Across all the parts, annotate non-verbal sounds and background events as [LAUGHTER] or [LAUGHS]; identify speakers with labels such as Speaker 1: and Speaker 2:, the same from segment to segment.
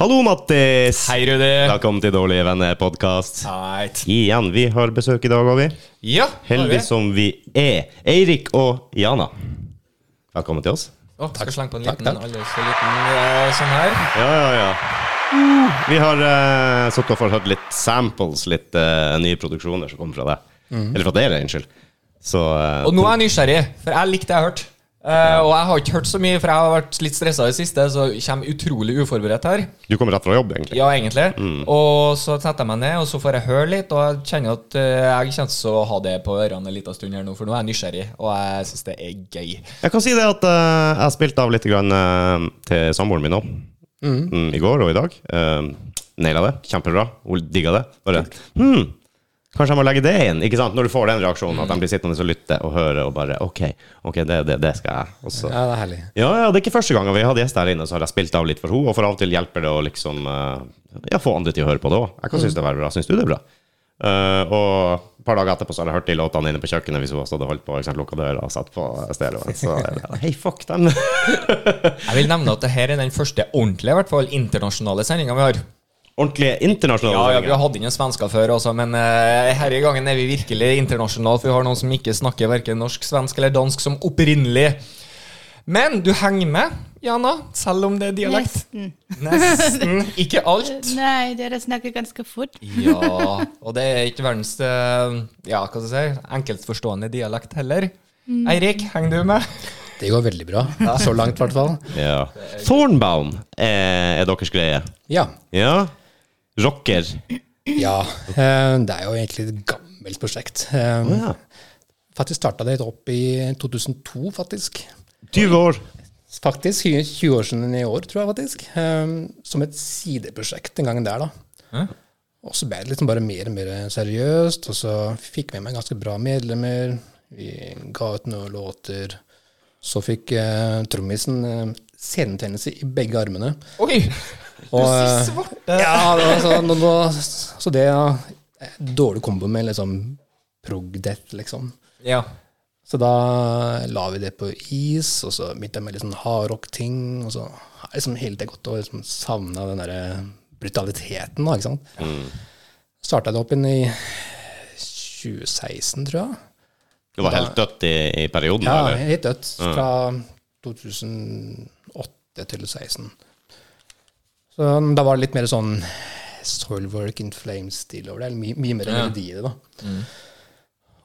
Speaker 1: Hallo, Mattis!
Speaker 2: Hei, Rudi.
Speaker 1: Velkommen til Dårlige venner-podkast.
Speaker 2: Right.
Speaker 1: Igjen, vi har besøk i dag, har vi.
Speaker 2: Ja,
Speaker 1: Heldige som vi er. Eirik og Jana. Velkommen til oss.
Speaker 2: oh, Skal slenge på en liten,
Speaker 1: Takk, takk.
Speaker 2: aldri så liten eh, sånn her.
Speaker 1: Ja, ja, ja. Uh, Vi har uh, sittet og fått hørt litt samples, litt eh, nye produksjoner som kommer fra deg. Eller fra dere, unnskyld. Så eh,
Speaker 2: Og nå er jeg nysgjerrig, for jeg likte det jeg hørte. Eh, og jeg har ikke hørt så mye, for jeg har vært litt stressa i det siste, så jeg kommer utrolig uforberedt her.
Speaker 1: du kommer rett fra jobb, egentlig.
Speaker 2: Ja, egentlig.
Speaker 1: Mm.
Speaker 2: Og så setter jeg meg ned, og så får jeg høre litt, og jeg kjenner at eh, jeg kommer til å ha det på ørene en liten stund her nå, for nå er jeg nysgjerrig, og jeg syns det er gøy.
Speaker 1: Jeg kan si det at eh, jeg spilte av litt grann, eh, til samboeren min nå. Mm, I går og i dag. Uh, Naila det. Kjempebra. Hun digga det. Bare hmm, Kanskje jeg må legge det inn? Ikke sant? Når du får den reaksjonen, at de blir sittende og lytte og høre og bare OK, ok, det, det, det skal jeg. Og så
Speaker 3: Ja, det er herlig.
Speaker 1: Ja, ja, det er ikke første gangen vi hadde gjest her inne, så har jeg spilt av litt for henne, og for av og til hjelper det å liksom eh, ja, få andre til å høre på det òg. Jeg kan
Speaker 3: Mm.
Speaker 1: synes det er bra. Syns du det er bra? Eh, og et par dager etterpå så har jeg hørt de låtene inne på kjøkkenet hvis hun også hadde holdt på, ikke sant, lukka døra og satt på stereoen. Så eh, hei, fuck dem! [LAUGHS]
Speaker 2: Jeg vil nevne at det her er den første ordentlige, i hvert fall internasjonale sendinga vi har.
Speaker 1: Ordentlige internasjonale
Speaker 2: Ja, ja, vi
Speaker 1: sendinger.
Speaker 2: har hatt inn en svensker før også, men eh, her i gangen er vi virkelig internasjonale, for vi har noen som ikke snakker hverken norsk, svensk eller dansk som opprinnelig. Men du henger med, Jana, selv om det er
Speaker 4: [LAUGHS]
Speaker 2: dialekt.
Speaker 4: Nesten.
Speaker 2: Nesten. Ikke alt.
Speaker 4: Nei, dere snakker ganske fort.
Speaker 2: Ja, og det er ikke verdens eh, ja, hva skal jeg si, enkeltforstående dialekt heller. Eirik, henger du med?
Speaker 3: Det går veldig bra. Så langt, i hvert fall.
Speaker 1: Ja. Thornbaum er, er deres greie.
Speaker 3: Ja.
Speaker 1: Ja. Rocker.
Speaker 3: ja. eh, Det er jo egentlig et gammelt prosjekt. Eh,
Speaker 1: Ja.
Speaker 3: Faktisk starta det opp i 2002, faktisk.
Speaker 1: 20 år.
Speaker 3: Faktisk 20 år siden i år, tror jeg, faktisk. Eh, Som et sideprosjekt den gangen der, da. Og så ble det liksom bare mer og mer seriøst, og så fikk vi med ganske bra medlemmer. Vi ga ut noen låter. Så fikk eh, trommisen eh, senebetennelse i begge armene.
Speaker 2: Oi!
Speaker 3: Og,
Speaker 2: så
Speaker 3: eh,
Speaker 2: svarte.
Speaker 3: [LAUGHS] Ja, det var sånn, nå- nå- så det ja, Dårlig kombo med liksom prog-death, liksom.
Speaker 2: Ja.
Speaker 3: Så da la vi det på is, og så begynte jeg med litt sånn hardrock-ting. Og så har jeg liksom hele tiden gått og liksom savna den derre brutaliteten, da, ikke sant. Starta det opp igjen i 2016, tror jeg.
Speaker 1: Det var helt dødt i, i perioden,
Speaker 3: Ja,
Speaker 1: eller?
Speaker 3: helt dødt. Fra 2008 til 2016. Så um, da var det litt mer sånn Soilwork in Flames-stil over det. Eller mye, mye mer
Speaker 2: Ja.
Speaker 3: melodi i det, da.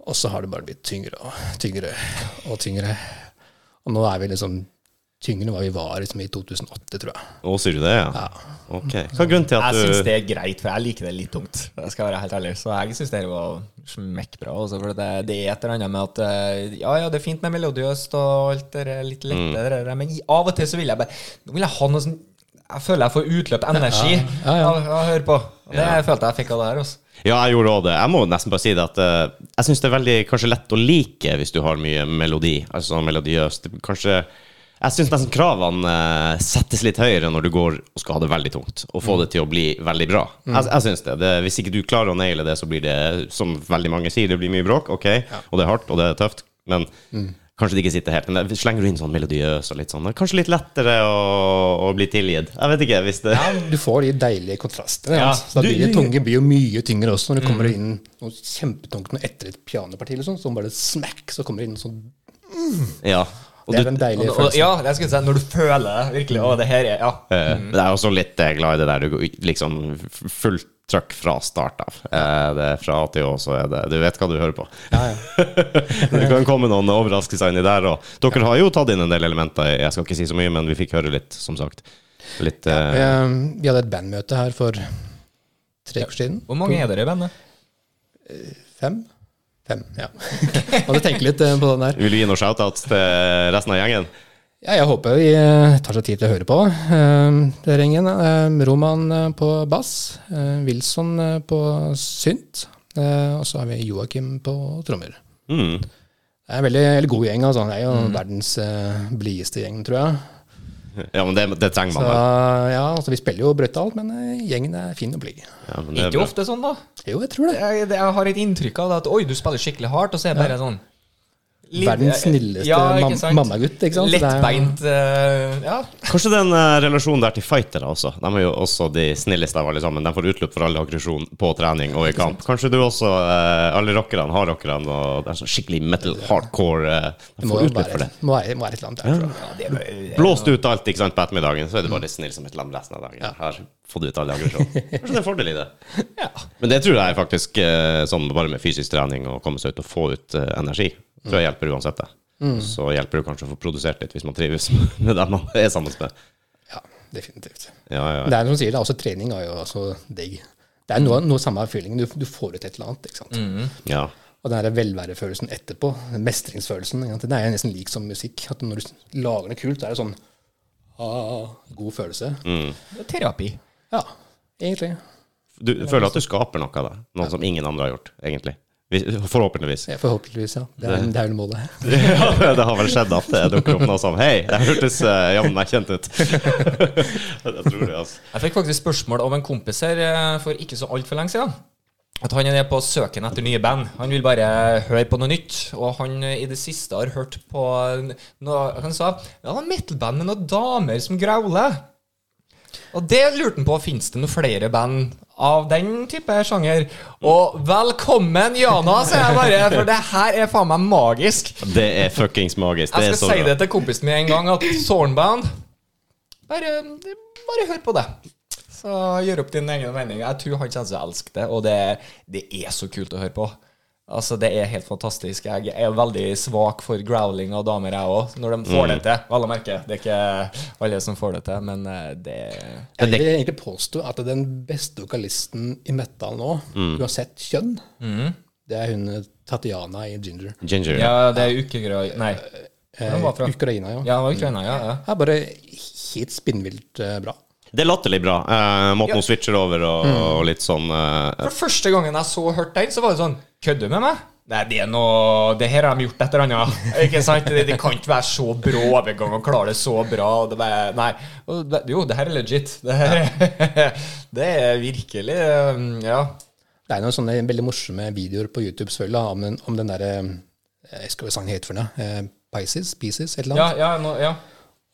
Speaker 3: Og så har det bare blitt tyngre og tyngre og tyngre. Og nå er vi liksom tyngre enn hva vi var liksom, i 2008, tror jeg.
Speaker 1: Å, sier du det, ja? Ok. Hva er grunnen til at
Speaker 2: Jeg
Speaker 1: du
Speaker 2: syns det er greit, for jeg liker det litt tungt. Jeg skal være helt ærlig Så jeg syns det var smekkbra. Også, for det, det er et eller annet med at eh, Ja, ja, det er fint med melodiøst og alt det der, litt
Speaker 3: Mm.
Speaker 2: lettere, det der, men i- av og til så vil jeg bare Nå vil jeg ha noe sånn Jeg føler jeg får utløp energi
Speaker 3: Ja, ja.
Speaker 2: av av å høre på. Og Det følte jeg fikk av det her. altså. Også.
Speaker 1: Ja, jeg gjorde også det. Jeg må nesten bare si det at eh, jeg syns det er veldig kanskje lett å like hvis du har mye melodi. Altså sånn melodiøst. Det- Kanskje Jeg syns nesten kravene eh, settes litt høyere når du går og skal ha det veldig tungt, og
Speaker 3: Mm.
Speaker 1: få det til å bli veldig bra. Jeg, jeg syns det. det. Hvis ikke du klarer å naile det, så blir det, som veldig mange sier, det blir mye bråk, ok, og det er hardt, og det er tøft, men
Speaker 3: Mm.
Speaker 1: Kanskje det ikke sitter helt, men det- slenger du inn sånn melodiøs og litt sånn Kanskje litt lettere å, å bli tilgitt. Jeg vet ikke, hvis det
Speaker 3: Du får de deilige kontrastene.
Speaker 2: Ja.
Speaker 3: Ja. Så da
Speaker 1: Du-
Speaker 3: blir det
Speaker 1: du-
Speaker 3: tunge blir jo mye tyngre også, når det kommer inn noe kjempetungt noe etter et pianoparti, liksom, så bare smack, så kommer det inn sånn
Speaker 1: [LAUGHS] Ja. Og
Speaker 3: Det
Speaker 1: du-
Speaker 3: er den
Speaker 2: Og,
Speaker 3: deilige
Speaker 2: og,
Speaker 3: følelsen.
Speaker 2: ja, det skulle jeg si. Når du føler det virkelig. Å, det her er Ja.
Speaker 1: Eh, Men jeg er også litt eh, glad i det der du går liksom f- fullt trøkk fra start av. Eh, Det er fra A til Å, så er det Du vet hva du hører på. [LAUGHS] det kan komme noen overraskelser inni der òg. Dere har jo tatt inn en del elementer. Jeg skal ikke si så mye, men vi fikk høre litt, som sagt. Litt eh,
Speaker 3: Eh, Vi hadde et bandmøte her for tre uker siden.
Speaker 2: Hvor mange er dere i bandet?
Speaker 3: Fem? Fem, ja. [LAUGHS] Måtte tenke litt eh, på den der.
Speaker 1: Vil du gi noen shoutouts til resten av gjengen?
Speaker 3: Ja, jeg håper vi eh, tar seg tid til å høre på. Eh, Det er ingen. eh, Roman eh, på bass, eh, Wilson eh, på synt, eh, og så har vi Joakim på trommer.
Speaker 1: Mm.
Speaker 3: Det er en veldig, veldig god gjeng. Altså. Det er jo
Speaker 1: Mhm.
Speaker 3: verdens eh, blideste gjeng, tror jeg.
Speaker 1: Ja, men det, det trenger
Speaker 3: Så,
Speaker 1: man vel.
Speaker 3: ja, altså, vi spiller jo brøyta alt, men eh, gjengen er fin og blid.
Speaker 1: Ja, men det er
Speaker 2: Ikke
Speaker 1: bra.
Speaker 2: ofte sånn, da.
Speaker 3: Jo, jeg tror det.
Speaker 2: Jeg, jeg har et inntrykk av det at oi, du spiller skikkelig hardt, og så er jeg bare sånn Litt-
Speaker 3: verdens snilleste
Speaker 2: Ja, ikke
Speaker 3: mam-
Speaker 2: sant?
Speaker 3: mammagutt. ikke sant? Så det er-
Speaker 2: Lettbeint eh, Ja.
Speaker 1: Kanskje den eh, relasjonen der til fightere også. De er jo også de snilleste av alle sammen. De får utløp for all aggresjon på trening og i kamp. Kanskje du også, eh, alle rockerne, har rockerne, og det er sånn skikkelig metal, hardcore eh, De
Speaker 3: Det må
Speaker 1: får
Speaker 3: jo
Speaker 1: utløp for
Speaker 3: være,
Speaker 1: det.
Speaker 3: må være, må være et eller annet der, tror jeg.
Speaker 2: ja det, er-
Speaker 1: Blåst ut alt ikke sant, på ettermiddagen, så er det
Speaker 3: Mm.
Speaker 1: bare snill som et lam resten av dagen. Her får du ut all aggresjon. Kanskje det er en fordel
Speaker 3: [LAUGHS]
Speaker 1: i det.
Speaker 2: ja.
Speaker 1: Men det tror jeg faktisk, eh, sånn bare med fysisk trening og komme seg ut og få ut eh, energi, tror
Speaker 3: Mm.
Speaker 1: jeg hjelper uansett det. Så hjelper det kanskje å få produsert litt hvis man trives [LAUGHS] med dem man er sammen med.
Speaker 3: Ja, definitivt.
Speaker 1: Ja, ja, ja.
Speaker 3: Det er som du sier, det er også trening er jo også digg. Det er noe, noe samme feelingen. Du, du får ut et eller annet. ikke sant?
Speaker 1: ja.
Speaker 3: Og den der velværefølelsen etterpå, den mestringsfølelsen, ikke sant? den er jo nesten lik som musikk. at Når du lager noe kult, så er det sånn ah, God følelse.
Speaker 2: Det er Terapi.
Speaker 3: Ja, egentlig.
Speaker 1: Du føler at du skaper noe av det, noe som ingen andre har gjort, egentlig. Vi- Forhåpentligvis.
Speaker 3: Ja, Forhåpentligvis, ja. Det er, det er jo målet.
Speaker 1: [LAUGHS] Ja, det har vel skjedd at det dukker opp noe som Hei, det hørtes uh, jammen meg kjent ut. [LAUGHS] jeg tror det, altså.
Speaker 2: Jeg fikk faktisk spørsmål av en kompis her eh, for ikke så altfor lenge siden. At han er på søken etter nye band. Han vil bare høre på noe nytt. Og han eh, i det siste har hørt på noe Han sa ja, det var metal-band med noen damer som growler. Og det lurte han på. Fins det noen flere band av den type sjanger? Og velkommen, Jana, sier jeg bare, for det her er faen meg magisk.
Speaker 1: Det er fuckings magisk. Det
Speaker 2: Jeg
Speaker 1: er så
Speaker 2: skal si
Speaker 1: bra.
Speaker 2: det til kompisen min en gang, at Sornbound bare, bare hør på det. Så gjør opp din egen mening. Jeg tror han kommer til å elske det, og det, det er så kult å høre på. Altså, Det er helt fantastisk. Jeg er veldig svak for growling av damer, jeg òg, når de får det
Speaker 1: Mm.
Speaker 2: til. Alle merker. Det er ikke alle som får det til, men eh, det
Speaker 3: Jeg vil egentlig påstå at den beste vokalisten i metal nå, uansett kjønn, det er hun Tatjana i Ginger. Eh,
Speaker 1: Ginger.
Speaker 2: Ja, det er ukegreier Nei. Hvor var fra?
Speaker 3: Ukraina, ja.
Speaker 2: Ja, Ukraina, ja. ja.
Speaker 3: Det er bare helt spinnvilt eh, bra.
Speaker 1: Det er latterlig bra. Eh, måten
Speaker 2: Ja. Mm.
Speaker 1: hun switcher over og, og litt sånn eh,
Speaker 2: For første gangen jeg så hørte den, så var det sånn Kødder du med meg? Nei, det er noe Det her har de gjort et eller annet. [LAUGHS] Ikke sant? Det, det kan ikke være så brå overgang og klare det så bra. Og det bare, nei. Og det- Jo, det her er legit. Det, her, [LAUGHS] det er virkelig um, Ja.
Speaker 3: Det er noen sånne veldig morsomme videoer på YouTube selvfølgelig da, om den, om den derre eh, Jeg husker hva sangen het for noe. Eh, Pisces? Pieces? Et eller
Speaker 2: Ja,
Speaker 3: annet.
Speaker 2: ja, nå- ja.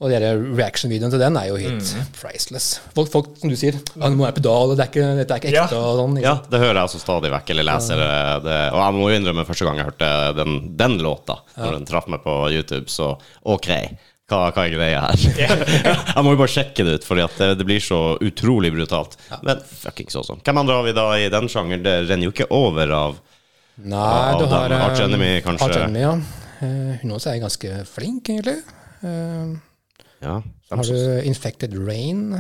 Speaker 3: Og den reaction-videoen til den er jo helt
Speaker 2: Mm.
Speaker 3: priceless. Folk, folk, som du sier, ja, nå må jeg pedal, og det er ikke, dette er ikke
Speaker 2: Ja.
Speaker 3: ekte og sånn. ikke
Speaker 1: Ja,
Speaker 3: sant?
Speaker 1: det hører jeg altså stadig vekk, eller leser det. det. Og jeg må jo innrømme, første gang jeg hørte den, den låta, når den traff meg på YouTube, så OK, hva, hva er greia her? [LAUGHS] jeg må jo bare sjekke det ut, Fordi at det, det blir så utrolig brutalt. Men fuckings awesome. Hvem andre har vi da i den sjangeren? Det renner jo ikke over av
Speaker 3: Nei,
Speaker 1: Ja,
Speaker 3: du
Speaker 1: den
Speaker 3: har eh,
Speaker 1: Arch Enemy, kanskje.
Speaker 3: Arch Enemy, ja. Eh, Hun også er ganske flink, egentlig. Eh,
Speaker 1: Ja,
Speaker 3: Så har du Infected Rain.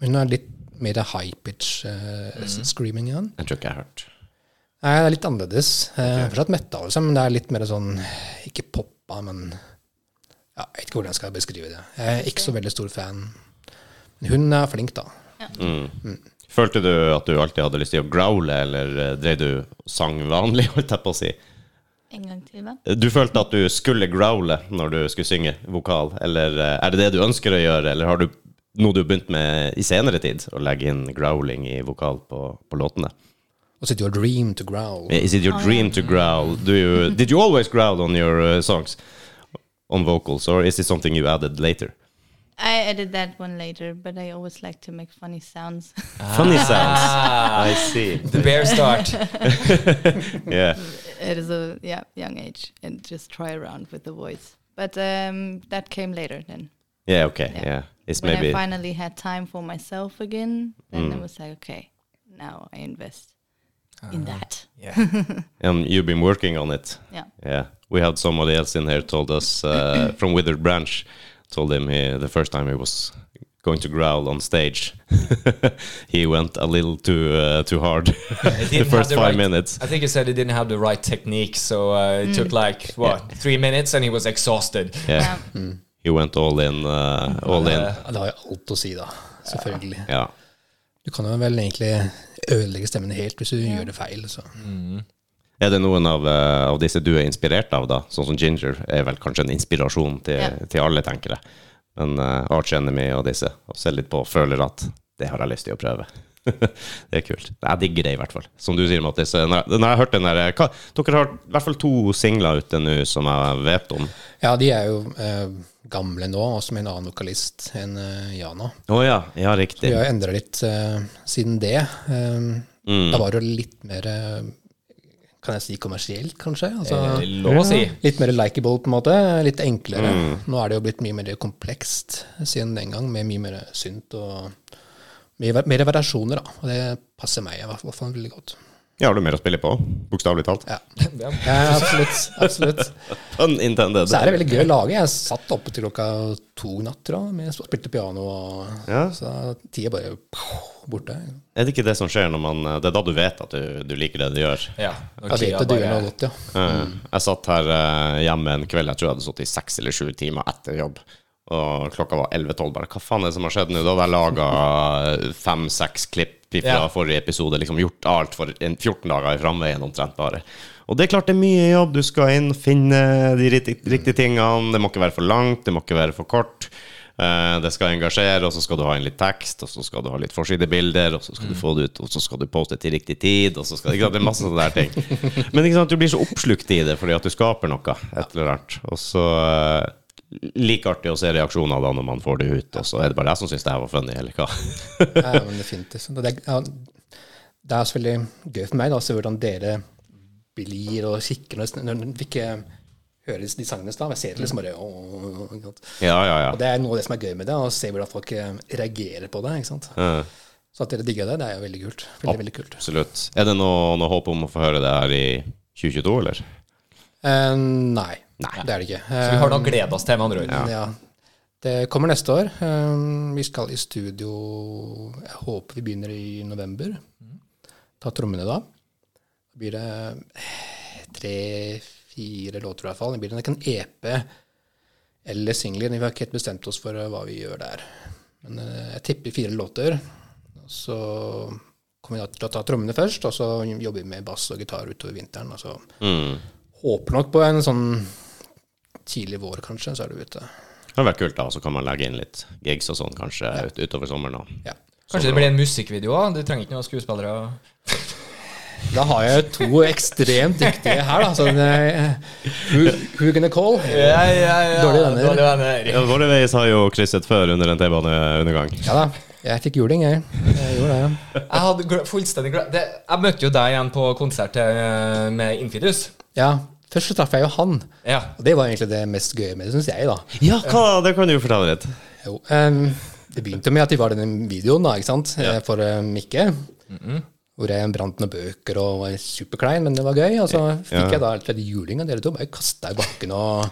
Speaker 3: Hun er litt mer high-pitch eh,
Speaker 2: Mm.
Speaker 3: screaming igjen.
Speaker 1: den tror ikke jeg har hørt.
Speaker 3: Nei, det er litt annerledes. Eh, Fortsatt metal, liksom, men det er litt mer sånn Ikke poppa, men ja, Jeg vet ikke hvordan jeg skal beskrive det. Jeg er ikke så veldig stor fan. Men hun er flink, da.
Speaker 1: Følte du at du alltid hadde lyst til å growle, eller eh, drev du sang vanlig, [LAUGHS] holdt jeg på å si?
Speaker 4: En gang til, hva?
Speaker 1: Du følte at du skulle growle når du skulle synge vokal, eller eh, er det det du ønsker å gjøre, eller har du noe du har begynt med i senere tid, å legge inn growling i vokal på, på låtene? Eh,
Speaker 3: Og sitter jo og dream to growl.
Speaker 1: Is it your dream to growl? Do you, did you always growl on your eh, songs? On vocals, or is it something you added later?
Speaker 4: I added that one later, but I always like to make funny sounds.
Speaker 1: Funny
Speaker 4: Ah.
Speaker 1: sounds. I see.
Speaker 2: The bare start.
Speaker 1: Yeah.
Speaker 4: [LAUGHS] At a yeah, young age and just try around with the voice. But um, that came later then.
Speaker 1: Yeah, okay. Yeah. It's
Speaker 4: When I
Speaker 1: maybe
Speaker 4: finally had time for myself again, then I was like, okay, now I invest in that.
Speaker 2: [LAUGHS] Yeah.
Speaker 1: And um, you've been working on it.
Speaker 4: Yeah.
Speaker 1: Yeah, we had somebody else in here told us uh, from Withered Branch, told him he, the first time he was going to growl on stage, [LAUGHS] he went a little too uh, too hard [LAUGHS] the
Speaker 2: didn't have
Speaker 1: first
Speaker 2: the
Speaker 1: five
Speaker 2: right-
Speaker 1: minutes.
Speaker 2: I think he said he didn't have the right technique, so uh, it took like, what, three minutes, and he was exhausted.
Speaker 1: Yeah,
Speaker 4: Yeah.
Speaker 1: he went all in, uh, all in.
Speaker 3: Ja, Det har jo alt å si, da. Selvfølgelig.
Speaker 1: Yeah,
Speaker 3: Du kan jo vel egentlig ødelegge stemmen helt hvis du gjør det feil. Så.
Speaker 1: er det noen av, eh, av disse du er inspirert av, da? Sånn som Ginger er vel kanskje en inspirasjon til,
Speaker 4: Ja.
Speaker 1: til alle, eh, tenker jeg. Men uh, Arch Enemy og disse, og ser litt på og føler at det har jeg lyst til å prøve. [LAUGHS] det er kult. Jeg digger det, i hvert fall. Som du sier, Mattis. eh, Når jeg, når jeg har hørt den der eh, hva, Dere har i hvert fall to singler ute nå som jeg vet om.
Speaker 3: Ja, de er jo eh, gamle nå, også med en annen vokalist enn eh, Jana.
Speaker 1: Å ja. Ja,
Speaker 3: Vi
Speaker 1: riktig.
Speaker 3: har jo endra litt eh, siden det. Um, Da var det jo litt mer eh, Kan jeg si kommersielt, kanskje? Altså,
Speaker 2: Det er Eh, lov å si.
Speaker 3: Litt mer likeable, på en måte. Litt enklere. Nå er det jo blitt mye mer komplekst siden den gang, med mye mer synt og mye ver- mer variasjoner, da. Og det passer meg i hvert fall- hvert fall veldig godt.
Speaker 1: Ja, har du mer å spille på? Bokstavelig talt.
Speaker 3: Ja,
Speaker 2: Ja.
Speaker 3: ja absolutt. absolutt.
Speaker 1: Pun intended.
Speaker 3: Så er det veldig gøy å lage. Jeg satt oppe til klokka to i natt, tror jeg, med- og spilte piano, og
Speaker 1: Ja.
Speaker 3: så tida bare pow, borte.
Speaker 1: Er det ikke det som skjer når man eh, Det er da du vet at du, du liker det du gjør.
Speaker 2: Ja, når
Speaker 3: Jeg vet
Speaker 2: tida
Speaker 3: at du gjør
Speaker 2: bare-
Speaker 3: noe godt, ja.
Speaker 1: Eh, Jeg satt her eh, hjemme en kveld, jeg tror jeg hadde sittet i seks eller sju timer etter jobb. Og klokka var 11-12. Bare hva faen er det som har skjedd nå? Da hadde jeg laga fem-seks klipp fra
Speaker 2: Ja.
Speaker 1: forrige episode. Liksom gjort alt for en 14 dager i framveien omtrent bare. Og det er klart det er mye jobb. Du skal inn, finne de riktig- riktige tingene. Det må ikke være for langt, det må ikke være for kort. Eh, Det skal engasjere, og så skal du ha inn litt tekst, og så skal du ha litt forsidebilder, og så skal du få det ut, og så skal du poste til riktig tid, og så skal ikke sant? Det er masse sånne der ting. Men ikke sant, du blir så oppslukt i det fordi at du skaper noe, et eller annet. Og så eh, like artig å se reaksjoner da når man får det ut, og så er det bare jeg som syns det her var funny, eller hva.
Speaker 3: Ja, men definitivt. Så Det er, ja, det er også veldig gøy for meg da, å se hvordan dere blir og kikker når når vi ikke hører de sangene. Da. Jeg ser det liksom bare «Åh», ikke sant?
Speaker 1: Ja, ja, ja.
Speaker 3: Og Det er noe av det som er gøy med det, å se hvordan folk eh, reagerer på det. ikke sant?
Speaker 1: Eh,
Speaker 3: Så at dere digger det, det er jo veldig kult. Veldig, veldig kult.
Speaker 1: Absolutt. Er det noe, noe håp om å få høre det her i 2022, eller?
Speaker 3: Eh, nei, det er det ikke.
Speaker 2: Så vi har noe å glede oss til, med andre ord.
Speaker 3: Eh, ja. Det kommer neste år. Eh, vi skal i studio Jeg håper vi begynner i november. Ta trommene da. Da blir det eh, tre-fire låter i hvert fall. Det blir nok en EP eller singler. Vi har ikke helt bestemt oss for eh, hva vi gjør der. Men eh, jeg tipper fire låter. Og Så kommer vi da til å ta trommene først, og så jobber vi med bass og gitar utover vinteren. Og så
Speaker 1: Hmm.
Speaker 3: håper nok på en sånn tidlig vår, kanskje, så er du ute.
Speaker 1: Det hadde vært kult, da. Så kan man legge inn litt gigs og sånn, kanskje, ut, utover sommeren. da.
Speaker 3: Ja.
Speaker 2: Kanskje det blir en musikkvideo òg? Du trenger ikke noen skuespillere? og-
Speaker 3: Da har jeg to ekstremt dyktige her, da. Sånn, eh, who, who gonna call?
Speaker 2: Ja, ja, ja.
Speaker 3: Dårlige venner.
Speaker 2: Dårlige venner.
Speaker 1: Ja, Våre veier har jo krysset før under en T-baneundergang.
Speaker 3: Ja da. Jeg fikk juling, jeg. jeg gjorde det.
Speaker 2: Jeg hadde gle- fullstendig glem- det, Jeg møtte jo deg igjen på konsert eh, med Infidus.
Speaker 3: Ja, først så traff jeg jo han.
Speaker 2: Ja.
Speaker 3: Og det var egentlig det mest gøye med det, syns jeg, da.
Speaker 1: Ja, hva? det kan du jo fortelle litt.
Speaker 3: Jo, em, det begynte med at de var i den videoen, da, ikke sant, eh, for eh, Mikke. Hvor jeg brant noen bøker og var superklein, men det var gøy. Og så fikk jeg da rett og slett juling, og dere to bare kasta i bakken og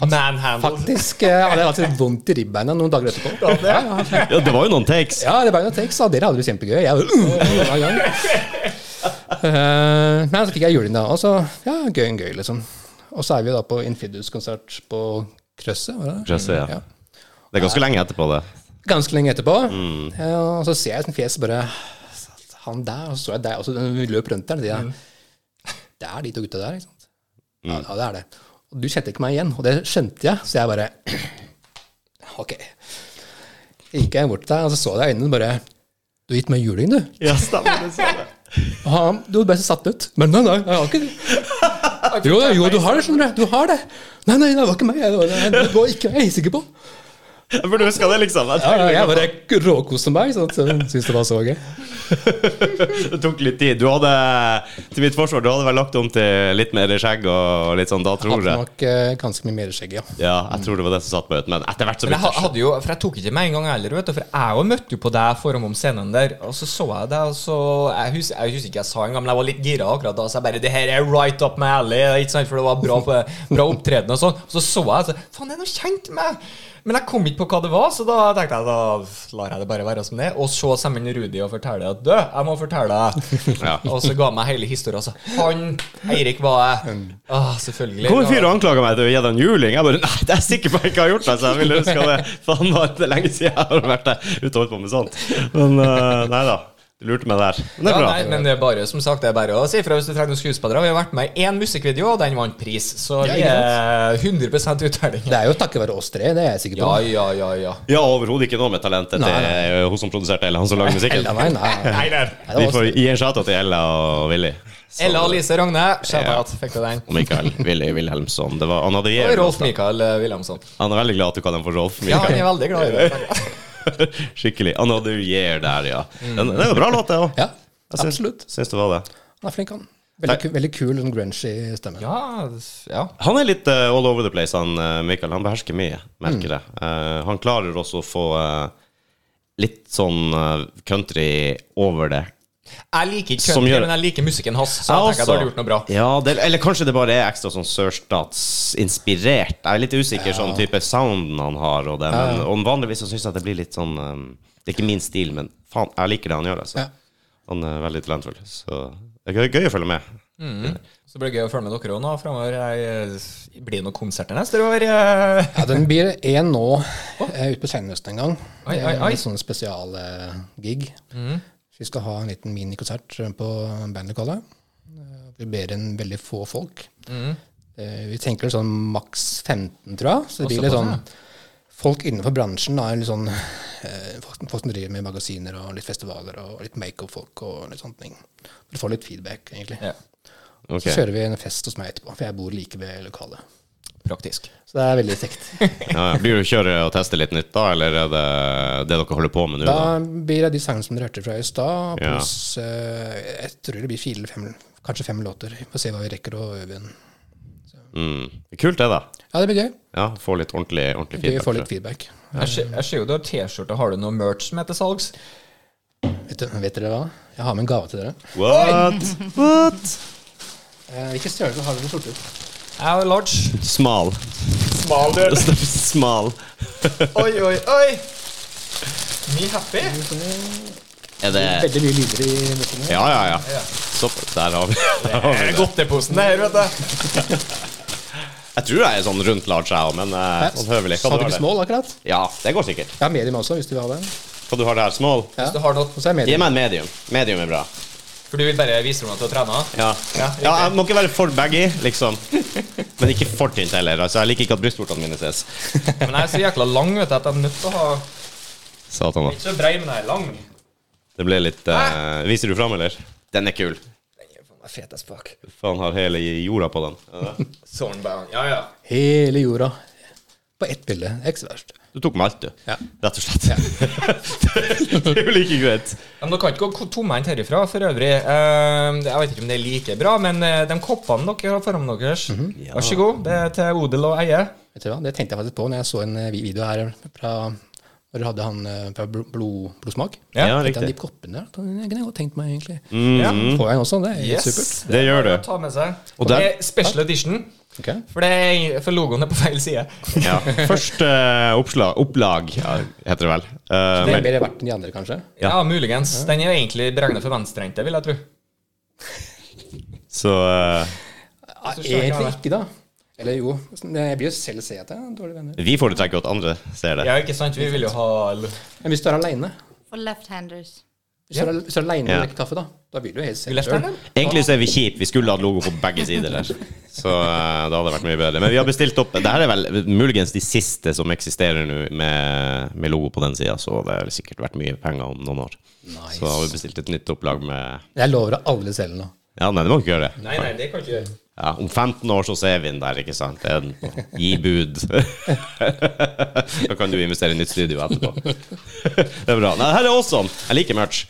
Speaker 2: Manhandle.
Speaker 3: Faktisk. eh, Jeg hadde alltid vondt i ribbeina noen dager etterpå. Ja, ja,
Speaker 1: Ja, Det var jo noen takes.
Speaker 3: Ja, det var noe tekst, og dere hadde det kjempegøy. Jeg var, uh, hver gang. Eh, men så fikk jeg juling, da. Og så, ja, gøy en gøy, liksom. Og så er vi da på Infidus-konsert på Krøsset. var det det?
Speaker 1: Krøsset, ja. Det er ganske lenge etterpå, det.
Speaker 3: Ganske lenge etterpå. Ja, og så ser jeg et sånt fjes bare Han der, og så så jeg deg, og så løp rundt der. Og jeg, det er de to gutta der, ikke sant? Ja, ja, det er det. Og du kjente ikke meg igjen, og det skjønte jeg, så jeg bare [CLEARS THROAT] Ok. Gikk jeg bort til deg, og så så jeg deg i øynene og bare Du har gitt meg juling, du.
Speaker 1: Ja, stemmer det, sa det.
Speaker 3: Og han, du ble så satt ut. Men nei, nei, jeg har [LAUGHS] ikke det. Jo, jo, du har det, skjønner du. Du har det. Nei, nei, det var ikke meg. Det var, det var ikke meg, jeg er sikker på.
Speaker 1: Jeg burde huska det, liksom. Jeg
Speaker 3: Ja,
Speaker 1: tenkte
Speaker 3: ja, jeg bare råkoste meg, så jeg syntes det var så gøy.
Speaker 1: Det tok litt tid. Du hadde, til mitt forsvar, du hadde vel lagt om til litt mer skjegg og litt sånn, da tror
Speaker 3: Hadde
Speaker 1: jeg.
Speaker 3: nok eh, ganske mye mer skjegg, ja.
Speaker 1: Ja, jeg tror det var det som satt meg ut, men etter hvert så
Speaker 2: Men jeg ha-
Speaker 1: begynte jeg
Speaker 2: hadde jo, for jeg tok ikke med en gang heller, vet du, for jeg jo møtte jo på deg foran om scenen der, og så så jeg deg, og så Jeg husker, jeg husker ikke jeg sa engang, men jeg var litt gira akkurat da, så jeg bare Det her er right up my alley, ikke sant, for det var bra, på- bra opptreden og sånn. Og så så jeg, så Faen, det er noe kjent med meg! Men jeg kom ikke på hva det var, så da tenkte jeg da lar jeg det bare være som det er. Og så sammen med Rudi og forteller at du, jeg må fortelle deg.
Speaker 1: Ja.
Speaker 2: Og så ga han meg hele historien. Altså. Han Eirik var jeg. Ah, selvfølgelig.
Speaker 1: Kom en fyr og anklaga meg til å gi deg en juling. Jeg bare Nei, det er jeg sikker på jeg ikke har gjort det, så jeg [LAUGHS] ville huska det. Faen, nå er det lenge siden jeg har vært der ute og holdt på med sånt. Men eh, nei da. Du lurte meg der. Men det
Speaker 2: Ja,
Speaker 1: er bra.
Speaker 2: nei, men det er bare, som sagt, det er bare å si ifra hvis du trenger noen skuespillere. Vi har vært med i én musikkvideo, og den vant pris. Så
Speaker 3: Ja,
Speaker 2: vi er 100 uttelling.
Speaker 3: Det er jo takket være oss tre, det er jeg sikker på.
Speaker 2: Ja, ja, ja, ja.
Speaker 1: Ja, overhodet ikke noe med talentet
Speaker 3: Nei,
Speaker 1: til hun som produserte eller han som lagde musikken.
Speaker 3: Ella, nei, nei. nei.
Speaker 2: Nei, der.
Speaker 3: det var
Speaker 1: Vi
Speaker 3: oss
Speaker 1: får gi en shout til Ella og Willy. Så-
Speaker 2: Ella Lise Rogne, shout-out. Fikk du den?
Speaker 1: Og Mikael Willy Wilhelmsson. Det var, han, hadde
Speaker 2: Og
Speaker 1: jævlig-
Speaker 2: Rolf Mikael eh, Wilhelmsson.
Speaker 1: han er veldig glad at du kaller ham for Rolf.
Speaker 2: Ja, han
Speaker 1: Mikael.
Speaker 2: er veldig glad i det.
Speaker 1: [LAUGHS] Skikkelig. Another year der, ja. Den, det er jo en bra låt, det òg.
Speaker 3: [LAUGHS] Ja, absolutt.
Speaker 1: Syns det var det.
Speaker 3: Han er flink, han. Veldig, ku- veldig kul og grungy stemme.
Speaker 2: Ja, ja.
Speaker 1: Han er litt eh, all over the place, han eh, Mikael. Han behersker mye, merker det.
Speaker 2: Mm.
Speaker 1: Eh, han klarer også å få eh, litt sånn eh, country over det.
Speaker 2: Jeg liker ikke
Speaker 1: Som
Speaker 2: country,
Speaker 1: gjør- altså.
Speaker 2: men jeg liker musikken hans. Så jeg tenker at du har gjort noe bra.
Speaker 1: Ja, det, eller kanskje det bare er ekstra sånn sørstatsinspirert. Jeg er litt usikker sånn type sounden han har og det, men og vanligvis så syns jeg at det blir litt sånn um, Det er ikke min stil, men faen, jeg liker det han gjør, altså.
Speaker 3: Ja.
Speaker 1: Han er veldig talentfull, så det er gøy, gøy å følge med.
Speaker 2: Så blir det gøy å følge med dere òg nå framover. Jeg eh, blir det noen konserter neste år. eh?
Speaker 3: Ja, den blir én nå, eh, ut på senhøsten en gang.
Speaker 2: Oi,
Speaker 3: Det er
Speaker 2: oi, oi. Mm.
Speaker 3: En sånn spesialgig. Vi skal ha en liten minikonsert eh, på bandlokalet. Eh, Vi ber inn veldig få folk.
Speaker 2: Mm.
Speaker 3: Eh, Vi tenker sånn maks 15, tror jeg. Så det blir litt sånn folk innenfor bransjen. Da, litt sånn, eh, folk, folk som driver med magasiner og litt festivaler og litt makeup-folk og litt sånne ting. For å få litt feedback, egentlig.
Speaker 2: Ja,
Speaker 1: Ok.
Speaker 3: Så kjører vi en fest hos meg etterpå, for jeg bor like ved lokalet.
Speaker 2: praktisk.
Speaker 3: Så det er veldig kjekt.
Speaker 1: Ja, ja. Blir du å kjøre og teste litt nytt, da, eller er det det dere holder på med nå? Da?
Speaker 3: Da blir det de sangene som dere hørte fra i stad,
Speaker 1: Ja.
Speaker 3: pluss eh, Jeg tror det blir fire eller fem, kanskje fem låter. Vi får se hva vi rekker å øve inn.
Speaker 1: Mm. Kult, det, da.
Speaker 3: Ja, det blir gøy.
Speaker 1: Ja, Få litt ordentlig, ordentlig
Speaker 3: Vi
Speaker 1: feedback.
Speaker 3: får
Speaker 1: tror
Speaker 3: litt
Speaker 1: jeg.
Speaker 3: feedback.
Speaker 2: Jeg ser- jeg ser jo du har T-skjorte. Har du noe merch som er til salgs?
Speaker 3: Vet, du- vet dere hva? Jeg har med en gave til dere.
Speaker 1: What? What?
Speaker 3: Eh, hvilken størrelse har dere skjorter?
Speaker 2: Jeg er large.
Speaker 1: Smal.
Speaker 2: Smal dør.
Speaker 1: [LAUGHS] Smal.
Speaker 2: Oi, oi, oi! Me happy?
Speaker 1: Er det
Speaker 3: Veldig mye lyder i mikken. her.
Speaker 1: Ja, ja, ja. Stopp. Der har vi der har vi det.
Speaker 2: Godteposen det her, vet du.
Speaker 1: Jeg tror jeg er sånn rundt large, jeg òg, men eh, sånn høvelig.
Speaker 3: Sa
Speaker 1: Hva
Speaker 3: du
Speaker 1: du
Speaker 3: ikke
Speaker 1: har der?
Speaker 3: small, akkurat?
Speaker 1: Ja, det går sikkert.
Speaker 3: Jeg har medium også, hvis du vil ha den.
Speaker 1: Hva du har der? Small?
Speaker 3: Ja.
Speaker 2: Hvis du har
Speaker 3: Og
Speaker 2: noe,
Speaker 3: så er
Speaker 1: Gi
Speaker 3: medium.
Speaker 1: meg en medium. Medium er bra.
Speaker 2: for du vil bare vise dem at du har trent?
Speaker 1: Ja.
Speaker 2: Ja,
Speaker 1: ja, jeg må ikke være for baggy, liksom. Men ikke for tynt heller. Altså, Jeg liker ikke at brystvortene mine ses.
Speaker 2: Men jeg er så jækla lang vet du, at jeg er nødt til å ha
Speaker 1: Satan, da.
Speaker 2: Ikke så brei, men jeg er lang.
Speaker 1: Det ble litt eh, Viser du fram, eller? Den er kul.
Speaker 2: Den er faen meg fetest bak.
Speaker 1: Faen, har hele jorda på den. Ja.
Speaker 2: Sånn bare, ja, ja.
Speaker 3: Hele jorda. På ett bilde. Det er Ikke så verst.
Speaker 1: Du tok med alt, du.
Speaker 3: Ja.
Speaker 1: Rett og slett. [LAUGHS] det er jo like greit.
Speaker 2: Men dere kan ikke gå tomhendt herifra for øvrig. Eh, det- jeg vet ikke om det er like bra, men eh, de koppene dere har foran deres, vær så god, det er til odel og eie.
Speaker 3: Vet du hva? Det tenkte jeg faktisk på når jeg så en eh, vi- video her fra når du hadde han eh, fra Bl- blod, Blodsmak.
Speaker 2: Ja,
Speaker 1: Ja,
Speaker 3: Tenkte jeg,
Speaker 1: riktig. Mm.
Speaker 3: de koppene der, den kunne jeg godt tenkt meg, egentlig.
Speaker 2: Ja.
Speaker 3: Får jeg en også? Det er
Speaker 2: Yes.
Speaker 3: helt supert.
Speaker 1: Det gjør du.
Speaker 2: bare å Ta med seg.
Speaker 1: Og
Speaker 2: det
Speaker 1: der-
Speaker 2: er special edition,
Speaker 3: Ok.
Speaker 2: for, det er, for logoen er på feil side.
Speaker 1: Ja. Første eh, oppslag, opplag ja, heter det vel. Eh,
Speaker 3: Det er
Speaker 1: men,
Speaker 3: mer verdt enn de andre, kanskje?
Speaker 2: Ja, muligens. Den er jo egentlig beregnet for venstrehendte, vil jeg tro.
Speaker 1: så eh,
Speaker 3: Ja,
Speaker 2: skjønner jeg
Speaker 3: Ah, egentlig
Speaker 2: det.
Speaker 3: ikke, da. Eller jo. Jeg blir jo selv se at jeg har dårlige venner.
Speaker 1: vi foretrekker jo at andre ser det.
Speaker 2: Ja, ikke sant? Vi vil jo ha l-
Speaker 3: Men hvis du er aleine,
Speaker 4: For left-handers.
Speaker 3: hvis, du er- hvis du er alene
Speaker 1: Ja.
Speaker 3: og drikker kaffe, da Da vil du jo helt selv
Speaker 2: lefthand,
Speaker 3: selv.
Speaker 1: Egentlig så er vi kjipe. Vi skulle hatt logo på begge sider der. Så eh, det hadde vært mye bedre. Men vi har bestilt opp Dette er vel muligens de siste som eksisterer nå med, med logo på den sida, så det har sikkert vært mye penger om noen år. Så har vi bestilt et nytt opplag med
Speaker 3: Jeg lover å aldri selge noe.
Speaker 1: Ja, nei, det må ikke gjøre det.
Speaker 2: Nei, nei, det kan ikke gjøre.
Speaker 1: Ja, om 15 år så ser vi den der, ikke sant? Det er den på. Gi
Speaker 2: [LAUGHS]
Speaker 1: bud. da kan du investere i nytt studio etterpå. det er bra. Nei, det her er awesome. Jeg liker merch.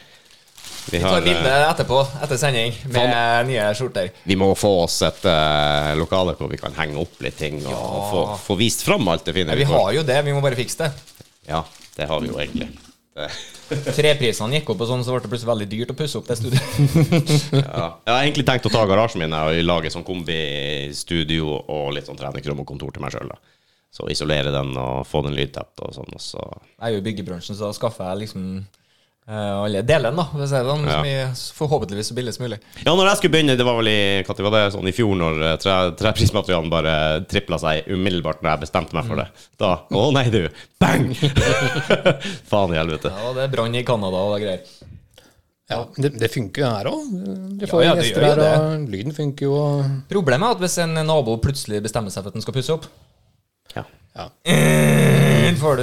Speaker 1: Vi,
Speaker 2: Ta
Speaker 1: har,
Speaker 2: bilde
Speaker 1: eh,
Speaker 2: etterpå, etter sending, med nye skjorter.
Speaker 1: vi må få oss et eh, lokale hvor vi kan henge opp litt ting og få, få vist fram alt det fine
Speaker 2: Ja, vi har jo det, vi må bare fikse det.
Speaker 1: Ja, det har vi jo egentlig. Det,
Speaker 2: Treprisene gikk opp, og sånn, så ble det plutselig veldig dyrt å pusse opp det [LAUGHS] studioet.
Speaker 1: ja. Jeg har egentlig tenkt å ta garasjen min og lage sånn kombistudio og litt sånn treningsrom og kontor til meg sjøl. Så isolere den og få den lydtett og sånn. Og så
Speaker 2: Jeg er jo i byggebransjen, så da skaffer jeg liksom eh, alle delene, da. for å si det sånn,
Speaker 1: Ja.
Speaker 2: så mye- så forhåpentligvis så billig som mulig.
Speaker 1: Ja, når jeg skulle begynne, det var vel i, hva tid var det, sånn i fjor, når eh, tre, treprismaterialen bare tripla seg umiddelbart når jeg bestemte meg for det. Da Å nei, du! Bang! [LAUGHS] Faen i helvete.
Speaker 2: Ja, det er brann i Canada og det greier.
Speaker 3: Ja, men det, det funker jo her òg. Vi
Speaker 2: Ja,
Speaker 3: får
Speaker 2: ja, det
Speaker 3: gjester
Speaker 2: gjør
Speaker 3: her,
Speaker 2: jo
Speaker 3: og lyden funker jo. Og,
Speaker 2: Problemet er at hvis en nabo plutselig bestemmer seg for at den skal pusse opp [CLEARS THROAT]
Speaker 1: Ja.
Speaker 3: ja.
Speaker 2: Den får du,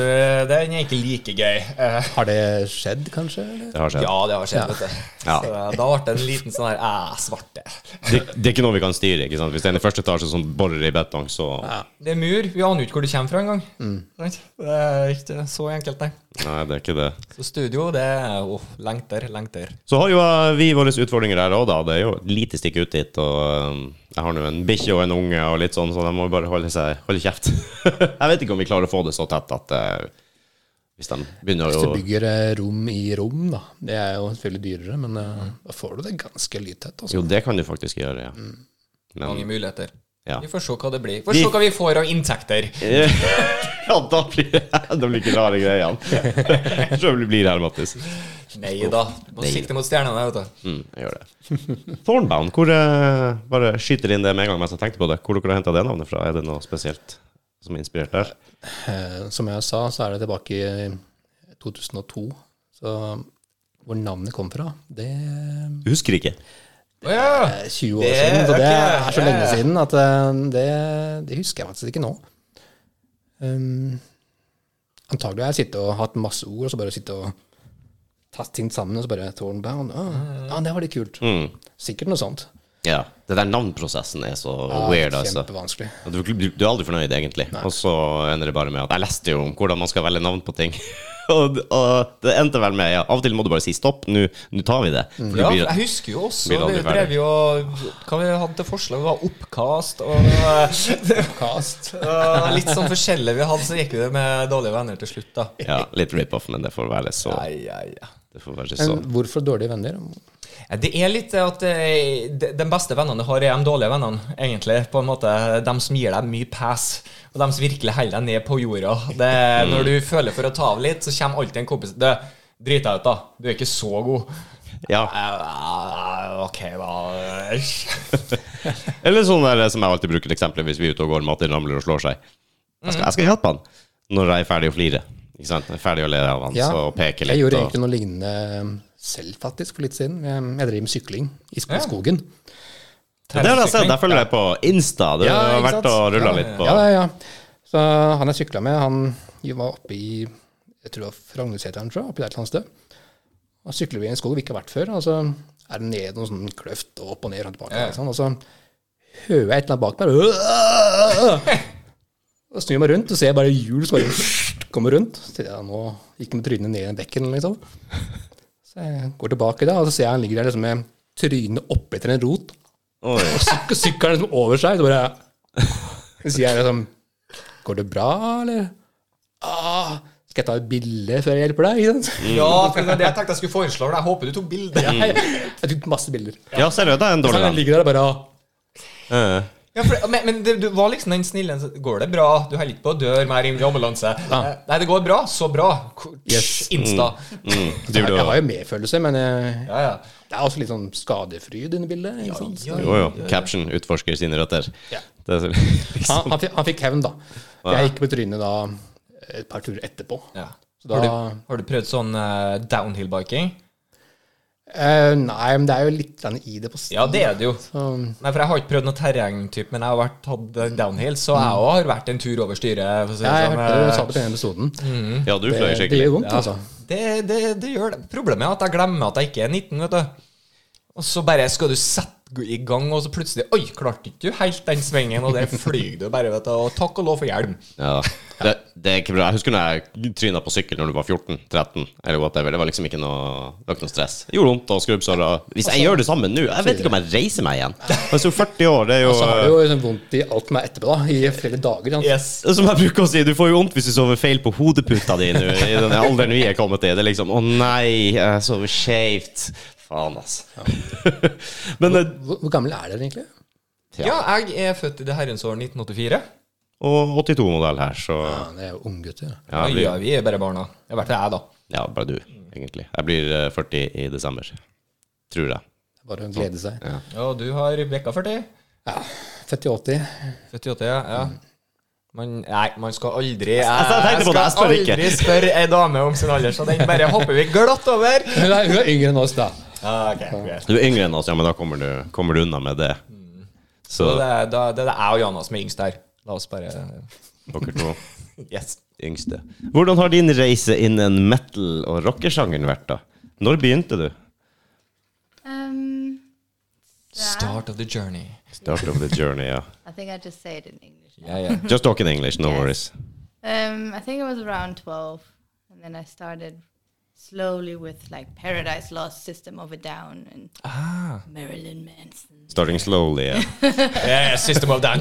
Speaker 2: den er ikke like gøy. Eh,
Speaker 3: Har det skjedd, kanskje? Eller?
Speaker 1: Det har skjedd.
Speaker 2: Ja, det har skjedd, vet du.
Speaker 1: Ja.
Speaker 2: Så da ble det en liten sånn her Æh, svarte.
Speaker 1: Det, det er ikke noe vi kan styre. ikke sant? Hvis det er en i første etasje som borer i betong, så
Speaker 2: Det er mur. Vi aner jo ikke hvor du kommer fra engang.
Speaker 1: Mm.
Speaker 2: Sant? Det er ikke så enkelt, nei.
Speaker 1: Nei, det er ikke det.
Speaker 2: Så studio, det er åh, lengter, lengter.
Speaker 1: Så har jo eh, vi våre utfordringer her òg, da. Det er jo et lite stikk ut dit. Og eh, jeg har nå en bikkje og en unge og litt sånn, så de må bare holde seg holde kjeft. [LAUGHS] jeg vet ikke om vi klarer å få det så tett at eh, hvis de begynner
Speaker 3: Hvis du
Speaker 1: å
Speaker 3: bygger eh, rom i rom, da. Det er jo selvfølgelig dyrere, men eh, da får du det ganske lydtett. Altså.
Speaker 1: Jo, det kan du faktisk gjøre, ja.
Speaker 2: Mm. Mange
Speaker 1: [LAUGHS] Men
Speaker 2: muligheter.
Speaker 1: ja.
Speaker 2: Vi får se hva det blir. Vi får
Speaker 1: Vi-
Speaker 2: se hva vi får av inntekter.
Speaker 1: ja, da blir det da blir ikke rare
Speaker 2: [LAUGHS]
Speaker 1: greiene. Sjøl blir det her, Mattis.
Speaker 2: Nei da. Må sikte mot stjernene, vet du.
Speaker 1: Mm, jeg gjør det. Thornbound, hvor eh, Bare skyter inn det med en gang mens jeg tenkte på det. Hvor dere har henta det navnet fra? Er det noe spesielt som er inspirert der?
Speaker 3: Eh, som jeg sa, så er det tilbake i eh, 2002. Så hvor navnet kom fra, det er
Speaker 1: Du husker ikke?
Speaker 2: Å ja.
Speaker 3: 20 år
Speaker 2: Det er
Speaker 3: siden. Så det
Speaker 2: ok,
Speaker 3: er så lenge
Speaker 2: ja.
Speaker 3: siden at eh, det, det husker jeg faktisk ikke nå. Um, antagelig har jeg sittet og hatt masse ord, og så bare sittet og tatt ting sammen, og så bare Thornbound. Ah, ja, det var litt kult.
Speaker 1: Mm.
Speaker 3: Sikkert noe sånt.
Speaker 1: Ja. Det der navnprosessen er så
Speaker 2: Ah,
Speaker 3: Ja,
Speaker 1: weird, altså.
Speaker 3: Kjempevanskelig.
Speaker 1: Du, du, du er aldri fornøyd, egentlig. Og så ender det bare med at Jeg leste jo om hvordan man skal velge navn på ting. [LAUGHS] og, og det endte vel med ja, Av og til må du bare si stopp, nå nå tar vi det. For
Speaker 2: Mm. Ja,
Speaker 1: det blir,
Speaker 2: jeg husker jo også
Speaker 1: blir det aldri
Speaker 2: Vi drev
Speaker 1: ferdig.
Speaker 2: jo Hva vi hadde til forslag? Det var oppkast og eh, [LAUGHS]
Speaker 3: Kast.
Speaker 2: og litt sånn forskjellig vi hadde, så gikk vi det med dårlige venner til slutt, da.
Speaker 1: ja, litt rip-off, men det får være så.
Speaker 2: Ai, ai, ai.
Speaker 1: Det får være så.
Speaker 3: Men hvorfor dårlige venner?
Speaker 2: Ja, Det er litt at eh, de de beste vennene du har, er de dårlige vennene, egentlig. På en måte, De som gir deg mye pass, og de som virkelig holder deg ned på jorda. Det,
Speaker 1: Mm.
Speaker 2: når du føler for å ta av litt, så kommer alltid en kompis Du, drit deg ut, da. Du er ikke så god.
Speaker 1: Ja.
Speaker 2: Eh, ok, da.
Speaker 1: [LAUGHS] Eller sånn der eh, som jeg alltid bruker eksempler hvis vi er ute og går, Martin ramler og slår seg. Jeg skal,
Speaker 3: Mm.
Speaker 1: jeg skal hjelpe han når jeg er ferdig å flire. Ikke sant? Jeg er ferdig å le av han,
Speaker 3: Ja,
Speaker 1: så peke
Speaker 3: Jeg
Speaker 1: litt.
Speaker 3: gjorde
Speaker 1: og,
Speaker 3: egentlig noe lignende selv, faktisk, for litt siden. Jeg, jeg drev med sykling i sk- skogen.
Speaker 1: Ja, det har jeg sett, jeg følger deg på Insta. Det
Speaker 3: Ja,
Speaker 1: har
Speaker 3: ikke
Speaker 1: vært
Speaker 3: sant?
Speaker 1: å rulle litt på.
Speaker 3: Ja, ja, ja. Så han jeg sykla med, han var oppe i jeg tror det var Frognerseteren, tror jeg, oppi der et eller annet sted. Da sykler vi i en skog vi ikke har vært før, og så er det ned noen sånn kløft og opp og ned og tilbake.
Speaker 2: Ja.
Speaker 3: og Sånn, og så hører jeg et eller annet bak meg. «Åh!» Og snur jeg meg rundt og ser bare hjul som bare [LAUGHS] kommer rundt. Så tenkte jeg, nå gikk han med trynet ned i bekken, liksom. Så jeg går tilbake da, og så ser jeg han ligger der liksom med trynet oppetter en rot.
Speaker 1: Oi.
Speaker 3: Syk- sykkelen liksom over seg. Så bare Så sier jeg liksom Går det bra, eller? Ah, skal jeg ta et bilde før jeg hjelper deg? Ikke sant?
Speaker 2: Ja, for det var det jeg tenkte jeg skulle foreslå. for Jeg håper du tok bilde.
Speaker 3: Jeg tok masse bilder.
Speaker 1: Ja, ser du, det er en
Speaker 3: Så
Speaker 1: dårlig
Speaker 3: han
Speaker 1: venn.
Speaker 3: ligger der og bare ah,
Speaker 1: Eh,
Speaker 2: Ja, for, men men det, du var liksom den snille så, Går det bra? Du holder ikke på å dø mer inn i ambulanse. Eh, Nei, det går bra. Så bra. Ko-
Speaker 3: Yes.
Speaker 2: Insta.
Speaker 1: Mm. Du,
Speaker 3: Jeg,
Speaker 1: du,
Speaker 3: jeg har jo medfølelse, men jeg,
Speaker 2: Ja, ja.
Speaker 3: det er også litt sånn skadefryd inni bildet. Ikke sant? Så-
Speaker 1: jo, jo. Caption utforsker sine røtter.
Speaker 3: Ja.
Speaker 1: Det er, [LAUGHS]
Speaker 3: Han, han, fikk, han fikk hevn, da. Jeg gikk på trynet da et par turer etterpå.
Speaker 2: ja.
Speaker 3: Så da,
Speaker 2: har, du, har du prøvd sånn eh, downhill-biking?
Speaker 3: eh, nei, men det er jo litt grann i det på
Speaker 2: Ja, det er det jo.
Speaker 3: Så-
Speaker 2: Nei, for jeg har ikke prøvd noe terrengtype, men jeg har vært, hatt eh, downhill, så jeg òg har vært en tur over styret. For å si det,
Speaker 3: Mm. Jeg
Speaker 2: sånn,
Speaker 3: hørte du
Speaker 2: eh,
Speaker 3: sa det på denne episoden.
Speaker 1: ja, du
Speaker 3: Det,
Speaker 1: fløy
Speaker 3: det
Speaker 1: skikkelig.
Speaker 3: gjør vondt, altså.
Speaker 2: det, det, det gjør det. Problemet er at jeg glemmer at jeg ikke er 19, vet du. Og så bare skal du sette i gang, og så plutselig Oi, klarte ikke du helt den svingen? Og der flyr du bare, vet du. Og takk og lov for hjelm.
Speaker 1: Ja. Det, det er ikke bra. Jeg husker når jeg tryna på sykkel når du var 14-13, eller whatever. Det var liksom ikke noe, det var ikke noe stress. Det Gjorde vondt og skrubbsår. og- Hvis jeg gjør det samme nå, jeg vet ikke om jeg reiser meg igjen. Jeg er så 40 Altså, år, det er jo,
Speaker 3: Så har du jo liksom vondt i alt som er etterpå, da, i flere dager. sant?
Speaker 2: Yes.
Speaker 1: eh, Som jeg bruker å si, du får jo vondt hvis du sover feil på hodeputa di nå, i den alderen vi er kommet i. Det er liksom Å nei, jeg sover skeivt. Faen, altså. [LAUGHS] Men eh,
Speaker 3: Hvor, hvor gammel er dere egentlig?
Speaker 2: Ja, jeg er født i det herrens år 1984.
Speaker 1: Og 82-modell her, så
Speaker 3: Ja, det er jo unggutter.
Speaker 1: ja,
Speaker 2: Ja,
Speaker 1: jeg blir,
Speaker 2: vi er bare barna. I hvert fall jeg, da.
Speaker 1: ja, bare du, egentlig. Jeg blir eh, 40 i desember. Tror jeg.
Speaker 3: Bare å glede seg.
Speaker 2: Ja, du har vekka 40?
Speaker 3: Født i [LAUGHS] 80.
Speaker 2: 48, ja. ja. Man, nei, man skal aldri Jeg,
Speaker 1: Altså, jeg tenkte på det, jeg spør
Speaker 2: skal
Speaker 1: ikke.
Speaker 2: aldri spørre ei dame om sin alder, så den bare hopper vi glatt over.
Speaker 3: Hun er, hun er yngre enn oss, da.
Speaker 2: Ah, ok, greit.
Speaker 1: Du er yngre enn oss, ja, men da kommer du, kommer du unna med det. Så
Speaker 2: Så det, er- da, det er jeg og Johanna som er yngst her. La oss bare
Speaker 1: dere to
Speaker 2: Yes.
Speaker 1: yngste. Hvordan har din reise innen metal- og rockesjangeren vært, da? Når begynte du?
Speaker 4: Um,
Speaker 2: Start of the journey.
Speaker 1: Start of the journey, ja.
Speaker 4: I think I just say it in English.
Speaker 2: Ja, ja.
Speaker 1: Just talk in English, no
Speaker 4: Yes.
Speaker 1: worries.
Speaker 4: Um, I think it was around 12, and then I started slowly with like Paradise Lost, System of a Down, and
Speaker 2: Ah.
Speaker 4: Marilyn Manson.
Speaker 1: Starting slowly, yeah.
Speaker 2: Yeah, yeah, system of down.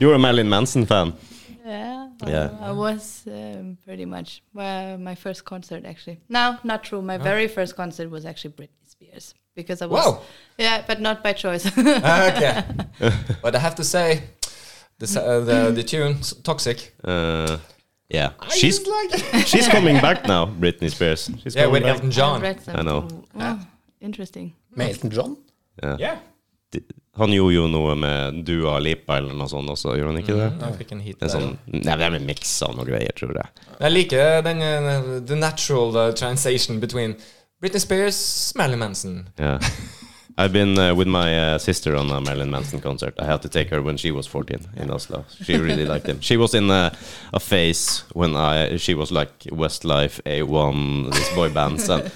Speaker 1: You're a Marilyn Manson-fan.
Speaker 4: Yeah,
Speaker 1: Yeah.
Speaker 4: I was um, pretty much well, my first concert actually. No, not true. My very first concert was actually Britney Spears because I was
Speaker 2: Wow.
Speaker 4: yeah, [LAUGHS] but not by choice.
Speaker 2: okay. But I have to say, the, s- uh, the, the tune, s- Toxic.
Speaker 1: Uh, yeah.
Speaker 2: I
Speaker 1: She's,
Speaker 2: just like it.
Speaker 1: she's coming back now, Britney Spears. She's
Speaker 2: Yeah,
Speaker 1: coming
Speaker 2: with
Speaker 1: back.
Speaker 2: Elton
Speaker 4: I
Speaker 2: John.
Speaker 4: read some-
Speaker 1: I know.
Speaker 4: Wow, interesting.
Speaker 3: Med Elton John?
Speaker 2: Yeah.
Speaker 1: Han gjorde jo noe med Dua Lipa eller noe sånt også, gjorde han ikke det?
Speaker 2: Jeg fikk en hit
Speaker 1: En
Speaker 2: der.
Speaker 1: sånn, nei, det er vel miks av noe greier, tror jeg.
Speaker 2: Jeg liker den uh, the natural uh, translation between Britney Spears, Marilyn Manson.
Speaker 1: Yeah. [LAUGHS] I've been uh, with my uh, sister on a Marilyn Manson concert. I had to take her when she was 14 in Oslo. She really liked him. She was in a, a phase when I she was like Westlife, A1, these boy bands, and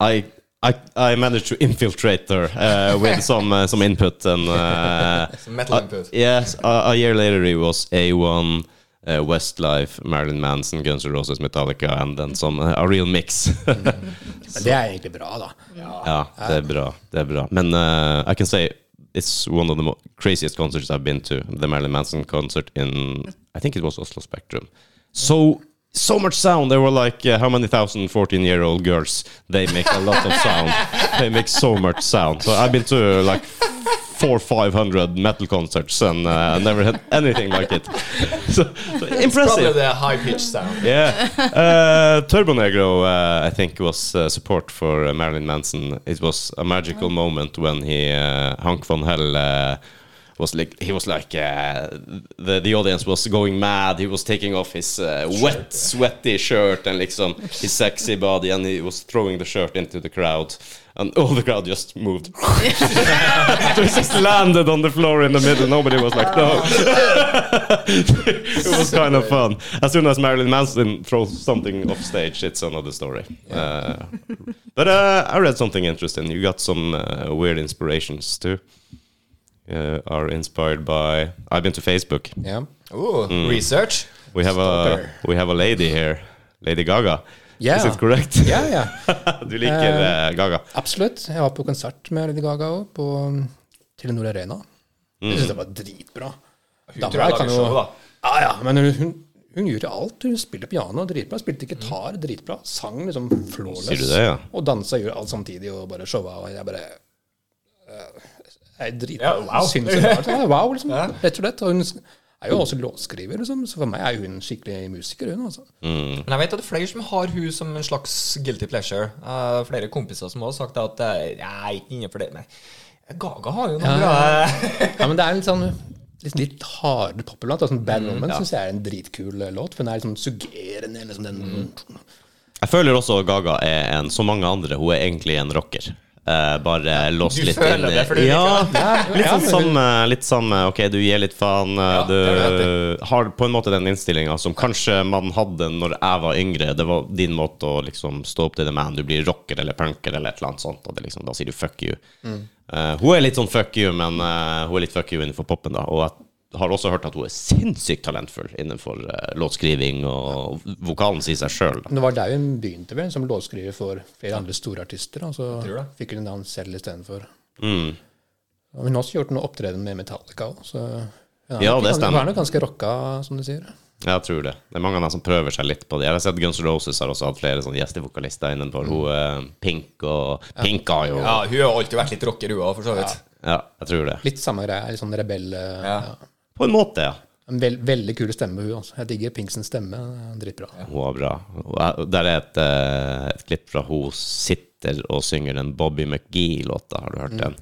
Speaker 1: I. I, I managed to infiltrate her uh, with some uh, some input and uh,
Speaker 2: Some metal
Speaker 1: uh,
Speaker 2: input.
Speaker 1: Yes, a, a year later it was A1, uh, Westlife, Marilyn Manson, Guns N' Roses, Metallica, and then some uh, a real mix. [LAUGHS]
Speaker 3: Men det er egentlig bra, da.
Speaker 1: Ja, det er bra. Det er bra. Men eh, I can say it's one of the mo craziest concerts I've been to. The Marilyn Manson concert in I think it was Oslo Spectrum. So so much sound. There were like uh, how many thousand 14 year old girls? They make a lot of [LAUGHS] sound. they make so much sound. So I've been to like four five hundred metal concerts and uh, never had anything like it. [LAUGHS] So, so
Speaker 2: Probably
Speaker 1: impressive.
Speaker 2: the high pitched sound.
Speaker 1: Yeah. Uh, Turbo Negro, uh, I think, was uh, support for uh, Marilyn Manson. It was a magical moment when he, uh, Hank von Hell, uh, was like he was like uh, the the audience was going mad. He was taking off his uh, wet, sweaty shirt and liksom his sexy body, and he was throwing the shirt into the crowd, and all the crowd just moved. [LAUGHS] so it just landed on the floor in the middle. Nobody was like no. [LAUGHS] it was kind of fun. As soon as Marilyn Manson throws something off stage, it's another story. Uh, but uh, I read something interesting. You got some uh, weird inspirations too. Uh, are inspired by. I've been to Facebook.
Speaker 3: Ja.
Speaker 2: Ooh, research.
Speaker 1: We have
Speaker 3: Stalker.
Speaker 1: a we have a lady here, Lady Gaga.
Speaker 3: Ja.
Speaker 1: Is it correct? [LAUGHS]
Speaker 3: ja, ja.
Speaker 1: du liker eh, Gaga.
Speaker 3: Absolutt. Jeg var på konsert med Lady Gaga òg, på um, Telenor Arena. Jeg syns det var dritbra.
Speaker 2: Mm. Hun tror jeg lager show, da.
Speaker 3: Ja, ja, men hun, hun, hun gjorde alt. Hun spilte piano dritbra, spilte gitar dritbra, sang liksom flawless.
Speaker 1: Sier du det, ja?
Speaker 3: Og dansa gjorde alt samtidig, og bare showa. Og jeg bare eh, Jeg er dritbra.
Speaker 2: Ja, wow.
Speaker 3: Synes det var,
Speaker 2: [LAUGHS]
Speaker 3: ja, wow, liksom.
Speaker 2: Ja.
Speaker 3: Rett og slett. Og hun er jo også låtskriver, liksom, så for meg er hun skikkelig musiker, hun, altså.
Speaker 2: Men jeg vet at det er flere som har hun som en slags guilty pleasure. Eh, flere kompiser som har sagt at eh, jeg er ikke innenfor det. Men Gaga har jo noe bra.
Speaker 3: Ja, men det er litt sånn litt, litt hardere populært. Sånn Bad
Speaker 1: Mm,
Speaker 3: Woman synes syns jeg er en dritkul eh, låt, for den er liksom suggerende. Liksom den,
Speaker 1: Jeg føler også Gaga er en, som mange andre, hun er egentlig en rocker. Eh, bare låst
Speaker 2: du
Speaker 1: litt
Speaker 2: føler
Speaker 1: inn i-
Speaker 2: det, for du
Speaker 1: ja,
Speaker 2: liker
Speaker 1: Litt
Speaker 3: Ja,
Speaker 1: sånn
Speaker 3: men-
Speaker 1: samme, litt samme Ok, du gir litt faen. eh,
Speaker 2: Ja, det er
Speaker 1: du har på en måte den innstillinga som kanskje man hadde når jeg var yngre. Det var din måte å liksom stå opp til det man. Du blir rocker eller punker eller et eller annet sånt. Og det liksom, da sier du fuck you.
Speaker 2: Mm.
Speaker 1: Eh, hun er litt sånn fuck you, men eh, hun er litt fuck you innenfor poppen, da. Og jeg har også hørt at hun er sinnssykt talentfull innenfor eh, låtskriving og vokalen sier seg sjøl.
Speaker 3: Men Det var der hun begynte vel, som låtskriver for flere andre store artister. Og så
Speaker 2: Tror det.
Speaker 3: fikk hun en annen selv istedenfor.
Speaker 1: Mm.
Speaker 3: Og Hun har også gjort noe opptreden med Metallica òg, så hun er,
Speaker 1: Ja,
Speaker 3: nok-
Speaker 1: det stemmer.
Speaker 3: Hun er nok ganske rocka, som du sier.
Speaker 1: Jeg tror det. Det er mange av dem som prøver seg litt på det. Jeg har sett Guns N' Roses har også hatt flere sånne gjestevokalister innenfor. Hun eh, Pink og Pink har jo
Speaker 2: [LAUGHS] Mm. Ja,
Speaker 1: ja.
Speaker 2: hun har alltid vært litt rocker, hun òg, for så vidt.
Speaker 1: jeg tror det.
Speaker 3: Litt samme greie, litt sånn rebell. eh,
Speaker 2: Ja.
Speaker 3: ja.
Speaker 1: På en måte, ja.
Speaker 3: En vel, veldig kul stemme, hun. altså. Jeg digger Pinksens stemme. eh, Dritbra.
Speaker 1: Hun var bra. Og jeg- Der er et,
Speaker 2: Mm.
Speaker 1: eh, et klipp fra hun sitter og synger den Bobby McGee-låta. Har du hørt den?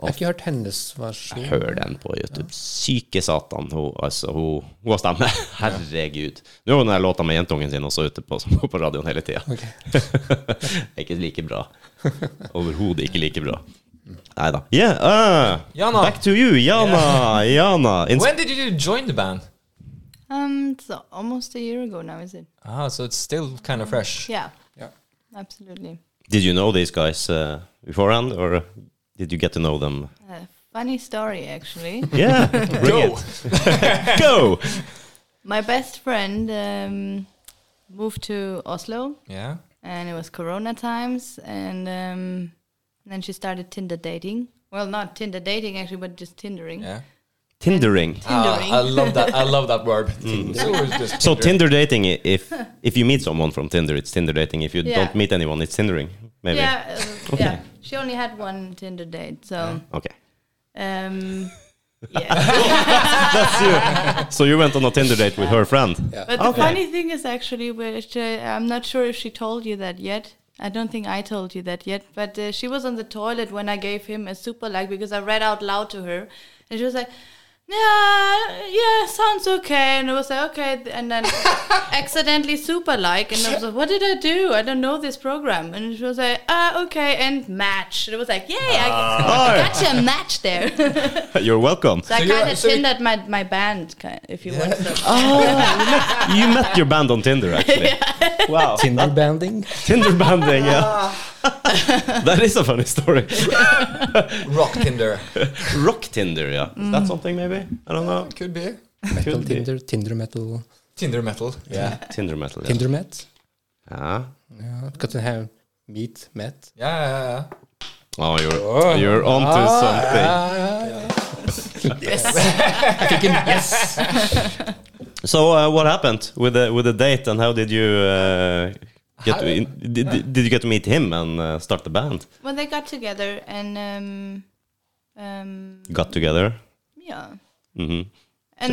Speaker 3: Jeg har ikke hørt hennes versjon.
Speaker 1: Hør den på YouTube. Syke satan. Hun, altså, hun, hun har stemme. [LAUGHS] Herregud. Nå er den der låta med jentungen sin også ute på, som går på radioen hele tida. [LAUGHS]
Speaker 3: Ok.
Speaker 1: ikke like bra. Overhodet ikke like bra. Nei da. Yeah, uh,
Speaker 2: Jana.
Speaker 1: Back to you, Jana. Jana. Ins-
Speaker 2: When did you join the band?
Speaker 4: Um, it's a- almost a year ago now, is it?
Speaker 2: Ah, so it's still kind of fresh.
Speaker 4: Yeah,
Speaker 3: Ja.
Speaker 4: absolutely.
Speaker 1: Did you know these guys uh, beforehand, or did you get to know them?
Speaker 4: Uh, funny story, actually.
Speaker 2: [LAUGHS]
Speaker 1: Yeah, bring
Speaker 2: Go.
Speaker 1: it. [LAUGHS] Go!
Speaker 4: My best friend um, moved to Oslo,
Speaker 2: Yeah.
Speaker 4: and it was Corona times, and um, then she started Tinder dating. Well, not Tinder dating actually, but just Tindering.
Speaker 2: Yeah.
Speaker 1: Tindering.
Speaker 2: Ah,
Speaker 4: [LAUGHS] Tindering.
Speaker 2: I love that. I love that word. So it's just
Speaker 1: So Tinder dating, i-
Speaker 4: [LAUGHS]
Speaker 1: if if you meet someone from Tinder, it's Tinder dating. If you
Speaker 4: Yeah.
Speaker 1: don't meet anyone, it's Tindering. Maybe.
Speaker 4: Yeah,
Speaker 2: [LAUGHS]
Speaker 4: uh, yeah. She only had one Tinder date, so
Speaker 1: Okay.
Speaker 2: [LAUGHS]
Speaker 4: um, yeah.
Speaker 1: So you went on a Tinder date with her friend.
Speaker 3: Ja.
Speaker 4: But the funny thing is actually, which uh, I'm not sure if she told you that yet. I don't think I told you that yet. But uh, she was on the toilet when I gave him a super like because I read out loud to her, and she was like. Yeah, yeah, sounds okay. And I was like, okay. And
Speaker 2: [LAUGHS]
Speaker 4: then accidentally super like. And I was like, what did I do? I don't know this program. And she was like, ah, okay. And match. And it was like, yay,
Speaker 1: Ah.
Speaker 4: I, I got you a match there.
Speaker 1: [LAUGHS]
Speaker 4: [LAUGHS]
Speaker 1: You're welcome.
Speaker 4: So, I
Speaker 2: you're-
Speaker 4: kind of
Speaker 2: so you-
Speaker 4: tindered my, my band, ki- if you want. So.
Speaker 1: You met your band on Tinder,
Speaker 4: [LAUGHS]
Speaker 1: actually. Wow.
Speaker 3: Tinderbanding.
Speaker 1: Tinder banding,
Speaker 4: [LAUGHS]
Speaker 1: yeah. that is a funny story.
Speaker 2: rock Tinder.
Speaker 1: Rock Tinder, yeah. Is
Speaker 4: Mm.
Speaker 1: that something, maybe? I don't know.
Speaker 2: Could be
Speaker 3: Metal
Speaker 1: Could be.
Speaker 3: Tinder, Tinder metal,
Speaker 2: Tinder metal. Yeah.
Speaker 1: Tinder metal. Yeah.
Speaker 3: Tinder met.
Speaker 1: Ah.
Speaker 3: Ja, got to have meet met.
Speaker 2: Yeah. [LAUGHS] yeah, yeah.
Speaker 1: Oh, Ah. you're, you're onto something.
Speaker 2: Ah,
Speaker 1: So, uh, what happened with the, with the date, and how did you uh, get to, in, did, did you get to meet him and uh, start the band?
Speaker 4: Well, they got together and, um, um,
Speaker 1: Got together.
Speaker 4: yeah.
Speaker 1: hmm
Speaker 4: And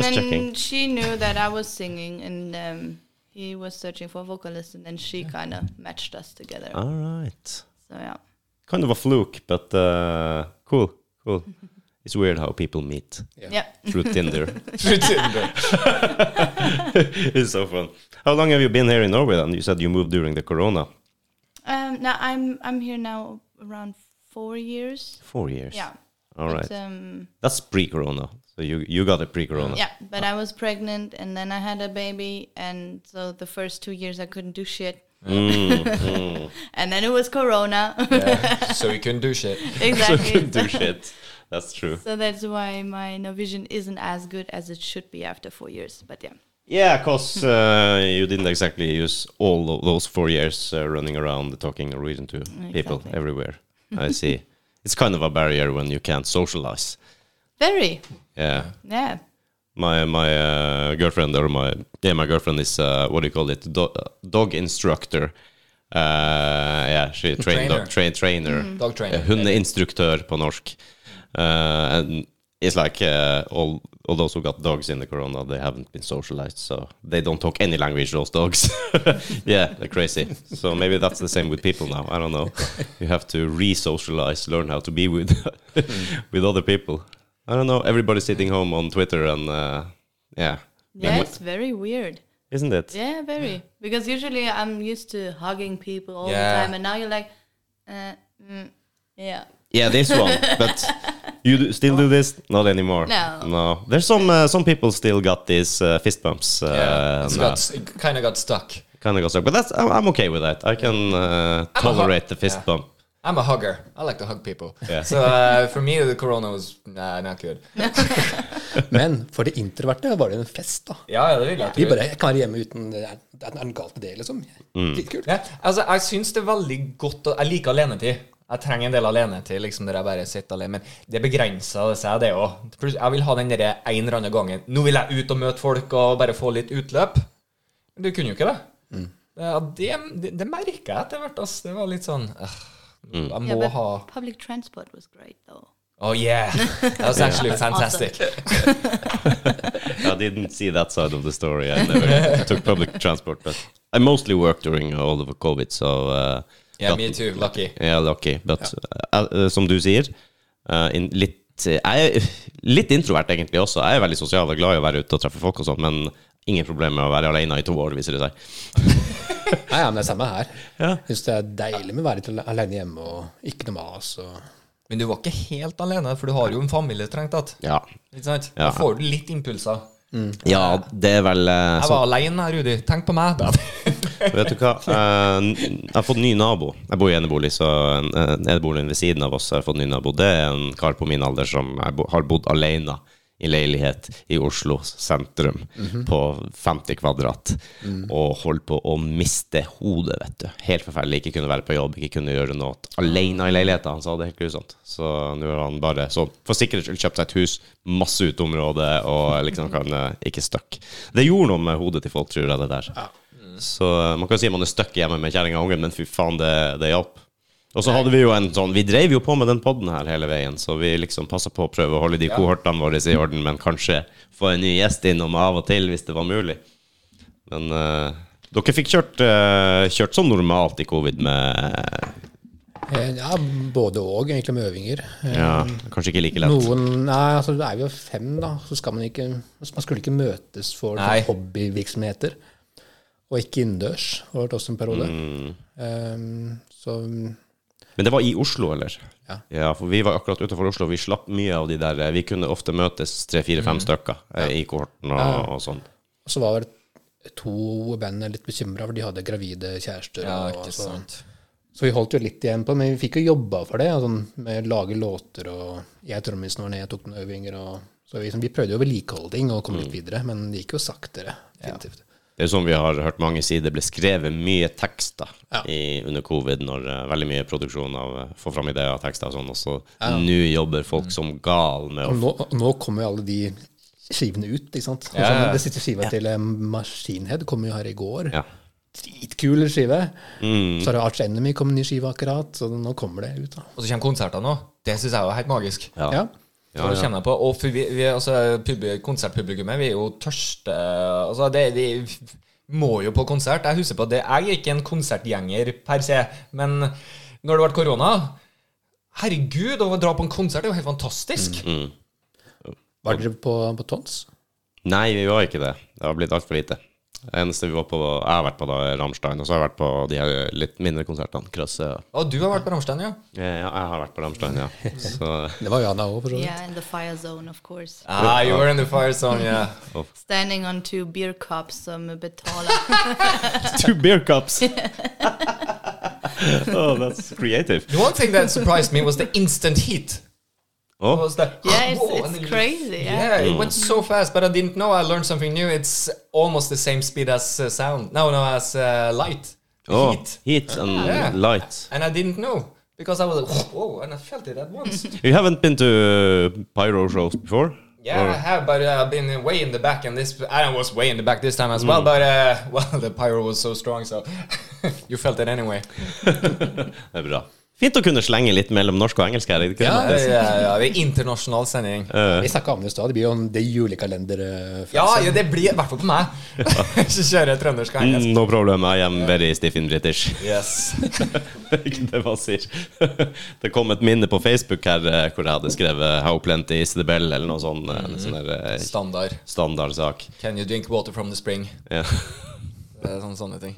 Speaker 1: Just
Speaker 4: then
Speaker 1: checking.
Speaker 4: she knew that I was singing and um, he was searching for a vocalist and then she kind of matched us together.
Speaker 1: All right.
Speaker 4: So, yeah.
Speaker 1: Kind of a fluke, but uh, cool,
Speaker 4: [LAUGHS]
Speaker 1: cool. It's weird how people meet
Speaker 3: Yeah.
Speaker 4: Yeah.
Speaker 1: through Tinder. [LAUGHS]
Speaker 2: [LAUGHS] Through Tinder.
Speaker 1: It's so fun. How long have you been here in Norway? And you said you moved during the Corona.
Speaker 4: Um, now I'm, I'm here now around four years.
Speaker 1: Four years.
Speaker 4: Yeah.
Speaker 1: All right.
Speaker 4: But, um,
Speaker 1: That's pre-Corona. So you you got it pre-Corona.
Speaker 4: yeah, but I was pregnant and then I had a baby, and so the first two years I couldn't do shit.
Speaker 1: Mm,
Speaker 4: [LAUGHS] and then it was Corona. [LAUGHS]
Speaker 2: Yeah. So we couldn't do shit.
Speaker 1: [LAUGHS] [LAUGHS] So you
Speaker 4: exactly.
Speaker 1: couldn't do shit. That's true.
Speaker 4: So that's why my Norwegian isn't as good as it should be after four years. But yeah,
Speaker 1: Yeah, because uh, you didn't exactly use all of those four years uh, running around talking Norwegian to people
Speaker 4: Exactly.
Speaker 1: everywhere. I see. It's kind of a barrier when you can't socialize.
Speaker 4: very.
Speaker 1: Yeah.
Speaker 4: Yeah.
Speaker 1: my my uh, girlfriend or my yeah my girlfriend is uh, what do you call it Do- dog instructor uh, yeah she trained dog train trainer
Speaker 2: Dog trainer.
Speaker 1: Eh, hundeinstruktør på norsk uh, and it's like uh, all all those who got dogs in the corona they haven't been socialized so they don't talk any language those dogs [LAUGHS] yeah they're crazy so maybe that's the same with people now I don't know you have to re-socialize learn how to be with [LAUGHS] with other people I don't know. Everybody's sitting home on Twitter and uh, yeah,
Speaker 4: Yeah, it's very weird.
Speaker 1: isn't it?
Speaker 4: Yeah, very. Because usually I'm used to hugging people all
Speaker 2: Yeah.
Speaker 4: the time, and now you're like, uh, mm, yeah.
Speaker 1: Yeah, this one. But you do, still do this? Not anymore.
Speaker 4: No.
Speaker 1: No. There's some uh, some people still got these uh, fist bumps. Uh,
Speaker 2: Yeah. it's
Speaker 1: no.
Speaker 2: got, it kind of got stuck.
Speaker 1: Kind of got stuck. But that's I'm, I'm okay with that. I can uh,
Speaker 2: I'm a hug-
Speaker 1: tolerate the fist
Speaker 2: Yeah.
Speaker 1: bump.
Speaker 2: I'm a hugger. I like to hug people.
Speaker 1: Yeah.
Speaker 2: So uh, for me, the corona was nah, not good.
Speaker 3: Men for det introverte var det en fest, da.
Speaker 2: Ja, ja, det vil jeg
Speaker 3: Vi
Speaker 2: tro.
Speaker 3: bare jeg kan være hjemme uten Det er, det er en gal til det, liksom. Dritkult.
Speaker 2: Ja, altså, jeg syns det er veldig godt å, Jeg liker alenetid. Jeg trenger en del alenetid liksom der jeg bare sitter alene. Men det begrenser seg, det òg. Jeg vil ha den derre en eller annen gangen. Nå vil jeg ut og møte folk og bare få litt utløp. Men du kunne jo ikke det. Ja, det, det, det merker jeg etter hvert. ass. Det var litt sånn øh, Jeg
Speaker 4: Yeah,
Speaker 2: må
Speaker 4: but
Speaker 2: ha
Speaker 4: public transport was great though.
Speaker 2: Oh yeah! That was actually fantastic.
Speaker 1: I didn't see that side of the story. I
Speaker 2: [LAUGHS]
Speaker 1: never took public transport, but I mostly worked during all of the COVID. So uh,
Speaker 2: Yeah,
Speaker 1: got-
Speaker 2: me too. Lucky.
Speaker 1: Ja, lucky. But uh, uh, eh, som du sier, Eh, in, litt, jeg er litt introvert egentlig også. Jeg er veldig sosial og glad i å være ute og treffe folk og sånn, men ingen problem med å være alene i to år, viser det seg.
Speaker 3: Nei, ja, men det er samme her. Jeg syns det er deilig med å være litt al- alene hjemme og ikke noe mas. Og...
Speaker 2: Men du var ikke helt alene, for du har jo en familie strengt tatt.
Speaker 1: Ja.
Speaker 2: Ikke sant?
Speaker 1: Ja.
Speaker 2: Da får du litt impulser.
Speaker 1: ja, det er vel eh,
Speaker 2: Jeg
Speaker 1: sånn.
Speaker 2: var alene her, Rudi. Tenk på meg.
Speaker 1: Vet du hva? Eh, n- Jeg har fått ny nabo. Jeg bor i enebolig, så en- en- eneboligen ved siden av oss har jeg fått ny nabo. Det er en kar på min alder som jeg bo- har bodd alene i leilighet i Oslo sentrum på 50 kvadrat og holdt på å miste hodet, vet du. Helt forferdelig. Ikke kunne være på jobb, ikke kunne gjøre noe. Alene i leiligheten, han sa det helt grusomt. Så nå har han bare så for sikkerhets skyld kjøpt seg et hus, masse uteområde, og liksom kan eh, ikke stuck. Det gjorde noe med hodet til folk, tror jeg, det der. Så eh, man kan jo si man er stuck hjemme med kjerringa og ungen, men fy faen, det, det hjalp. Og så hadde vi jo en sånn Vi dreiv jo på med den poden her hele veien, så vi liksom passa på å prøve å holde de kohortene våre i orden, men kanskje få en ny gjest innom av og til, hvis det var mulig. Men eh, dere fikk kjørt, eh, kjørt som normalt i covid med
Speaker 3: Eh, Ja, både og, egentlig, med øvinger. Eh,
Speaker 1: Ja, kanskje ikke like lett.
Speaker 3: Noen Nei, altså det er vi jo fem, da. Så skal man ikke altså, Man skulle ikke møtes for
Speaker 2: Nei.
Speaker 3: sånn hobbyvirksomheter. Og ikke innendørs, har vært også en periode. Eh, så
Speaker 1: Men det var i Oslo, eller?
Speaker 3: Ja.
Speaker 1: for vi var akkurat utenfor Oslo. Vi slapp mye av de der eh, Vi kunne ofte møtes
Speaker 3: Mm.
Speaker 1: tre-fire-fem stykker eh, i kohorten og, og sånn.
Speaker 3: så var to band litt bekymra, for de hadde gravide kjærester.
Speaker 2: Ja,
Speaker 3: og,
Speaker 2: ikke
Speaker 3: så,
Speaker 2: sant.
Speaker 3: så vi holdt jo litt igjen på det, men vi fikk jo jobba for det. og Sånn, med å lage låter, og jeg trommisen var nede, jeg tok noen øvinger. Og, så vi, liksom, vi prøvde jo vedlikeholding og komme litt
Speaker 2: Mm.
Speaker 3: videre, men det gikk jo saktere. definitivt.
Speaker 1: Det er jo sånn vi har hørt mange si, det ble skrevet mye tekster
Speaker 3: Ja.
Speaker 1: i, under covid, når eh, veldig mye produksjon av eh, få fram ideer og tekster og sånn, og så nå jobber folk som gal med å
Speaker 3: Og nå, nå kommer jo alle de skivene ut, ikke sant.
Speaker 2: Ja, ja, ja.
Speaker 3: Sånn, det siste skiva til eh, Machine Head kom jo her i går.
Speaker 1: ja.
Speaker 3: Dritkul skive.
Speaker 2: Mm.
Speaker 3: Så har jo Arch Enemy kommet en ny skive akkurat, så nå kommer det ut, da.
Speaker 2: Og så kommer konsertene òg. Det syns jeg var helt magisk.
Speaker 1: Ja.
Speaker 3: Ja.
Speaker 2: Så det kjenner jeg på. Og for vi, vi er altså, pub- konsertpublikummet, vi er jo tørste Altså, det, vi må jo på konsert. Jeg husker på det. Jeg er ikke en konsertgjenger per se, men når det ble korona Herregud, å dra på en konsert er jo helt fantastisk!
Speaker 3: Mm, Var dere på, på Tons?
Speaker 1: Nei, vi var ikke det. Det har blitt altfor lite. Det eneste vi var på, jeg har vært på da, er Rammstein, og så har jeg vært på de her litt mindre konsertene. Krøsse.
Speaker 2: Og du har vært på Ramstein, ja?
Speaker 1: Ja, jeg har vært på Rammstein, ja. Så...
Speaker 3: Det var Jana òg, for så vidt.
Speaker 4: Yeah, in the fire zone, of course.
Speaker 2: Ah, you were in the fire song,
Speaker 3: [LAUGHS]
Speaker 2: yeah.
Speaker 4: Standing on two beer cups som betalar.
Speaker 1: [LAUGHS] Two beer cups. [LAUGHS] oh, that's creative.
Speaker 2: The one thing that surprised me was the instant heat. It
Speaker 1: Oh, Mm.
Speaker 2: was the,
Speaker 4: Yeah, it's-
Speaker 2: Whoa, and
Speaker 4: it's
Speaker 2: then you-
Speaker 4: crazy, yeah.
Speaker 2: Yeah, it went so fast, but I didn't know. I learned something new. It's almost the same speed as uh, sound. No, no, as uh, light. The
Speaker 1: oh,
Speaker 2: Heat.
Speaker 1: heat and
Speaker 2: Yeah.
Speaker 1: light.
Speaker 2: And I didn't know because I was like, whoa, and I felt it at
Speaker 4: [LAUGHS]
Speaker 2: once.
Speaker 1: You haven't been to uh, pyro shows before?
Speaker 2: yeah,
Speaker 1: Or- [LAUGHS]
Speaker 2: I have, but uh, I've been uh, way in the back, and this I was way in the back this time as
Speaker 1: Mm.
Speaker 2: well. But uh, [LAUGHS] well, the pyro was so strong, so [LAUGHS] you felt it anyway.
Speaker 1: Det er bra. Fint å kunne slenge litt mellom norsk og engelsk her. er det Ikke det,
Speaker 2: Yeah,
Speaker 1: Mathias?
Speaker 2: yeah, yeah. The international sending.
Speaker 3: Vi snakka om det i stad. Det blir jo en- det er julekalender. eh, fra-
Speaker 2: ja, ja, det blir i hvert fall på meg. [LAUGHS] Så kjører jeg trøndersk og engelsk.
Speaker 1: Mm, No problem, I am very stiff in British. [LAUGHS]
Speaker 2: Yes.
Speaker 1: Det er ikke det man sier. [LAUGHS] Det kom et minne på Facebook her eh, hvor jeg hadde skrevet 'How plenty is the bell?' eller noe sånn, eh, en sånn der, eh,
Speaker 2: Standard.
Speaker 1: standardsak.
Speaker 2: Can you drink water from the spring?
Speaker 1: Ja.
Speaker 2: [LAUGHS] Det er sånne, sånne ting.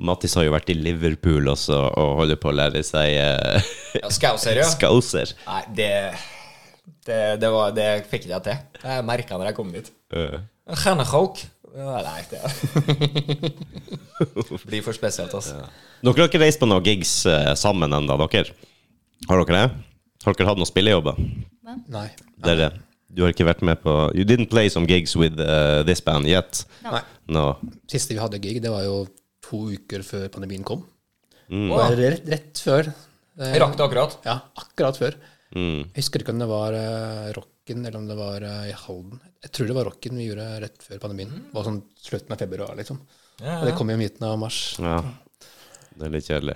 Speaker 1: Mattis har jo vært i Liverpool også og holder på å lære seg eh, [LAUGHS]
Speaker 2: Ja, Skauser, ja.
Speaker 1: Skauser.
Speaker 2: Nei, det, det, det, var, det fikk ikke jeg til. Jeg merka når jeg kom dit.
Speaker 1: Eh,
Speaker 2: Gennekåk. Nei,
Speaker 1: [LAUGHS]
Speaker 2: det blir for spesielt, altså.
Speaker 1: Dere har ikke reist på noen gigs eh, sammen ennå, dere? Har dere det? Har dere hatt noen spillejobber?
Speaker 3: Nei.
Speaker 1: Dere, du har ikke vært med på You didn't play some gigs with eh, this band yet?
Speaker 3: Nei.
Speaker 1: No.
Speaker 3: Siste vi hadde gig, det var jo to uker før pandemien kom. Det var rett, rett før. eh,
Speaker 2: Jeg rakk det akkurat.
Speaker 3: Ja, akkurat før. Jeg husker ikke om det var eh, Rocken eller om det var eh, i Halden. Jeg tror det var Rocken vi gjorde rett før pandemien. Det var sånn slutten av februar, liksom.
Speaker 2: Mm. Ja,
Speaker 3: Og det kom jo i midten av mars.
Speaker 1: Ja. Det er litt kjedelig.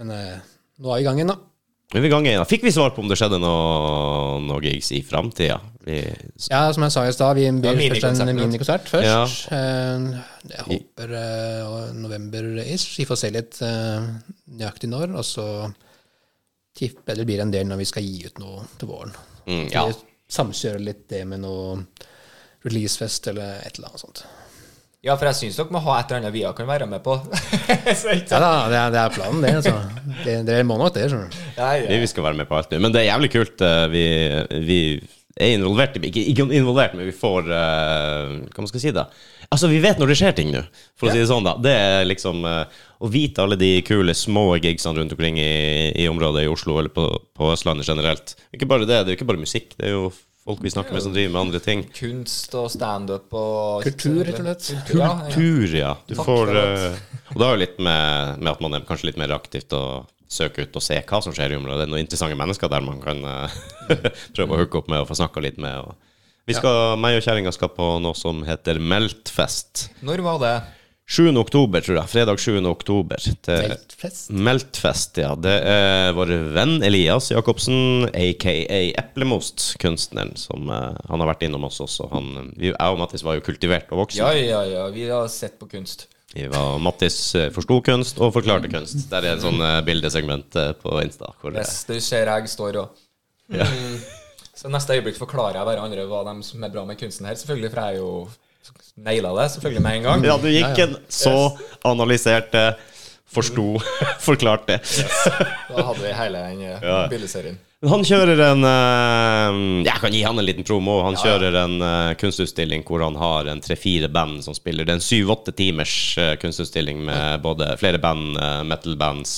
Speaker 3: Men eh, nå er vi i gang igjen, da.
Speaker 1: Nå er vi i gang igjen. Fikk vi svar på om det skjedde noe, noe gigs i framtida?
Speaker 3: Ja, som jeg sa i stad, vi
Speaker 2: var
Speaker 3: byr først en
Speaker 2: minikonserten.
Speaker 3: minikonsert først. Eh, Jeg håper eh, november-ish. Vi får se litt eh, nøyaktig når. Og så tipper det blir en del når vi skal gi ut noe til våren.
Speaker 1: Mm, ja.
Speaker 3: Vi Samkjører litt det med noe releasefest eller et eller annet sånt.
Speaker 2: Ja, for jeg syns dere må ha et eller annet vi også kan være med på. [LAUGHS] Så ikke
Speaker 3: Ja
Speaker 2: sant?
Speaker 3: da, det er, det er planen, det. Altså. [LAUGHS] det dere må nok det. skjønner du.
Speaker 2: Ja,
Speaker 1: Vi,
Speaker 2: ja.
Speaker 1: vi skal være med på alt nå. Men det er jævlig kult. eh, Vi, vi er involvert. i- Ikke, ikke involvert, men vi får eh, Hva man skal si, da? Altså, vi vet når det skjer ting nå, for å si det sånn, da. Det er liksom eh, Å vite alle de kule, små gigsene rundt omkring i, i området i Oslo, eller på, på Østlandet generelt. Ikke bare det, det er jo ikke bare musikk. Det er jo folk vi snakker med, som driver med andre ting.
Speaker 2: Kunst og standup og
Speaker 3: Kultur, rett og slett.
Speaker 2: Kultur, ja, ja.
Speaker 1: Kultur, ja. Du
Speaker 2: Takk
Speaker 1: får
Speaker 2: for at-
Speaker 1: eh, Og det har jo litt med, med at man er kanskje litt mer aktivt og søker ut og ser hva som skjer i området. Det er noen interessante mennesker der man kan eh, [LAUGHS] prøve å hooke opp med og få snakka litt med. Og. Vi skal, Meg og kjerringa skal på noe som heter Meltfest.
Speaker 2: Når var det?
Speaker 1: 7. oktober, tror jeg. Fredag 7. oktober. Til
Speaker 3: Feltfest.
Speaker 1: Meltfest, ja. Det er vår venn Elias Jacobsen, aka Eplemost, kunstneren, som eh, han har vært innom oss også. Han, vi, jeg og Mattis var jo kultivert og voksen.
Speaker 2: Ja, ja, ja. Vi har sett på kunst.
Speaker 1: Vi var Mattis eh, forsto kunst og forklarte kunst. Der er et sånn eh, bildesegment eh, på Insta. Hvor det,
Speaker 2: Yes, det ser jeg står og
Speaker 1: Ja.
Speaker 2: Mm. Så neste øyeblikk forklarer jeg hverandre hva de som er bra med kunsten her, selvfølgelig, for jeg er jo naila det selvfølgelig med en gang.
Speaker 1: ja, du gikk en så analyserte, forsto, [LAUGHS] forklarte.
Speaker 2: Da hadde vi hele den eh, bildeserien.
Speaker 1: Men Han kjører en eh, Jeg kan gi han en liten promo. Han kjører en eh, kunstutstilling hvor han har en tre-fire band som spiller. Det er en syv-åtte timers eh, kunstutstilling med både flere band, eh, metal-bands.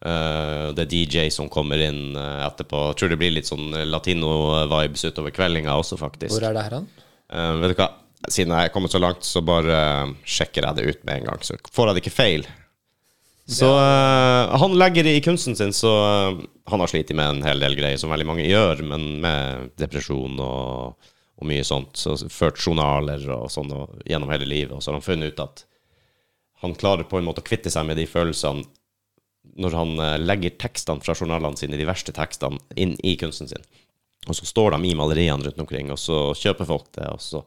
Speaker 1: eh, det er DJ som kommer inn eh, etterpå. Jeg tror det blir litt sånn latino-vibes utover kveldinga også, faktisk.
Speaker 3: Hvor er det her han?
Speaker 1: Eh, vet du hva? Siden jeg er kommet så langt, så bare eh, sjekker jeg det ut med en gang. Så får jeg det ikke feil. Så eh, han legger i kunsten sin, så eh, han har slitt med en hel del greier, som veldig mange gjør, men med depresjon og, og mye sånt. Så ført journaler og sånn og, gjennom hele livet, og så har han funnet ut at han klarer på en måte å kvitte seg med de følelsene når han eh, legger tekstene fra journalene sine, de verste tekstene, inn i kunsten sin. Og så står de i maleriene rundt omkring, og så kjøper folk det, og så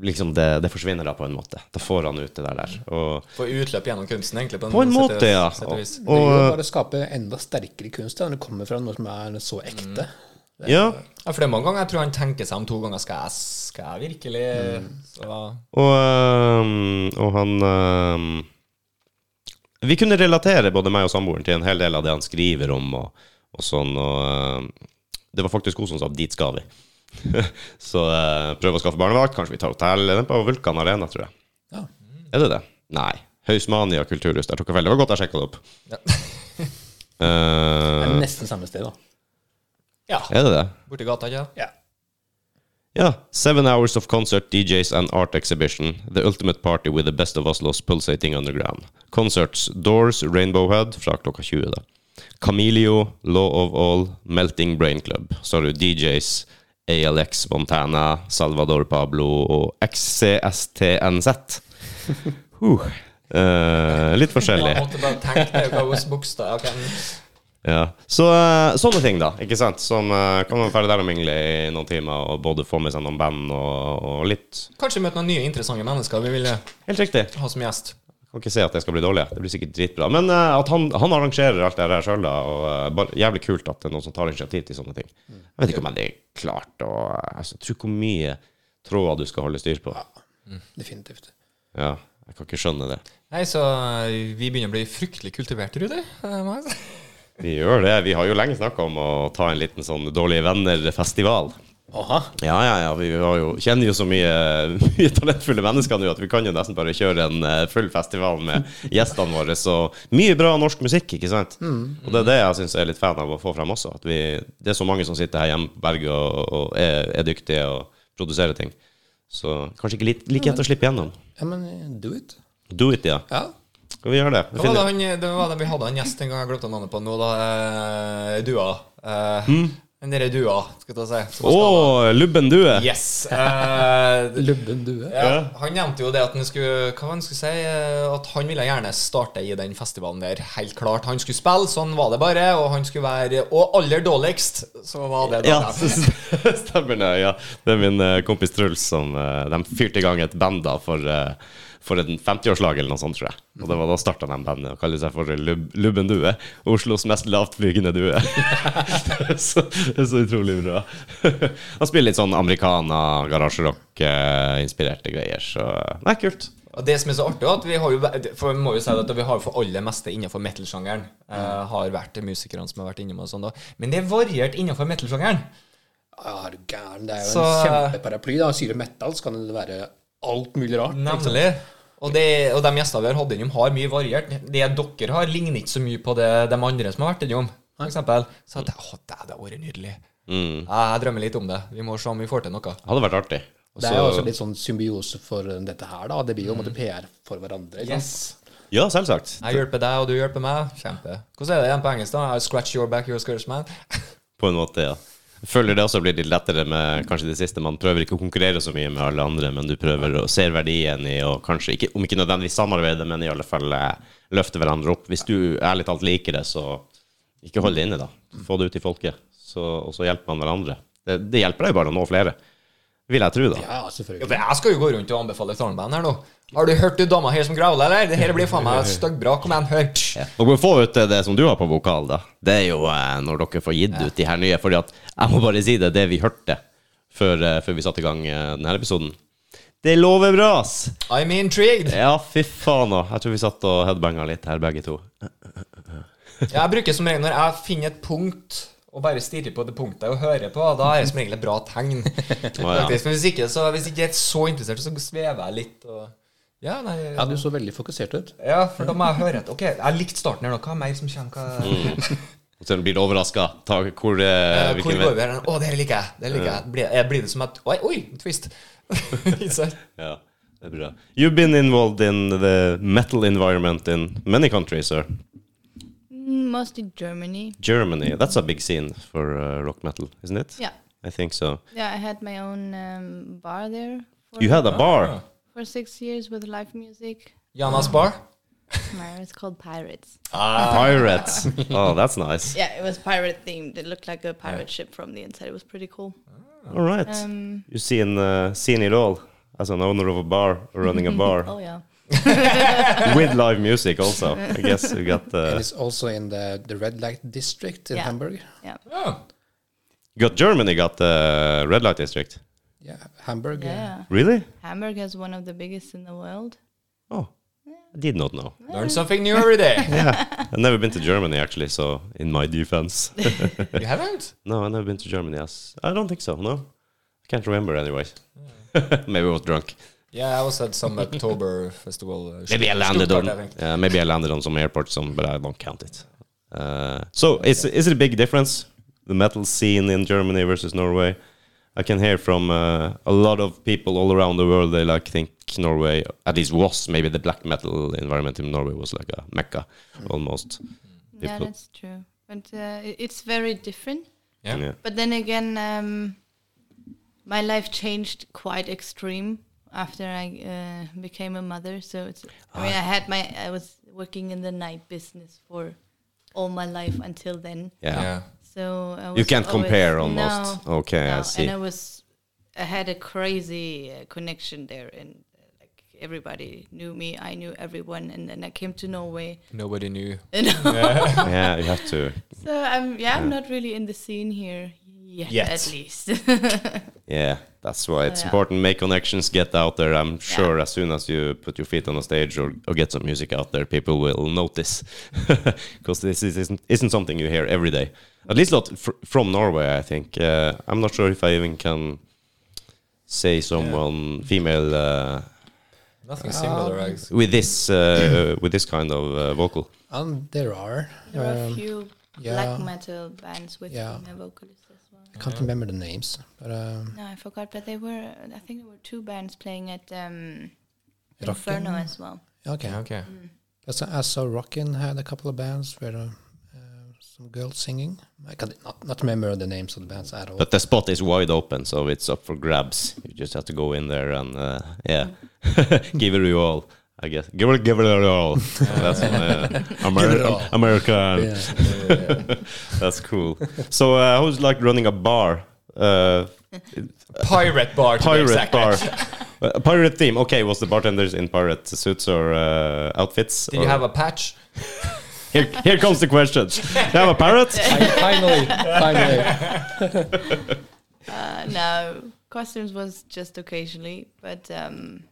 Speaker 1: liksom det, det forsvinner da på en måte. Da får han ut det der. der. Og,
Speaker 2: Få utløp gjennom kunsten, egentlig. På,
Speaker 1: på en
Speaker 2: sett-
Speaker 1: måte, ja.
Speaker 2: sett og
Speaker 1: Og,
Speaker 2: vis.
Speaker 3: Det vil jo
Speaker 1: og,
Speaker 3: bare skape enda sterkere kunst da, når det kommer fra noe som er så ekte.
Speaker 1: ja,
Speaker 2: Ja, for det er mange ganger jeg tror han tenker seg om to ganger. Skal jeg, skal jeg virkelig
Speaker 1: Mm.
Speaker 2: Så
Speaker 1: og, øhm, og han øhm, Vi kunne relatere, både meg og samboeren, til en hel del av det han skriver om. og, og sånn, og øhm, Det var faktisk hun som sa 'dit skal vi'. [LAUGHS] Så øh, prøv å skaffe barnevakt. Kanskje vi tar hotell. Den er på Vulkan Arena, tror jeg.
Speaker 3: Ja.
Speaker 1: Er det det? Nei. Hausmania kulturhus. Der tok jeg feil. Det var godt jeg sjekka det opp.
Speaker 2: Ja.
Speaker 3: Det
Speaker 1: Eh,
Speaker 3: er nesten samme sted, da.
Speaker 2: ja.
Speaker 1: er det det?
Speaker 2: Borti gata, ikke sant?
Speaker 1: Ja. Seven hours of concert, DJs and art exhibition. The ultimate party with the best of Oslos pulsating underground. Concerts Doors, Rainbow Head fra klokka 20, da. Camilio, Law of All, Melting Brain Club. Så har du DJs ALX Montana, Salvador Pablo og XCSTNZ. Huh. Eh, litt forskjellig.
Speaker 2: Jeg måtte bare tenke det, hva hos bokstav ok.
Speaker 1: Ja. Så, eh, sånne ting, da. ikke sant? Som eh, kan man være der og mingle i noen timer og både få med seg noen band og, og litt
Speaker 2: Kanskje møte noen nye interessante mennesker vi ville
Speaker 1: Helt riktig.
Speaker 2: ha som gjest.
Speaker 1: Kan ikke se at det skal bli dårlig. Det blir sikkert dritbra. Men eh, at han, han arrangerer alt det her sjøl, da. Og eh, bare jævlig kult at det er noen som tar initiativ til sånne ting. Jeg vet ikke om det er klart å altså, Tro hvor mye tråder du skal holde styr på.
Speaker 3: Definitivt.
Speaker 1: Ja, jeg kan ikke skjønne det.
Speaker 2: Nei, så eh, vi begynner å bli fryktelig kultivert, Rudi. Eh, Det må jeg si.
Speaker 1: Vi gjør det. Vi har jo lenge snakka om å ta en liten sånn Dårlige venner-festival.
Speaker 3: Aha.
Speaker 1: Ja, ja, ja. Vi har jo, kjenner jo så mye, [LAUGHS] mye talentfulle mennesker nå at vi kan jo nesten bare kjøre en eh, full festival med gjestene våre. Så mye bra norsk musikk, ikke sant? Og det er det jeg syns er litt fan av å få frem også. At vi, det er så mange som sitter her hjemme på berget og, og er, er dyktige og produserer ting. Så kanskje ikke like, like lett å slippe gjennom.
Speaker 3: Ja, men eh, do it.
Speaker 1: Do it, ja.
Speaker 3: Ja.
Speaker 1: Skal vi gjøre det?
Speaker 2: Hva var det,
Speaker 1: Finner,
Speaker 2: han, eh, det var det vi hadde en gjest en gang jeg glemte navnet på nå, da. eh, Dua. Eh, Den derre dua, skal jeg ta og si. som
Speaker 1: å, lubben due!
Speaker 2: skal- Yes. eh,
Speaker 3: Lubben due.
Speaker 2: ja, han nevnte jo det at han skulle Hva var det han skulle si? eh, At han ville gjerne starte i den festivalen der, helt klart. Han skulle spille, sånn var det bare. Og han skulle være Og aller dårligst, så var det da.
Speaker 1: Ja, [LAUGHS] stemmer det. Ja. Det er min eh, kompis Truls som eh, De fyrte i gang et band da for, eh, for en 50-årslag eller noe sånt, tror jeg. Og det var da starta de bandet og kalte seg for Lub Lubben Due. Oslos mest lavtflygende due. [LAUGHS] så, så utrolig bra. [LAUGHS] Han spiller litt sånn americana, garasjerock-inspirerte greier, så Nei, kult.
Speaker 2: Og det som er så artig, er at vi har jo væ- For vi må jo si det at vi har jo for aller meste innenfor metal-sjangeren. eh, har vært musikerne som har vært innom og sånn, da. Men det er variert innenfor metal-sjangeren.
Speaker 3: Ja, er du gæren. Det er jo
Speaker 2: Så,
Speaker 3: en
Speaker 2: eh,
Speaker 3: kjempeparaply. da. Sier du metal, så kan det være alt mulig rart.
Speaker 2: Nemlig. Og, det, og de gjestene vi har hatt innom, har mye variert. Det dere har, ligner ikke så mye på det de andre som har vært innom. For eksempel. Så at, å, det hadde vært nydelig. Ja, Jeg drømmer litt om det. Vi må se om vi får til noe.
Speaker 1: Hadde vært artig. Og
Speaker 3: Det er jo
Speaker 1: så-
Speaker 3: også litt sånn symbiose for dette her, da. Det blir jo en
Speaker 2: Mm.
Speaker 3: måte PR for hverandre. Ikke sant?
Speaker 1: Ja, selvsagt.
Speaker 2: Jeg hjelper deg, og du hjelper meg. Kjempe. Hvordan er det igjen på engelsk? da? I scratch your back, you're a scourge man.
Speaker 1: På en måte, ja. Jeg Føler det også blir litt lettere med kanskje det siste. Man prøver ikke å konkurrere så mye med alle andre, men du prøver å se verdien i å kanskje ikke, om ikke nødvendigvis samarbeide, men i alle fall eh, løfte hverandre opp. Hvis du ærlig talt liker det, så ikke hold det inne, da. Få det ut i folket, så, og så hjelper man hverandre. Det, det hjelper deg jo bare å nå flere, vil jeg tro, da.
Speaker 3: Ja,
Speaker 2: Jo,
Speaker 3: selvfølgelig.
Speaker 2: for Jeg skal jo gå rundt og anbefale tarnband her nå. Har du hørt du dama her som growler, eller? Det her blir faen meg styggbra. Kom igjen, hør.
Speaker 1: Og gå og få ut det som du har på vokal, da. Det er jo eh, når dere får gitt ut de her nye. Fordi at, jeg må bare si det, det vi hørte før, eh, før vi satte i gang eh, denne episoden. Det lover bra, ass!
Speaker 2: I'm intrigued.
Speaker 1: Ja, fy faen òg. Jeg tror vi satt og headbanga litt her, begge to.
Speaker 2: Jeg bruker som regel når jeg finner et punkt og bare stirrer på det punktet jeg hører på, da er det som regel et bra
Speaker 1: [LAUGHS]
Speaker 2: tegn.
Speaker 1: ja.
Speaker 2: Faktisk, men hvis ikke, så hvis ikke jeg er så interessert, så svever jeg litt og Ja, nei
Speaker 3: Ja, du så veldig fokusert ut.
Speaker 2: Ja, for da må jeg høre et Ok, jeg likte starten her nå. Hva er mer som kommer? Hva
Speaker 1: Og så blir du overraska. Hvor, Mm,
Speaker 2: Eh, [LAUGHS]
Speaker 1: eh,
Speaker 2: Hvor
Speaker 1: hvilken
Speaker 2: går
Speaker 1: vei
Speaker 2: vi her? Å, det her liker jeg. Det her liker jeg. Blir, eh, blir det som et Oi, oi, twist. [LAUGHS] Ikke sant?
Speaker 1: ja, det er bra. You've been involved in the metal environment in many countries, sir.
Speaker 4: Mm, Mostly Germany.
Speaker 1: Germany, that's a big scene for uh, rock metal, isn't it?
Speaker 4: Yeah.
Speaker 1: I think so.
Speaker 4: Yeah, I had my own um, bar there for,
Speaker 1: You had a bar.
Speaker 4: for six years with live music.
Speaker 2: Janas bar.
Speaker 4: No, It's called Pirates.
Speaker 1: Pirates. Oh, that's nice.
Speaker 4: Yeah, it was pirate themed. It looked like a pirate ship from the inside. It was pretty cool.
Speaker 1: All right.
Speaker 4: Um,
Speaker 1: You've seen, uh, seen it all as an owner of a bar, running a bar
Speaker 4: [LAUGHS] oh yeah.
Speaker 1: with live music also. I guess you got,
Speaker 3: And
Speaker 1: uh,
Speaker 3: it's also in the, the red light district in
Speaker 4: Yeah.
Speaker 3: Hamburg.
Speaker 4: Yeah.
Speaker 2: Ja.
Speaker 1: got Germany, got uh, Red Light District.
Speaker 3: Yeah, Hamburg. eh,
Speaker 4: Yeah.
Speaker 1: Really?
Speaker 4: Hamburg has one of the biggest in the world.
Speaker 1: Oh, I did not know.
Speaker 2: Learn something new every day.
Speaker 1: I've never been to Germany actually, so in my defense. [LAUGHS]
Speaker 2: You haven't?
Speaker 1: no, I've never been to Germany. Yes. I don't think so, no. I can't remember anyways. [LAUGHS] maybe I was drunk.
Speaker 2: Yeah, I was at [LAUGHS] some October festival. uh,
Speaker 1: Maybe I landed
Speaker 2: Stuttgart,
Speaker 1: on
Speaker 2: I think.
Speaker 1: uh, maybe I landed on some airport some but I don't count it. Uh, so is is it a big difference the metal scene in Germany versus Norway? I can hear from uh, a lot of people all around the world they like think Norway at least was maybe the black metal environment in Norway was like a mecca almost.
Speaker 4: Yeah,
Speaker 1: People-
Speaker 4: that's true. But uh, i- it's very different.
Speaker 2: Yeah.
Speaker 4: But then again, um, my life changed quite extreme after I uh, became a mother. So it's. I
Speaker 1: Ah.
Speaker 4: mean, I had my. I was working in the night business for all my life until then.
Speaker 1: yeah. yeah.
Speaker 2: Yeah.
Speaker 4: So I was
Speaker 1: You can't
Speaker 4: always-
Speaker 1: compare almost.
Speaker 4: No,
Speaker 1: okay, I
Speaker 4: no,
Speaker 1: see.
Speaker 4: And I was, I had a crazy uh, connection there, and uh, like everybody knew me. I knew everyone, and then I came to Norway. [LAUGHS]
Speaker 2: Nobody knew.
Speaker 4: And
Speaker 1: [LAUGHS] yeah, you have to.
Speaker 4: so I'm, yeah, I'm not really in the scene here yet,
Speaker 2: Yet.
Speaker 4: at least. [LAUGHS]
Speaker 1: Yeah, that's why it's
Speaker 4: yeah.
Speaker 1: important. Make connections, get out there. I'm sure as soon as you put your feet on a stage or, or get some music out there, people will notice [LAUGHS] because this is, isn't isn't something you hear every day. At least not fr- from Norway. I think uh, I'm not sure if I even can say someone female uh,
Speaker 2: Nothing similar, I guess.
Speaker 1: with this uh, with this kind of uh, vocal.
Speaker 3: And there are.
Speaker 4: there are a
Speaker 3: um,
Speaker 4: few
Speaker 3: yeah.
Speaker 4: black metal bands with
Speaker 3: Yeah.
Speaker 4: female vocalists as well.
Speaker 3: I can't remember the names, but um,
Speaker 4: No, I forgot, but they were. I think there were two bands playing at um,
Speaker 3: Rock
Speaker 4: Inferno
Speaker 3: in-
Speaker 4: as well.
Speaker 3: okay.
Speaker 2: Yeah, okay.
Speaker 3: That's- I saw Rockin had a couple of bands where uh, uh, some girls singing. I can not, not remember the names of the bands at all.
Speaker 1: But the spot is wide open, so it's up for grabs. You just have to go in there and uh, yeah, [LAUGHS] give it your all. I guess give it, give it your
Speaker 3: [LAUGHS]
Speaker 1: all. That's uh,
Speaker 3: Give it
Speaker 1: Ameri-
Speaker 3: all.
Speaker 1: American.
Speaker 3: yeah.
Speaker 1: That's cool. So uh, I was like uh, running a bar. Uh,
Speaker 2: [LAUGHS] Pirate bar. to be
Speaker 1: pirate
Speaker 2: exact.
Speaker 1: bar. Uh, pirate theme. Okay, was the bartenders in pirate suits or uh, outfits?
Speaker 2: Did you
Speaker 1: or-
Speaker 2: have a patch?
Speaker 1: here, here comes the questions. You have a parrot?
Speaker 2: [LAUGHS]
Speaker 3: Finally. finally.
Speaker 4: Uh, no, costumes was just occasionally, but um,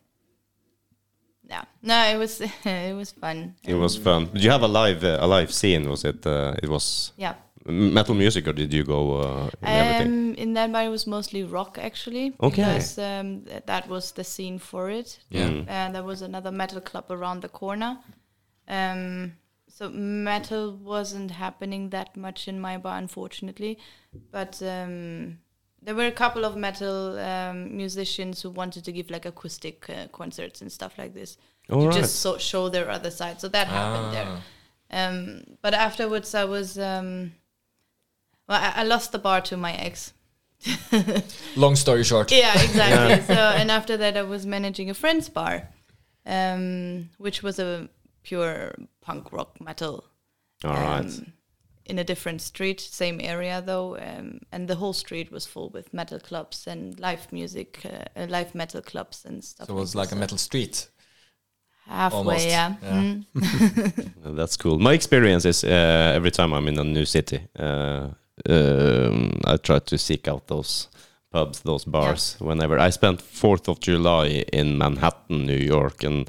Speaker 4: yeah, no, it was [LAUGHS] it was fun.
Speaker 1: It was fun. Did you have a live uh, a live scene? Was it? Uh, it was
Speaker 4: Yeah.
Speaker 1: metal music, or did you go uh, in everything?
Speaker 4: Um, in that bar, it was mostly rock actually.
Speaker 1: Okay.
Speaker 4: Because um, th- that was the scene for it.
Speaker 2: Yeah.
Speaker 1: Mm.
Speaker 4: And Uh, there was another metal club around the corner. Um, so metal wasn't happening that much in my bar, unfortunately. But um, there were a couple of metal um, musicians who wanted to give like acoustic uh, concerts and stuff like this
Speaker 1: All
Speaker 4: to
Speaker 1: right.
Speaker 4: just so, show their other side. So that happened there. Um, but afterwards, I was um, well, I, I lost the bar to my ex.
Speaker 2: Long story short.
Speaker 4: Yeah, exactly. So, and after that, I was managing a friend's bar, um, which was a pure punk rock metal.
Speaker 1: All right.
Speaker 4: um, in a different street, same area though, um, and the whole street was full with metal clubs and live music, uh, uh, live metal clubs and stuff.
Speaker 2: So it was
Speaker 4: this.
Speaker 2: like a metal street.
Speaker 4: halfway,
Speaker 2: almost,
Speaker 4: yeah.
Speaker 2: yeah.
Speaker 4: Mm.
Speaker 1: That's cool. My experience is uh, every time I'm in a new city, uh, um, I try to seek out those pubs, those bars. Whenever I spent Fourth of July in Manhattan, New York, and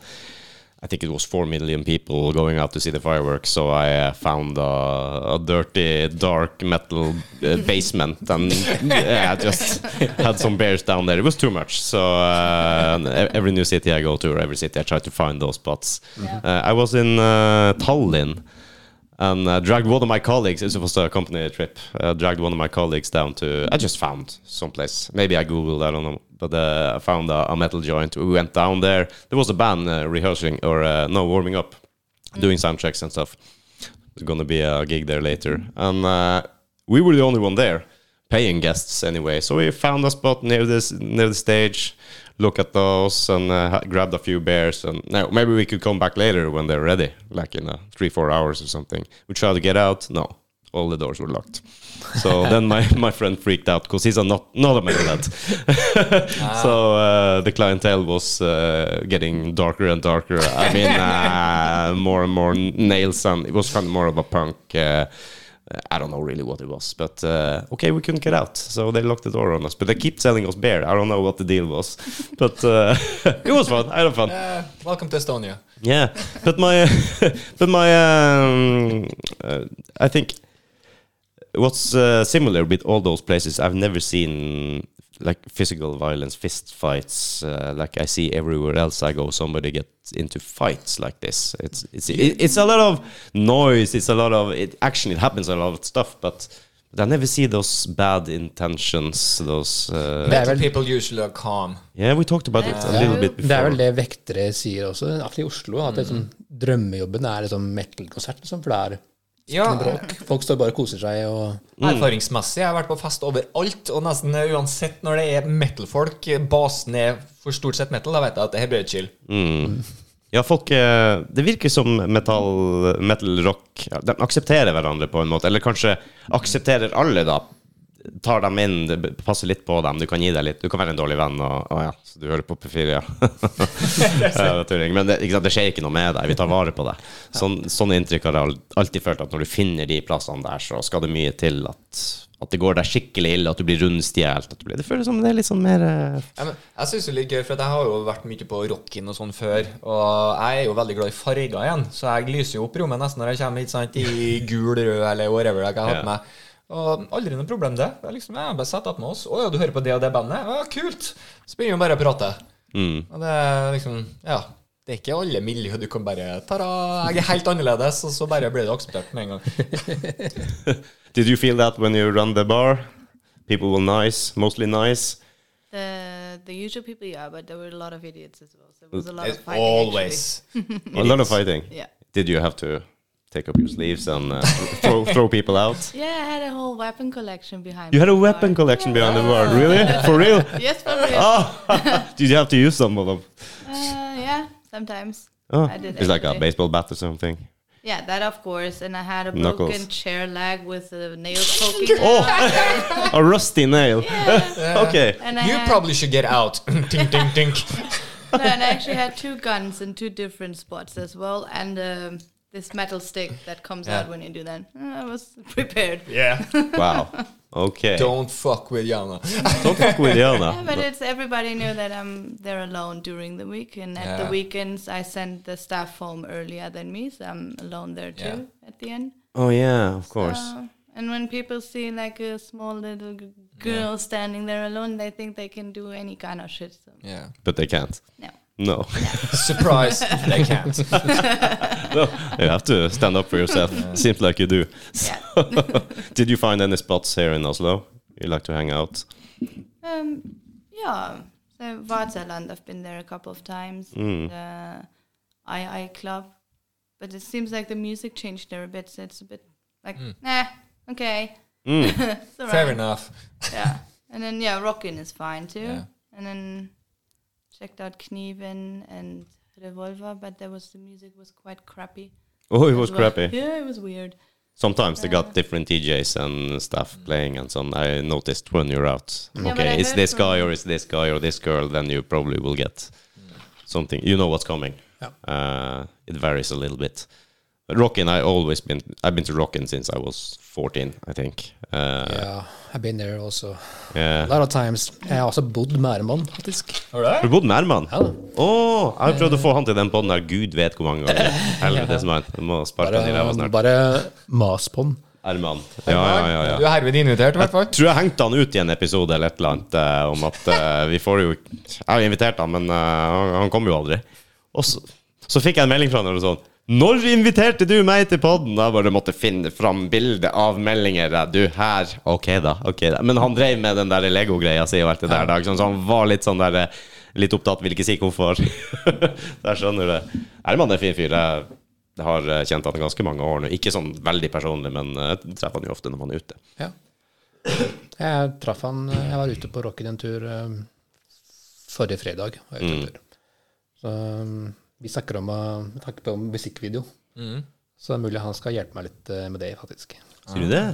Speaker 1: I think it was four million people going out to see the fireworks. So I uh, found uh, a dirty, dark metal uh, basement, and [LAUGHS] yeah, I just had some beers down there. It was too much. So uh, and e- every new city I go to, or every city I try to find those spots. Uh, I was in uh, Tallinn and uh, dragged one of my colleagues. It was a company trip. Uh, dragged one of my colleagues down to. I just found someplace. Maybe I googled. I don't know. But uh, I found a, a metal joint. We went down there. There was a band uh, rehearsing or uh, no warming up, doing sound checks and stuff. There's gonna be a gig there later, and uh, we were the only one there, paying guests anyway. So we found a spot near this near the stage. Look at those and uh, ha- grabbed a few beers and now maybe we could come back later when they're ready, like in uh, three four hours or something. We tried to get out. No, all the doors were locked. So then my, my friend freaked out because he's a not not a metalhead. So uh, the clientele was uh, getting darker and darker. I mean, uh, more and more nails, and it was kind of more of a punk. Uh, I don't know really what it was, but uh, okay, we couldn't get out, so they locked the door on us. But they keep selling us beer. I don't know what the deal was, [LAUGHS] but uh, it was fun. I had fun.
Speaker 2: Uh, welcome to Estonia.
Speaker 1: Yeah, but my, uh, [LAUGHS] but my, um, uh, I think what's uh, similar with all those places, I've never seen like physical violence, fist fights, uh, like I see everywhere else I go. Somebody gets into fights like this. It's it's it, it's a lot of noise. It's a lot of it. Action. It happens a lot of stuff, but. But I never see those bad intentions. Those uh,
Speaker 3: Det er
Speaker 2: Metal
Speaker 1: [LAUGHS]
Speaker 3: vel
Speaker 2: people usually are calm.
Speaker 1: yeah, we talked about it a
Speaker 4: Yeah.
Speaker 1: little bit before.
Speaker 3: Det er vel det vektere sier også, i hvert fall i Oslo. At det, sånn,
Speaker 1: Mm.
Speaker 3: drømmejobben er liksom metal-konsert, liksom, for det er
Speaker 2: Ja,
Speaker 3: noe bråk. Folk står bare og koser seg og
Speaker 1: Mm.
Speaker 2: Erfaringsmessig jeg har vært på fest overalt, og nesten uansett når det er metal-folk, basen er for stort sett metal, da vet jeg at det her blir chill.
Speaker 1: Ja, folk eh, Det virker som metal, metal rock ja, De aksepterer hverandre på en måte. Eller kanskje aksepterer alle, da. Tar dem inn, det b- passer litt på dem. Du kan gi deg litt. Du kan være en dårlig venn. Og, å ja, så du hører på P4, ja. [LAUGHS] Ja, det er tulling. Men det, ikke sant, det skjer ikke noe med deg. Vi tar vare på deg. Sånn, sånne inntrykk har jeg al- alltid følt at når du finner de plassene der, så skal det mye til at, at det går deg skikkelig ille, at du blir rundstjålet. at du blir- Det føles som det er litt sånn mer eh,
Speaker 2: Ja, men jeg synes det er litt gøy, for at jeg har jo vært mye på rocken og sånn før. Og jeg er jo veldig glad i farger igjen, så jeg lyser jo opp rommet nesten når jeg kommer hit. sant, [LAUGHS] I gul, rød eller whatever jeg har hatt
Speaker 1: Ja.
Speaker 2: med. Og aldri noe problem det. Jeg liksom, jeg har bare setter opp med oss. 'Å ja, du hører på det og det bandet?' Ja, kult! Så begynner vi bare å prate. Og det er liksom Ja. Det er ikke alle miljø du kan bare ta Jeg er helt annerledes, og så bare blir det akseptert med en gang.
Speaker 1: Did you feel that when you run the bar? People were nice, mostly nice.
Speaker 4: The the usual people, yeah, but there were a lot of idiots as well. So it was a lot
Speaker 2: It's
Speaker 4: of fighting. Actually.
Speaker 2: always.
Speaker 1: A lot of fighting.
Speaker 4: Yeah.
Speaker 1: Did you have to take up your sleeves and uh, throw, throw people out?
Speaker 4: Yeah, I had a whole weapon collection behind.
Speaker 1: You
Speaker 4: my
Speaker 1: had a
Speaker 4: bar.
Speaker 1: weapon collection behind the bar, really? For real?
Speaker 4: [LAUGHS] Yes, for real.
Speaker 1: Oh, did you have to use some of them?
Speaker 4: Uh, yeah, sometimes.
Speaker 1: Oh,
Speaker 4: I did
Speaker 1: it's like a
Speaker 4: actually.
Speaker 1: baseball bat or something.
Speaker 4: Yeah, that of course. And I had a
Speaker 1: Knuckles.
Speaker 4: broken chair leg with a nail
Speaker 2: [LAUGHS]
Speaker 4: poking
Speaker 2: Oh.
Speaker 4: out.
Speaker 1: Oh! [LAUGHS] A rusty nail. okay.
Speaker 4: And I
Speaker 2: You
Speaker 4: had-
Speaker 2: probably should get out. [LAUGHS] tink, tink, tink.
Speaker 4: no, and I actually had two guns in two different spots as well, and um, this metal stick that comes
Speaker 2: Yeah.
Speaker 4: out when you do that. [LAUGHS] Uh, I was prepared.
Speaker 2: Yeah.
Speaker 1: Wow. Okay. Don't,
Speaker 2: Don't fuck with Jana.
Speaker 1: fuck with
Speaker 4: Yeah, but
Speaker 1: Jana.
Speaker 4: it's everybody knew that I'm there alone during the week, and at
Speaker 2: Yeah.
Speaker 4: the weekends I send the staff home earlier than me, so I'm alone there too
Speaker 2: Yeah.
Speaker 4: at the end.
Speaker 1: Oh yeah, of course.
Speaker 4: Uh, and when people see like a small little g- girl standing there alone, they think they can do any kind of shit. So
Speaker 2: Yeah.
Speaker 1: But they can't.
Speaker 4: no,
Speaker 1: No.
Speaker 3: [LAUGHS]
Speaker 2: Surprise. they can't.
Speaker 1: [LAUGHS] no. You have to stand up for yourself. Seems like you do. [LAUGHS]
Speaker 4: yeah.
Speaker 1: Did you find any spots here in Oslo you like to hang out?
Speaker 4: Um, yeah, so Vaterland, I've been there a couple of times.
Speaker 1: Mm. Hmm.
Speaker 4: and, uh, II Club, but it seems like the music changed there a bit, so it's a bit like, nah, okay, [LAUGHS] It's all
Speaker 2: Fair
Speaker 4: right.
Speaker 2: enough.
Speaker 4: Yeah, and then yeah, Rockin is fine too.
Speaker 2: Yeah.
Speaker 4: And then checked out Knieven and Revolver, but there was the music was quite crappy.
Speaker 1: Oh, it was
Speaker 4: as well.
Speaker 1: crappy.
Speaker 4: Yeah, it was weird.
Speaker 1: Sometimes they got different DJs and stuff playing and so on. I noticed when you're out.
Speaker 4: Mm. Yeah, but I
Speaker 1: okay, it's
Speaker 4: heard
Speaker 1: this
Speaker 4: from- Mm.
Speaker 1: guy or it's this guy or this girl, then you probably will get something. You know what's coming.
Speaker 3: Yeah.
Speaker 1: Uh, it varies a little bit. Rockin, I always been. I've been to Rockin since I was 14, I think. Uh,
Speaker 3: Yeah, I've been there also.
Speaker 1: yeah.
Speaker 3: A lot of times. Jeg har også bodd med Herman, faktisk.
Speaker 2: All
Speaker 1: Du
Speaker 2: right.
Speaker 1: bodde med Herman?
Speaker 3: Ja da.
Speaker 1: Å, jeg har prøvd å få han til den podden her gud vet hvor mange
Speaker 3: [LAUGHS]
Speaker 1: ganger. Helvetes mann. Jeg Må sparke han i ræva
Speaker 3: Bare,
Speaker 1: snart.
Speaker 3: bare mas på den.
Speaker 1: Herman. Ja, ja, ja. ja.
Speaker 2: Du er herved invitert, i hvert fall.
Speaker 1: tror jeg hengte han ut i en episode eller et eller annet eh, om at eh, vi får jo Jeg har invitert han, men eh, han, han kom jo aldri. Og så, så fikk jeg en melding fra han og sånn Når inviterte du meg til podden? Jeg bare måtte finne fram bilde av meldinger. eh, Du, her. Ok, da. ok da Men han drev med den der Lego-greia si og alt det der. da, ikke sant? så han var litt sånn der eh, Litt opptatt, vil ikke si hvorfor. [LAUGHS] der skjønner du det. Herman er en fin fyr. Jeg har eh, kjent han i ganske mange år nå. Ikke sånn veldig personlig, men eh, jeg treffer han jo ofte når man er ute.
Speaker 3: Ja. Jeg traff han eh, Jeg var ute på Rocken en tur eh, forrige fredag. Var jeg ute en tur. Så um, vi snakker om, eh, vi snakker om musikkvideo. Så det er mulig han skal hjelpe meg litt eh, med det, faktisk.
Speaker 1: Sier du det?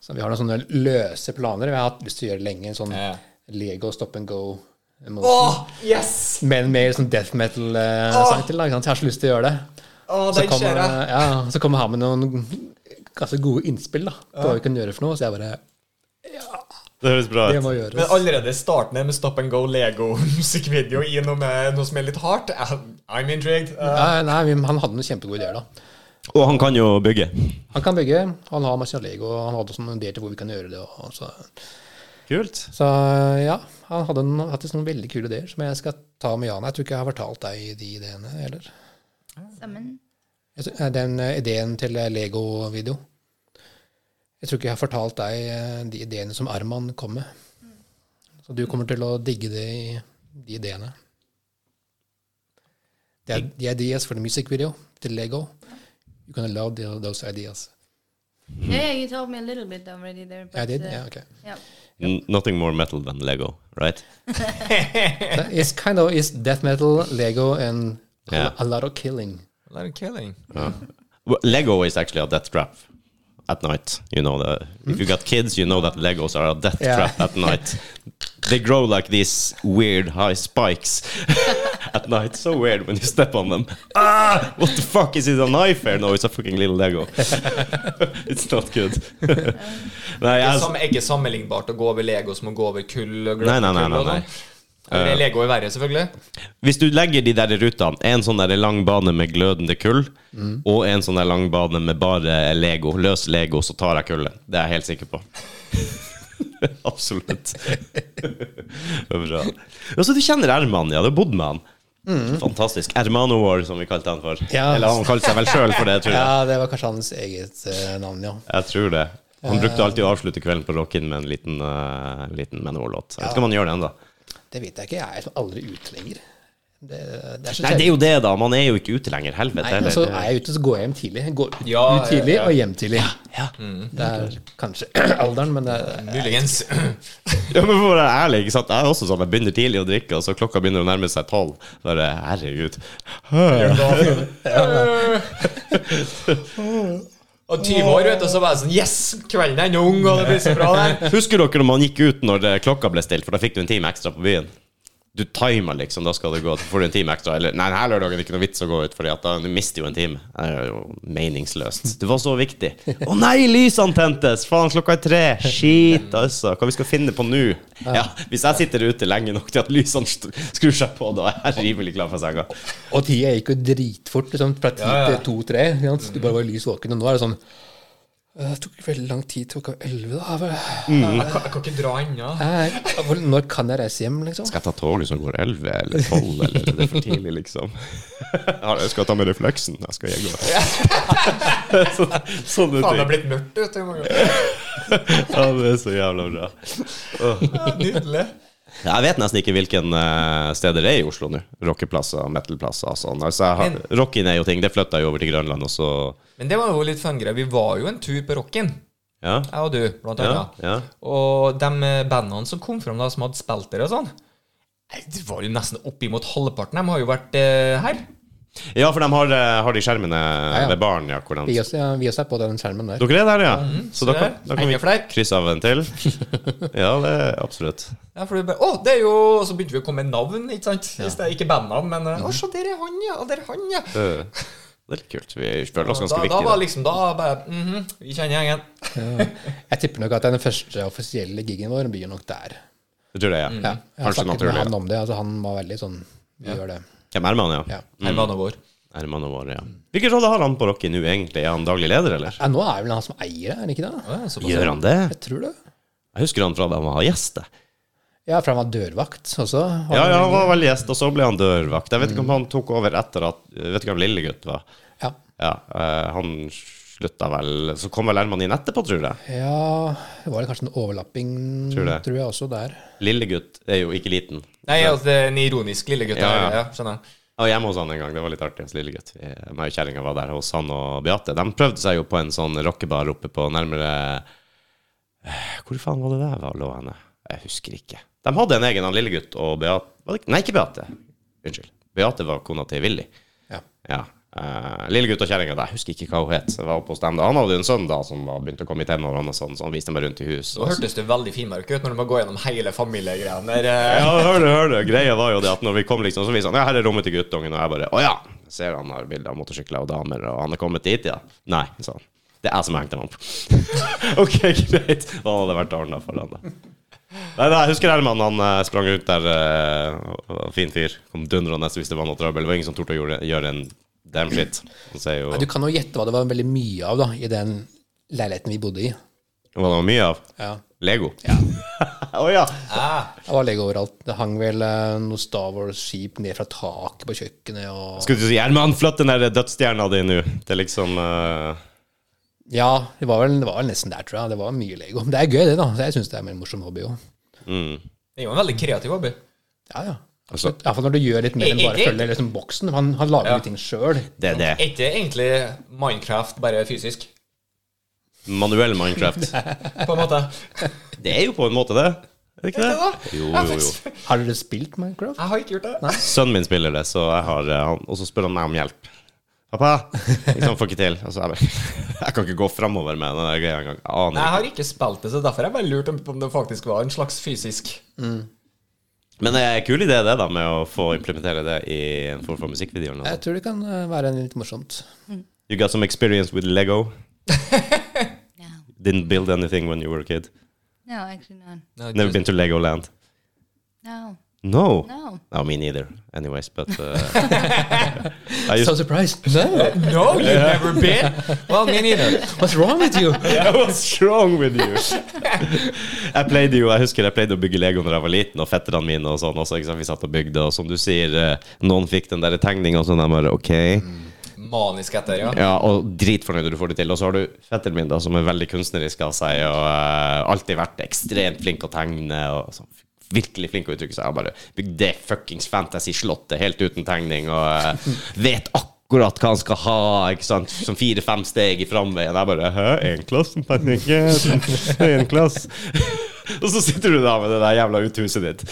Speaker 3: Så vi har noen sånne løse planer. Vi har hatt lyst til å gjøre det lenge. En sånn
Speaker 2: Ja.
Speaker 3: Lego stop and go.
Speaker 2: Å,
Speaker 3: emotion.
Speaker 2: yes!
Speaker 3: Men mer sånn death metal-sang til. da, ikke sant? Jeg har så lyst til å gjøre det.
Speaker 2: Å,
Speaker 3: Så
Speaker 2: den
Speaker 3: kommer,
Speaker 2: ser jeg.
Speaker 3: ja, så kommer han med noen ganske gode innspill da, på hva vi kan gjøre for noe. Så jeg bare
Speaker 1: Det høres bra
Speaker 3: Det
Speaker 1: ut.
Speaker 3: må
Speaker 2: Men
Speaker 3: gjøres.
Speaker 2: allerede starten her med Stop and Go [LAUGHS] Lego-musikkvideo i noe, med, noe som er litt hardt I'm- I'm intrigued. Uh,
Speaker 3: Nei, nei, men han hadde noen kjempegode ideer, da.
Speaker 1: Og han kan jo bygge.
Speaker 3: Han kan bygge, han har masse Lego, og han hadde også noen ideer til hvor vi kan gjøre det. Og så.
Speaker 1: Kult.
Speaker 3: så ja, han hadde no- faktisk noen veldig kule ideer som jeg skal ta med Jana. Jeg tror ikke jeg har fortalt deg de ideene heller.
Speaker 4: Sammen.
Speaker 3: Jeg tror- eh, Den eh, ideen til eh, Lego-video. Jeg tror ikke jeg har fortalt deg eh, de ideene som Arman kom med. Så du kommer til å digge de, de ideene. The, the ideas for the music video til Lego. You can love the, those ideas.
Speaker 4: Yeah, yeah, you told me a little bit already there. But,
Speaker 3: I did?
Speaker 4: uh,
Speaker 3: Yeah, okay.
Speaker 4: yeah.
Speaker 1: N- Nothing more metal than Lego, right?
Speaker 3: So It's kind of it's death metal, Lego, and a-
Speaker 1: Yeah.
Speaker 3: a lot of killing.
Speaker 2: a lot of killing.
Speaker 1: Well, Lego is actually a death trap at night. You know, the, if you got kids, you know that Legos are a death
Speaker 3: Yeah.
Speaker 1: trap at night. They grow like these weird high spikes [LAUGHS] at night. So weird when you step on them. Ah, what the fuck is it a knife here? No, it's a fucking little Lego. [LAUGHS] it's not good. [LAUGHS] Nei,
Speaker 2: Det er
Speaker 1: jeg,
Speaker 2: sam- ikke sammenlignbart å gå over Lego som å gå over kull. og gløtt
Speaker 1: Nei, nei, nei,
Speaker 2: kull og
Speaker 1: nei, Eh. nei.
Speaker 2: sånn. Eller Lego er verre, selvfølgelig.
Speaker 1: Hvis du legger de der rutene, en sånn der lang bane med glødende kull, og en sånn der lang bane med bare Lego, løs Lego, så tar jeg kullet. Det er jeg helt sikker på. [LAUGHS] Absolutt. det er bra. Og så du kjenner Erman, ja. Du har bodd med han. Fantastisk. Ermano War, som vi kalte han for.
Speaker 3: Mm. Ja.
Speaker 1: Eller han kalte seg vel sjøl for det, tror jeg.
Speaker 3: [LAUGHS] Ja, det var kanskje hans eget eh, navn, ja.
Speaker 1: Jeg tror det. Han brukte alltid å avslutte kvelden på rocken med en liten, uh, liten Manor-låt. Jeg vet ikke om han gjør det ennå.
Speaker 3: Det vet jeg ikke. Jeg er liksom aldri ute lenger. Det, det er så
Speaker 1: Nei, det er jo det, da. Man er jo ikke ute lenger. Helvete.
Speaker 3: Nei,
Speaker 1: heller.
Speaker 3: altså, er jeg ute, så går jeg hjem tidlig. Jeg Går ut,
Speaker 2: Ja,
Speaker 3: ut tidlig
Speaker 2: ja, ja.
Speaker 3: og hjem tidlig. Det er kanskje [CLEARS THROAT] alderen, men eh, det er,
Speaker 2: [LAUGHS] Muligens.
Speaker 1: Ja, men for å være ærlig, ikke sant? Jeg er også sånn, jeg begynner tidlig å drikke, og så klokka begynner å nærme seg tolv. Bare, herregud.
Speaker 2: Da- Og 20 år, vet du, og så bare sånn Yes! Kvelden er ennå ung, og det blir så bra, det.
Speaker 1: Husker dere når man gikk ut når eh, klokka ble stilt, for da fikk du en time ekstra på byen? Du timer liksom, da skal det gå, så får du en time ekstra. Eller nei, denne lørdagen er det ikke noe vits å gå ut, Fordi at da du mister jo en time. Det er jo meningsløst. Du var så viktig. Å nei, lysene tentes! Faen, klokka er tre! Shit, altså. Hva vi skal finne på nå? Ja, hvis jeg sitter ute lenge nok til at lysene st- skrur seg på, da er jeg rimelig klar for senga.
Speaker 3: Og tida gikk jo dritfort, liksom, fra ti
Speaker 2: Ja, ja.
Speaker 3: til to-tre. ikke sant? Du bare var lys våken, og nå er det sånn «Åh, Det tok veldig lang tid, klokka elleve, da. Bare,
Speaker 2: Jeg kan, jeg kan ikke dra ennå.
Speaker 3: «Nei, hvor- Når kan jeg reise hjem, liksom?
Speaker 1: Skal jeg ta tog som går 11 eller 12, eller er det for tidlig, liksom? [LAUGHS] Ja, Jeg skal ta med refleksen. Jeg skal jeg gå. [LAUGHS] Så, sånne
Speaker 2: Faen, det
Speaker 1: ting.
Speaker 2: har blitt mørkt ute. mange ganger.
Speaker 1: Ja, det er så jævla bra.
Speaker 2: Ja, Nydelig.
Speaker 1: Jeg vet nesten ikke hvilken eh, steder det er i Oslo nå. Rockeplasser, metalplasser og sånn. Altså, jeg har, rocken er jo ting. Det flytta jeg jo over til Grønland, og så
Speaker 2: Men det var jo litt fun-greier. Vi var jo en tur på Rocken,
Speaker 1: Ja.
Speaker 2: jeg og du, blant
Speaker 1: ja,
Speaker 2: annet.
Speaker 1: ja.
Speaker 2: Og de bandene som kom fram da, som hadde spilt der og sånn, nei, det var jo nesten oppimot halvparten. De har jo vært eh, her.
Speaker 1: ja, for de har, eh, har de skjermene
Speaker 3: ja.
Speaker 1: ved baren, ja. Hvordan
Speaker 3: Vi også, ja, vi også er på den skjermen der.
Speaker 1: Dere er der, ja? Så da
Speaker 2: se
Speaker 1: kan,
Speaker 2: der.
Speaker 1: da kan vi
Speaker 2: Enda flere.
Speaker 1: krysse av en til. Ja, det er absolutt.
Speaker 2: Ja, for du bare, å, det er jo, og så begynte vi å komme med navn, ikke sant? I stedet- Ikke bandene, men eh,
Speaker 1: Mhm.
Speaker 2: å, se, der er han, ja, og der er han, ja.
Speaker 1: Eh, [LAUGHS] Det er litt kult. Vi føler oss
Speaker 2: Da,
Speaker 1: ganske
Speaker 2: da
Speaker 1: viktige.
Speaker 2: var liksom, da bare, mhm, vi kjenner gjengen.
Speaker 3: Jeg tipper nok at den første offisielle gigen vår blir nok der.
Speaker 1: Det tror jeg,
Speaker 2: Mm.
Speaker 1: ja.
Speaker 3: Ja, jeg har
Speaker 1: Kanskje
Speaker 3: snakket med
Speaker 1: naturlig.
Speaker 3: han om det. Altså, han var veldig sånn Vi gjør det.
Speaker 1: Hvem er man, ja?
Speaker 3: Ja.
Speaker 2: Herman og vår.
Speaker 1: Herman og Våre, ja. Hvilken rolle har han på Rocky nå, egentlig? Er han daglig leder, eller?
Speaker 3: Ja, nå er vel han som eier det, er det ikke det?
Speaker 2: Ja, såpass.
Speaker 1: Gjør han det?
Speaker 3: Jeg tror det.
Speaker 1: Jeg husker han fra da han var gjest. jeg.
Speaker 3: Ja, for han var dørvakt også. Og-
Speaker 1: Ja, ja, han var vel gjest, og så ble han dørvakt. Jeg vet ikke om
Speaker 3: Mm.
Speaker 1: han tok over etter at Vet ikke hvem lillegutt var.
Speaker 3: ja.
Speaker 1: Ja, eh, han slutta vel Så kom vel Herman inn etterpå, tror jeg.
Speaker 3: Ja, det var kanskje en overlapping,
Speaker 1: Tror
Speaker 3: tror,
Speaker 1: det.
Speaker 3: jeg også, der.
Speaker 1: Lillegutt er jo ikke liten.
Speaker 2: Nei, altså, det er en ironisk lille gutt.
Speaker 1: Ja,
Speaker 2: Ja,
Speaker 1: ja.
Speaker 2: ja. skjønner jeg.
Speaker 1: Jeg var hjemme hos han en gang, det var litt artig. hans lille gutt. Eh, Meg og kjerringa var der hos han og Beate. De prøvde seg jo på en sånn rockebar oppe på nærmere Eh, Hvor faen var det der var, lå henne? Jeg husker ikke. De hadde en egen han lille gutt og Beate var det ikke? Nei, ikke Beate. Unnskyld. Beate var kona til Willy.
Speaker 3: Ja.
Speaker 1: Ja. Eh, lille gutt og kjerringa, jeg husker ikke hva hun het. Jeg var oppe hos dem da. Han hadde jo en sønn da som var begynt å komme i tenårene, og sånn, så han viste meg rundt i huset.
Speaker 2: Så hørtes det veldig finmark ut når du må gå gjennom hele familiegreiene der. eh.
Speaker 1: Ja, hør det, hør det. Greia var jo det at når vi kom, liksom, så viser han Ja, her er rommet til guttungen, og jeg bare Å ja. Jeg ser han har bilder av motorsykler og damer, og han er kommet dit, ja. Nei, sa han. Det er jeg som har hengt dem opp. [LAUGHS] ok, greit. Hva hadde vært ordna for han, da? Nei, nei, jeg husker Herman, han eh, sprang rundt der, eh, og- og fin fyr. Kom dundrende hvis det var noe trøbbel. Det var ingen som torde å gjøre, gjøre en damn shit. Han sier jo
Speaker 3: Nei, Du kan jo gjette hva det var veldig mye av da, i den leiligheten vi bodde i.
Speaker 1: Hva det var mye av?
Speaker 3: Ja.
Speaker 1: Lego. [LAUGHS] Å ja.
Speaker 2: Ah,
Speaker 3: Det var Lego overalt. Det hang vel eh, noen Star Wars-skip ned fra taket på kjøkkenet. og...
Speaker 1: Skulle du si Herman, flytt den der dødsstjerna di nå. Det er liksom eh,
Speaker 3: Ja, det var, vel, det var vel nesten der, tror jeg. Det var mye Lego. Men det er gøy, det, da. Så jeg syns det er en morsom hobby òg.
Speaker 2: det er jo en veldig kreativ hobby.
Speaker 3: Ja, ja.
Speaker 1: Altså-
Speaker 3: Absolutt. Iallfall når du gjør litt mer enn bare
Speaker 2: Egentlig-
Speaker 3: følger liksom, boksen. Han, han lager jo ting sjøl.
Speaker 1: Det er det.
Speaker 2: Er ikke egentlig Minecraft bare fysisk,
Speaker 1: Manuell Minecraft. [LAUGHS]
Speaker 2: på en måte?
Speaker 1: Det er jo på en måte det. Er det ikke det? Jo, jo, jo.
Speaker 3: Har dere spilt Minecraft?
Speaker 2: Jeg har ikke gjort det.
Speaker 1: Sønnen min spiller det, så jeg har eh, han, og så spør han meg om hjelp. 'Pappa, liksom får ikke til.' Og så er jeg bare [LAUGHS] Jeg kan ikke gå framover med den der greia engang. Jeg
Speaker 2: Nei, Jeg
Speaker 1: Aner ikke.
Speaker 2: har ikke spilt det, så derfor har jeg bare lurt om det faktisk var en slags fysisk.
Speaker 1: Men det er en kul idé, det, da, med å få implementere det i en form for musikkvideo. Eller noe.
Speaker 3: Jeg tror det kan eh, være litt morsomt.
Speaker 1: You got some experience with Lego.
Speaker 4: No,
Speaker 1: Didn't build anything when you were a kid.
Speaker 4: no, actually not.
Speaker 1: Never been to Legoland.
Speaker 4: No,
Speaker 1: No.
Speaker 4: no.
Speaker 1: No, me neither. Anyways, but uh, I used
Speaker 3: So [LAUGHS] surprised. No,
Speaker 2: No,
Speaker 1: [LAUGHS]
Speaker 2: you've never been? Well, me neither.
Speaker 3: what's wrong with you?
Speaker 1: Yeah, what's wrong with you? [LAUGHS] jeg pleide jo, jeg husker jeg pleide å bygge Lego når jeg var liten, og fetterne mine og sånn også. Ikke sant? Vi satt og bygde, og som du sier, eh, noen fikk den der tegninga, og sånn, jeg bare OK.
Speaker 2: Manisk etter, ja.
Speaker 1: Ja, og dritfornøyd når du får det til. Og så har du fetteren min, da, som er veldig kunstnerisk av seg, og eh, alltid vært ekstremt flink å tegne, og sånn virkelig flink å uttrykke seg. Jeg bare bygde det fuckings fantasy-slottet helt uten tegning, og eh, vet akkurat hva han skal ha, ikke sant? som fire-fem steg i framveien. Jeg bare Hæ, én klasse? Men ikke [LAUGHS] én klasse. Og så sitter du da med det der jævla uthuset ditt.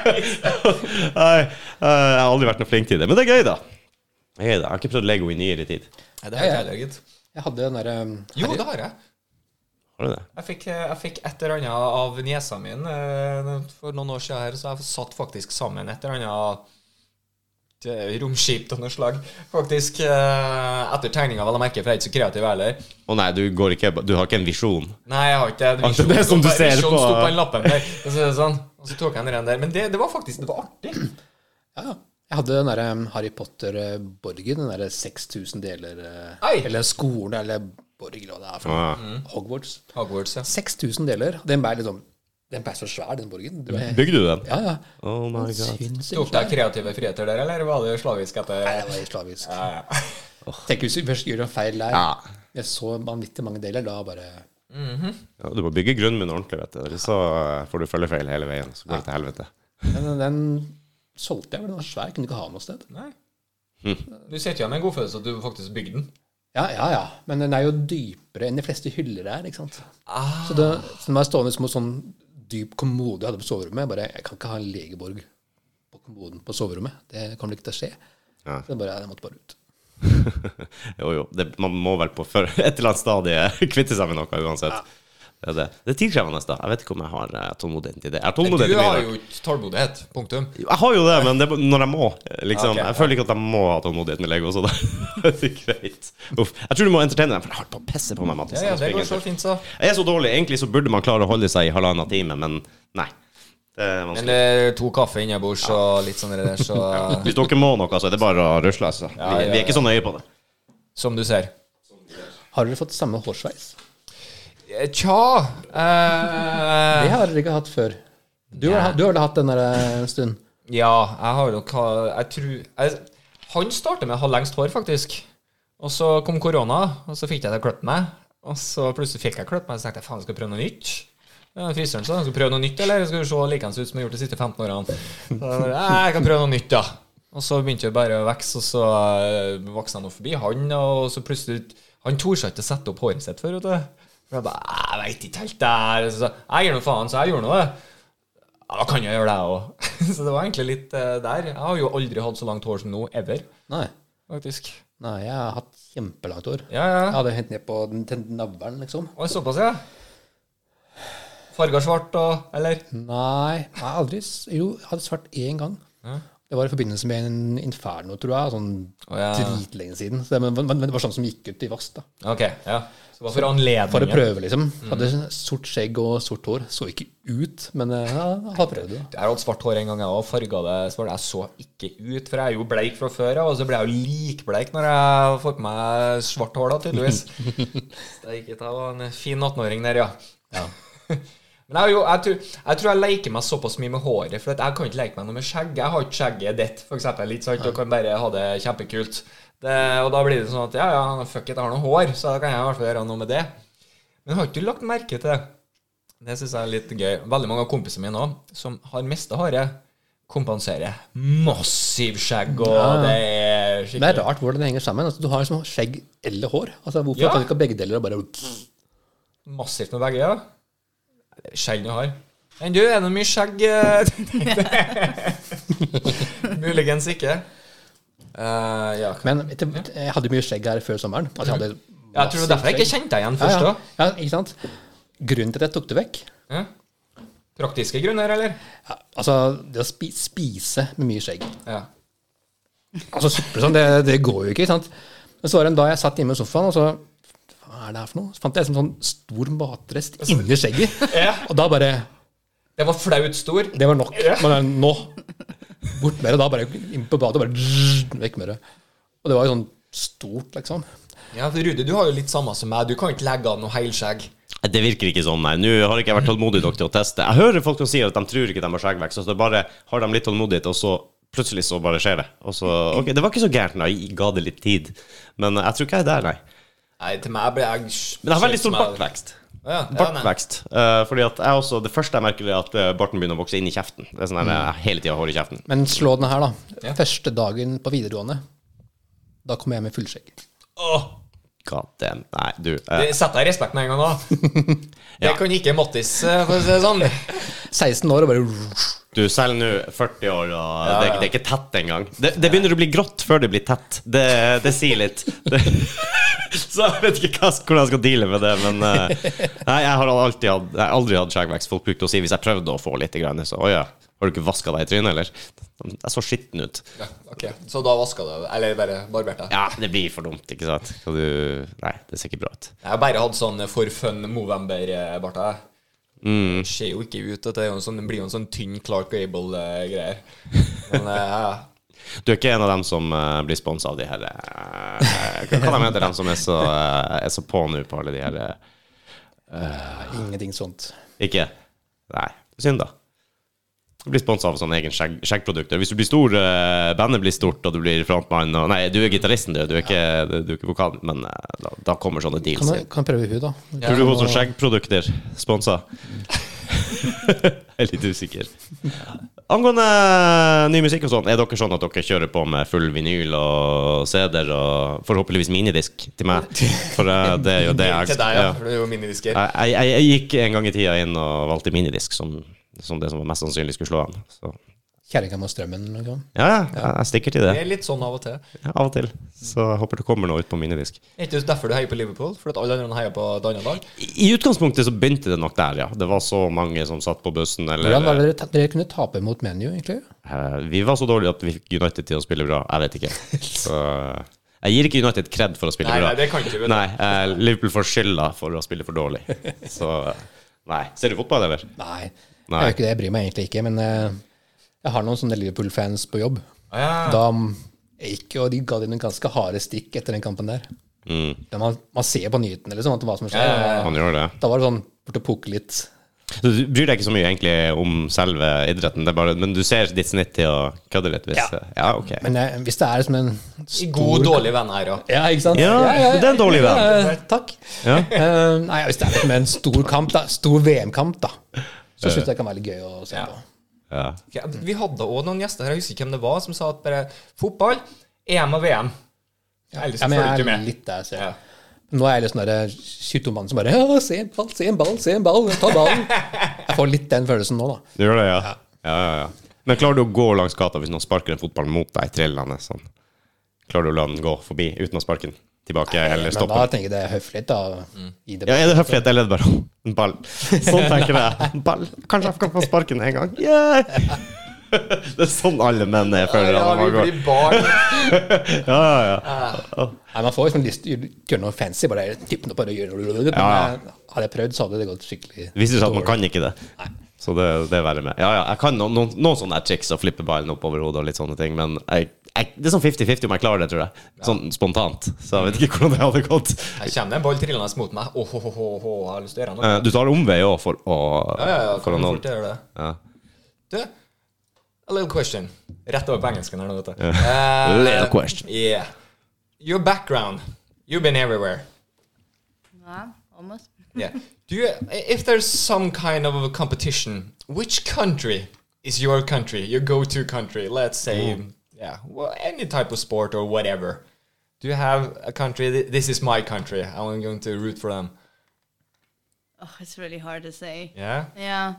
Speaker 1: [LAUGHS] Nei, eh, jeg har aldri vært noe flink til det, men det er gøy, da. Jeg har ikke prøvd Lego i nyere tid.
Speaker 2: Nei, det har jeg
Speaker 3: Ja, ja.
Speaker 2: heller, gitt.
Speaker 3: Jeg hadde den derre um,
Speaker 2: Jo, det har jeg.
Speaker 1: Har du det?
Speaker 2: Jeg fikk, eh, jeg fikk et eller annet av niesa mi eh, for noen år siden her, så jeg satt faktisk sammen et eller annet eh, romskip av noe slag. Faktisk. eh, Etter tegninga, vel å merke, for jeg er ikke så kreativ heller.
Speaker 1: Å nei, du, går ikke, du har ikke en visjon?
Speaker 2: Nei, jeg har ikke det.
Speaker 1: Altså, det er som du ser på-
Speaker 2: Sto på den lappen der, og så, er det sånn. og så tok jeg den der. Men det, det var faktisk det var artig.
Speaker 3: Ja, ja. Jeg hadde den derre um, Harry Potter-borgen, den derre 6000 deler uh,
Speaker 2: Ei!
Speaker 3: Eller skolen, eller borg, eller hva det er for noe.
Speaker 1: Ah.
Speaker 3: Hogwarts.
Speaker 2: Hogwarts, ja.
Speaker 3: 6000 deler. Den ble liksom Den ble så svær, den borgen. Du, ja,
Speaker 1: Bygde du den?
Speaker 3: ja.
Speaker 1: Oh my god.
Speaker 3: Sinnssykt.
Speaker 2: Tok deg kreative friheter der, eller var det slavisk etter
Speaker 3: Nei, det var helt slavisk. Tenk hvis du først gjør en feil der.
Speaker 1: Ja.
Speaker 3: Jeg så vanvittig mange deler, da bare
Speaker 1: Ja, du må bygge grunnmunnen ordentlig, vet du. Eller så eh, får du følgefeil hele veien. Så går det til helvete. [LAUGHS]
Speaker 3: Den, den solgte jeg, for den var svær. Kunne ikke ha den noe sted.
Speaker 2: Nei.
Speaker 1: Hm.
Speaker 2: Du sitter jo igjen med en god følelse at du faktisk bygde den.
Speaker 3: Ja, ja, ja. Men den er jo dypere enn de fleste hyller er, ikke sant. Så,
Speaker 1: Ah.
Speaker 3: det, så den var stående som en sånn dyp kommode jeg hadde på soverommet. Jeg bare, jeg kan ikke ha en legeborg på kommoden på soverommet. Det kommer ikke til å skje.
Speaker 1: Ja.
Speaker 3: Så jeg bare, jeg måtte bare ut.
Speaker 1: Jo, jo. Det, man må vel på før, [LAUGHS] et eller annet stadie [LAUGHS] kvitte seg med noe uansett. Det er, det. det er tidkrevende, da. Jeg vet ikke om jeg har eh, tålmodigheten til det. Jeg har
Speaker 2: Du
Speaker 1: tålmodigheten
Speaker 2: har
Speaker 1: min.
Speaker 2: jo ikke tålmodighet. Punktum.
Speaker 1: Jeg har jo det, men det er bare når jeg må. Liksom.
Speaker 2: Ja, ok.
Speaker 1: Jeg føler ikke at jeg må ha tålmodigheten i Lego, så da [LAUGHS] er det greit. Uff. Jeg tror du må entertaine deg, for jeg har holdt på å pisse på meg, Mattis.
Speaker 2: Ja, ja,
Speaker 1: Jeg
Speaker 2: det
Speaker 1: springer
Speaker 2: går så
Speaker 1: til.
Speaker 2: fint, så.
Speaker 1: Jeg er så dårlig. Egentlig så burde man klare å holde seg i halvannen time, men nei. Det er
Speaker 2: Men eh,
Speaker 1: vanskelig.
Speaker 2: det er to kaffe innabords og litt sånn det der, så [LAUGHS]
Speaker 1: Hvis dere må noe, så er det bare å rusle. Altså. Vi,
Speaker 2: Ja, ja,
Speaker 1: vi er ikke så nøye på det.
Speaker 2: Som du ser.
Speaker 3: Har dere fått samme hårsveis?
Speaker 2: Eh, Tja eh,
Speaker 3: Det har dere ikke hatt før. Du har, du har vel hatt den der eh, en stund?
Speaker 2: Ja, jeg har nok ha- Jeg tror jeg, Han startet med å ha lengst hår, faktisk. Og så kom korona, og så fikk jeg til å klippe meg. Og så plutselig fikk jeg klippe meg, og så tenkte jeg faen, skal jeg prøve noe nytt? Ja, Frisøren sa skal du prøve noe nytt, eller skal du se likeens ut som jeg har gjort de siste 15 årene? Så, jeg bare, «Nei, jeg kan prøve noe nytt, da. Og så begynte det bare å vokse, og så eh, vokste han nå forbi han, og så plutselig Han torde seg ikke å sette opp håret sitt før, vet du. For jeg bare, jeg veit ikke helt der. Så, jeg gir nå faen, så jeg gjorde nå det. Ja, da kan jeg gjøre det, jeg òg. [LAUGHS] Så det var egentlig litt eh, der. Jeg har jo aldri hatt så langt hår som nå, ever,
Speaker 3: Nei.
Speaker 2: faktisk.
Speaker 3: Nei, jeg har hatt kjempelangt hår.
Speaker 2: Ja, ja.
Speaker 3: Jeg hadde hentet ned på den- til navlen, liksom.
Speaker 2: Og såpass, ja. Farga svart og Eller?
Speaker 3: Nei, jeg har aldri s- Jo, jeg hadde svart én gang. Det var i forbindelse med en Inferno, tror jeg. Sånn
Speaker 2: Å, ja.
Speaker 3: dritlenge siden. Så det, men, men men det var sånn som gikk ut i vask, da.
Speaker 2: Ok, ja. Mm. Så det var for anledningen.
Speaker 3: For å prøve, liksom. Hadde sort skjegg og sort hår. Så ikke ut, men eh, jeg har prøvd det. da.
Speaker 2: Jeg har hatt svart hår en gang, jeg òg. Farga det svart. Jeg så ikke ut, for jeg er jo bleik fra før av, og så ble jeg jo likbleik når jeg får på meg svart hår, da, tydeligvis. Så det gikk ikke. Jeg var en fin 18-åring der, ja. [LAUGHS] Men jeg, har jo, jeg, tror, jeg tror jeg leker meg såpass mye med håret, for at jeg kan ikke leke meg noe med skjegg. Jeg har ikke skjegget ditt, for eksempel, litt sant, og kan bare ha det kjempekult. Det, og da blir det sånn at ja, ja, fuck it, jeg har noe hår, så da kan jeg i hvert fall gjøre noe med det. Men har ikke du lagt merke til det? Det syns jeg er litt gøy. Veldig mange av kompisene mine òg, som har mista håret, kompenserer. Massiv skjegg, og det er
Speaker 3: Det
Speaker 2: skikkelig
Speaker 3: er rart hvordan det henger sammen. Altså, du har liksom skjegg eller hår. Altså, hvorfor
Speaker 2: Ja.
Speaker 3: tar du ikke begge deler og bare
Speaker 2: massivt med begge øyne. Det er sjelden jeg har. Enn du, er det mye skjegg? eh? [LAUGHS] Muligens ikke. Eh, ja.
Speaker 3: Men etter, jeg hadde mye skjegg her før sommeren. Altså, jeg hadde
Speaker 2: Jeg tror det er derfor jeg ikke
Speaker 3: massivt skjegg.
Speaker 2: kjente deg igjen først.
Speaker 3: ja,
Speaker 2: da.
Speaker 3: ja. ja, ikke sant? Grunnen til at jeg tok det vekk
Speaker 2: Ja. Praktiske grunner, eller?
Speaker 3: ja, Altså, det å spi spise med mye skjegg
Speaker 2: Ja.
Speaker 3: Altså, suppe sånn, det, det går jo ikke, ikke sant? Men så var det en dag jeg satt hjemme i sofaen, og så Hva er det her for noe? Så fant jeg liksom sånn stor matrest inni skjegget.
Speaker 2: [LAUGHS] Ja.
Speaker 3: Og da bare
Speaker 2: Det var flaut stor.
Speaker 3: Det var nok. Men nå Bort med det. Da bare inn på badet og bare vekk med det. Og det var jo sånn stort, liksom.
Speaker 2: Ja, for Rudi, du har jo litt samme som meg. Du kan ikke legge av noe helskjegg.
Speaker 1: Nei, Det virker ikke sånn, nei. Nå har ikke jeg vært tålmodig nok til å teste. Jeg hører folk som sier at de tror ikke de har skjeggvekst, så det bare har de litt tålmodighet, og så plutselig så bare skjer det. Og så OK, det var ikke så gærent, da. Jeg ga det litt tid. Men jeg tror ikke jeg er der, nei.
Speaker 2: Nei, til meg blir jeg
Speaker 1: Men jeg har veldig stor bartvekst.
Speaker 2: Ja, ja, nei.
Speaker 1: Bartvekst. Eh, fordi at jeg også, det første jeg merker, er at eh, barten begynner å vokse inn i kjeften. Det er sånn
Speaker 2: Mm.
Speaker 1: der, jeg hele tida hår i kjeften.
Speaker 3: Men slå den her, da.
Speaker 2: Ja.
Speaker 3: Første dagen på videregående. Da kom jeg med fullskjegg.
Speaker 2: Åh,
Speaker 1: God damn. Nei, du. eh,
Speaker 2: det setter jeg respekt med en gang, da.
Speaker 1: [LAUGHS]
Speaker 2: Det
Speaker 1: Ja.
Speaker 2: kan ikke Mattis, eh, for å si det sånn.
Speaker 3: 16 år og bare
Speaker 1: Du, selv nå, 40 år, og det, er- det er ikke tett engang. Det, det begynner å bli grått før det blir tett. Det, det sier litt. Det, [LAUGHS] så jeg vet ikke hva, hvordan jeg skal deale med det, men eh, Nei, jeg har alltid hatt, jeg har aldri hatt skjeggvekst. Folk brukte å si hvis jeg prøvde å få litt, grann, så å ja, har du ikke vaska deg i trynet, eller? Jeg så skitten ut.
Speaker 2: Ja, ok. Så da vaska du Eller bare barberte?
Speaker 1: Ja, det blir for dumt, ikke sant? Skal du Nei, det ser ikke bra ut.
Speaker 2: Jeg har bare hatt sånn for fun Movember-bart. jeg. Det ser jo ikke ut. at Det er jo en sånn, det blir jo en sånn tynn Clark Gable-greier. Men eh,
Speaker 1: Du er ikke en av dem som eh, blir sponsa av de her eh, Hva kan de hete, dem som er så, eh, er så på nå på alle de her eh,
Speaker 3: Ingenting sånt.
Speaker 1: Ikke? Nei. Synd, da. Bli sponsa av sånne egen skjegg, skjeggprodukter. Hvis du blir stor, eh, bandet blir stort, og du blir frontmann og Nei, du er gitaristen, du. Du er ikke, du er ikke vokal, men eh, da, da kommer sånne
Speaker 3: Kan,
Speaker 1: deals.
Speaker 3: jeg- kan jeg prøve hun, da?
Speaker 1: Tror du hun som skjeggprodukter sponsa? Jeg er litt usikker. Angående ny musikk og sånn, er dere sånn at dere kjører på med full vinyl og CD-er og forhåpentligvis minidisk til meg? For eh, det er jo det jeg
Speaker 2: til deg, ja.
Speaker 1: ja.
Speaker 2: For du er jo minidisker.
Speaker 1: Jeg, jeg, jeg- jeg gikk en gang i tida inn og valgte minidisk som, som det som var mest sannsynlig skulle slå an. Så
Speaker 3: Kjerringa mot strømmen? Liksom.
Speaker 1: ja, ja, jeg stikker til
Speaker 2: Det
Speaker 1: det
Speaker 2: er litt sånn av og til.
Speaker 1: av og til. Så jeg håper det kommer noe ut på minidisk.
Speaker 2: Er ikke det derfor du heier på Liverpool? For at alle andre heier på et annet lag?
Speaker 1: I i utgangspunktet så begynte det nok der, ja. Det var så mange som satt på bussen eller
Speaker 3: Hvordan var det dere, dere kunne tape mot ManU, egentlig?
Speaker 1: Eh, Vi var så dårlige at vi fikk United til å spille bra. Jeg vet
Speaker 2: [LAUGHS]
Speaker 1: ikke. Så, jeg gir ikke United cred for å spille
Speaker 2: Nei,
Speaker 1: bra.
Speaker 2: nei, det kan ikke vi.
Speaker 1: Nei, eh, Liverpool får skylda for å spille for
Speaker 2: [LAUGHS]
Speaker 1: dårlig. Så eh, nei. Ser du fotball, eller?
Speaker 3: Nei.
Speaker 1: Nei.
Speaker 3: Jeg, gjør ikke det, jeg bryr meg egentlig ikke, men eh, jeg har noen sånne Liverpool-fans på jobb.
Speaker 2: Ah,
Speaker 3: Da mm, jeg gikk og de ga dem noen ganske harde stikk etter den kampen der.
Speaker 1: Mm.
Speaker 3: Ja, Man, man ser på nyhetene liksom, at hva som skjer.
Speaker 1: Han gjør det.
Speaker 3: Da var det sånn bort og pukke litt.
Speaker 1: Så du bryr deg ikke så mye egentlig om selve idretten, det er bare, men du ser ditt snitt til å kødde litt hvis Ja, ok.
Speaker 3: Men eh, hvis det er som en
Speaker 2: I
Speaker 3: stor
Speaker 2: god, dårlig venn her, ja.
Speaker 3: Ja, ikke sant?
Speaker 1: Ja, det er en dårlig venn.
Speaker 3: Ja, takk.
Speaker 1: Ja.
Speaker 3: Eh, nei, hvis det er som en stor kamp, da, stor VM-kamp, da, så syns jeg det kan være litt gøy å se på.
Speaker 1: Ja.
Speaker 2: Ja, Vi hadde òg noen gjester her, jeg husker ikke hvem det var, som sa at bare fotball, EM og VM. Ellers
Speaker 3: Ja, men
Speaker 2: følger du
Speaker 3: jeg
Speaker 2: ikke
Speaker 3: er
Speaker 2: med.
Speaker 3: litt der, ser
Speaker 2: Ja.
Speaker 3: jeg. Nå er jeg litt sånn der 22-mann som bare ja, se en ball, se en ball, se en ball, ta ballen. Jeg får litt den følelsen nå, da.
Speaker 1: Du gjør det, ja. Ja, ja, ja. Men klarer du å gå langs gata hvis noen sparker en fotball mot deg trillende sånn? Klarer du å la den gå forbi uten å sparke den tilbake eller
Speaker 3: Men
Speaker 1: stoppe
Speaker 3: da
Speaker 1: den?
Speaker 3: tenker jeg det er høflig, da. Gi det
Speaker 1: Ja, er det høflighet eller er det bare en ball? Sånn tenker jeg. En Ball. Kanskje jeg kan få sparken en gang. Yeah! [LAUGHS] Det er sånn alle menn er, føler jeg.
Speaker 2: Ja,
Speaker 1: når
Speaker 2: vi
Speaker 1: man går.
Speaker 2: blir barn.
Speaker 1: Ja, ja, ja.
Speaker 3: Nei, man får liksom lyst til å gjøre noe fancy, bare tippe noe på det. Gjøre, noe- men
Speaker 1: Ja, ja.
Speaker 3: eh, Hadde jeg prøvd, så hadde det gått skikkelig
Speaker 1: Det viser seg at man kan ikke det. Så det, det er verre med. Ja, ja, jeg kan noen, noen, noen sånne her triks å flippe ballen opp over hodet og litt sånne ting, men jeg, jeg, det er sånn 50-50 om jeg klarer det, tror jeg. Sånn spontant. Så jeg vet ikke hvordan det hadde gått.
Speaker 2: Her kommer det en ball trillende mot meg. Åh, åh, åh, åh, åh, jeg har lyst til å gjøre noe.
Speaker 1: Eh, Du tar omvei òg for å
Speaker 2: Ja, ja, ja,
Speaker 1: for å
Speaker 2: kan
Speaker 1: noen.
Speaker 2: fort gjøre det.
Speaker 1: Ja.
Speaker 2: Du, a little question. Rett over på engelsken her nå, vet du.
Speaker 1: Yeah. [LAUGHS]
Speaker 2: Eh,
Speaker 1: Little question.
Speaker 2: Yeah. Your background. You've been everywhere.
Speaker 4: Ah, almost.
Speaker 2: Yeah. Do you, if there's some kind of a competition, which country is your country, your go-to country? Let's say, yeah, well, any type of sport or whatever. Do you have a country? th- This is my country. I'm going to root for them.
Speaker 4: [LAUGHS] Oh, it's really hard to say.
Speaker 2: Yeah.
Speaker 4: Yeah.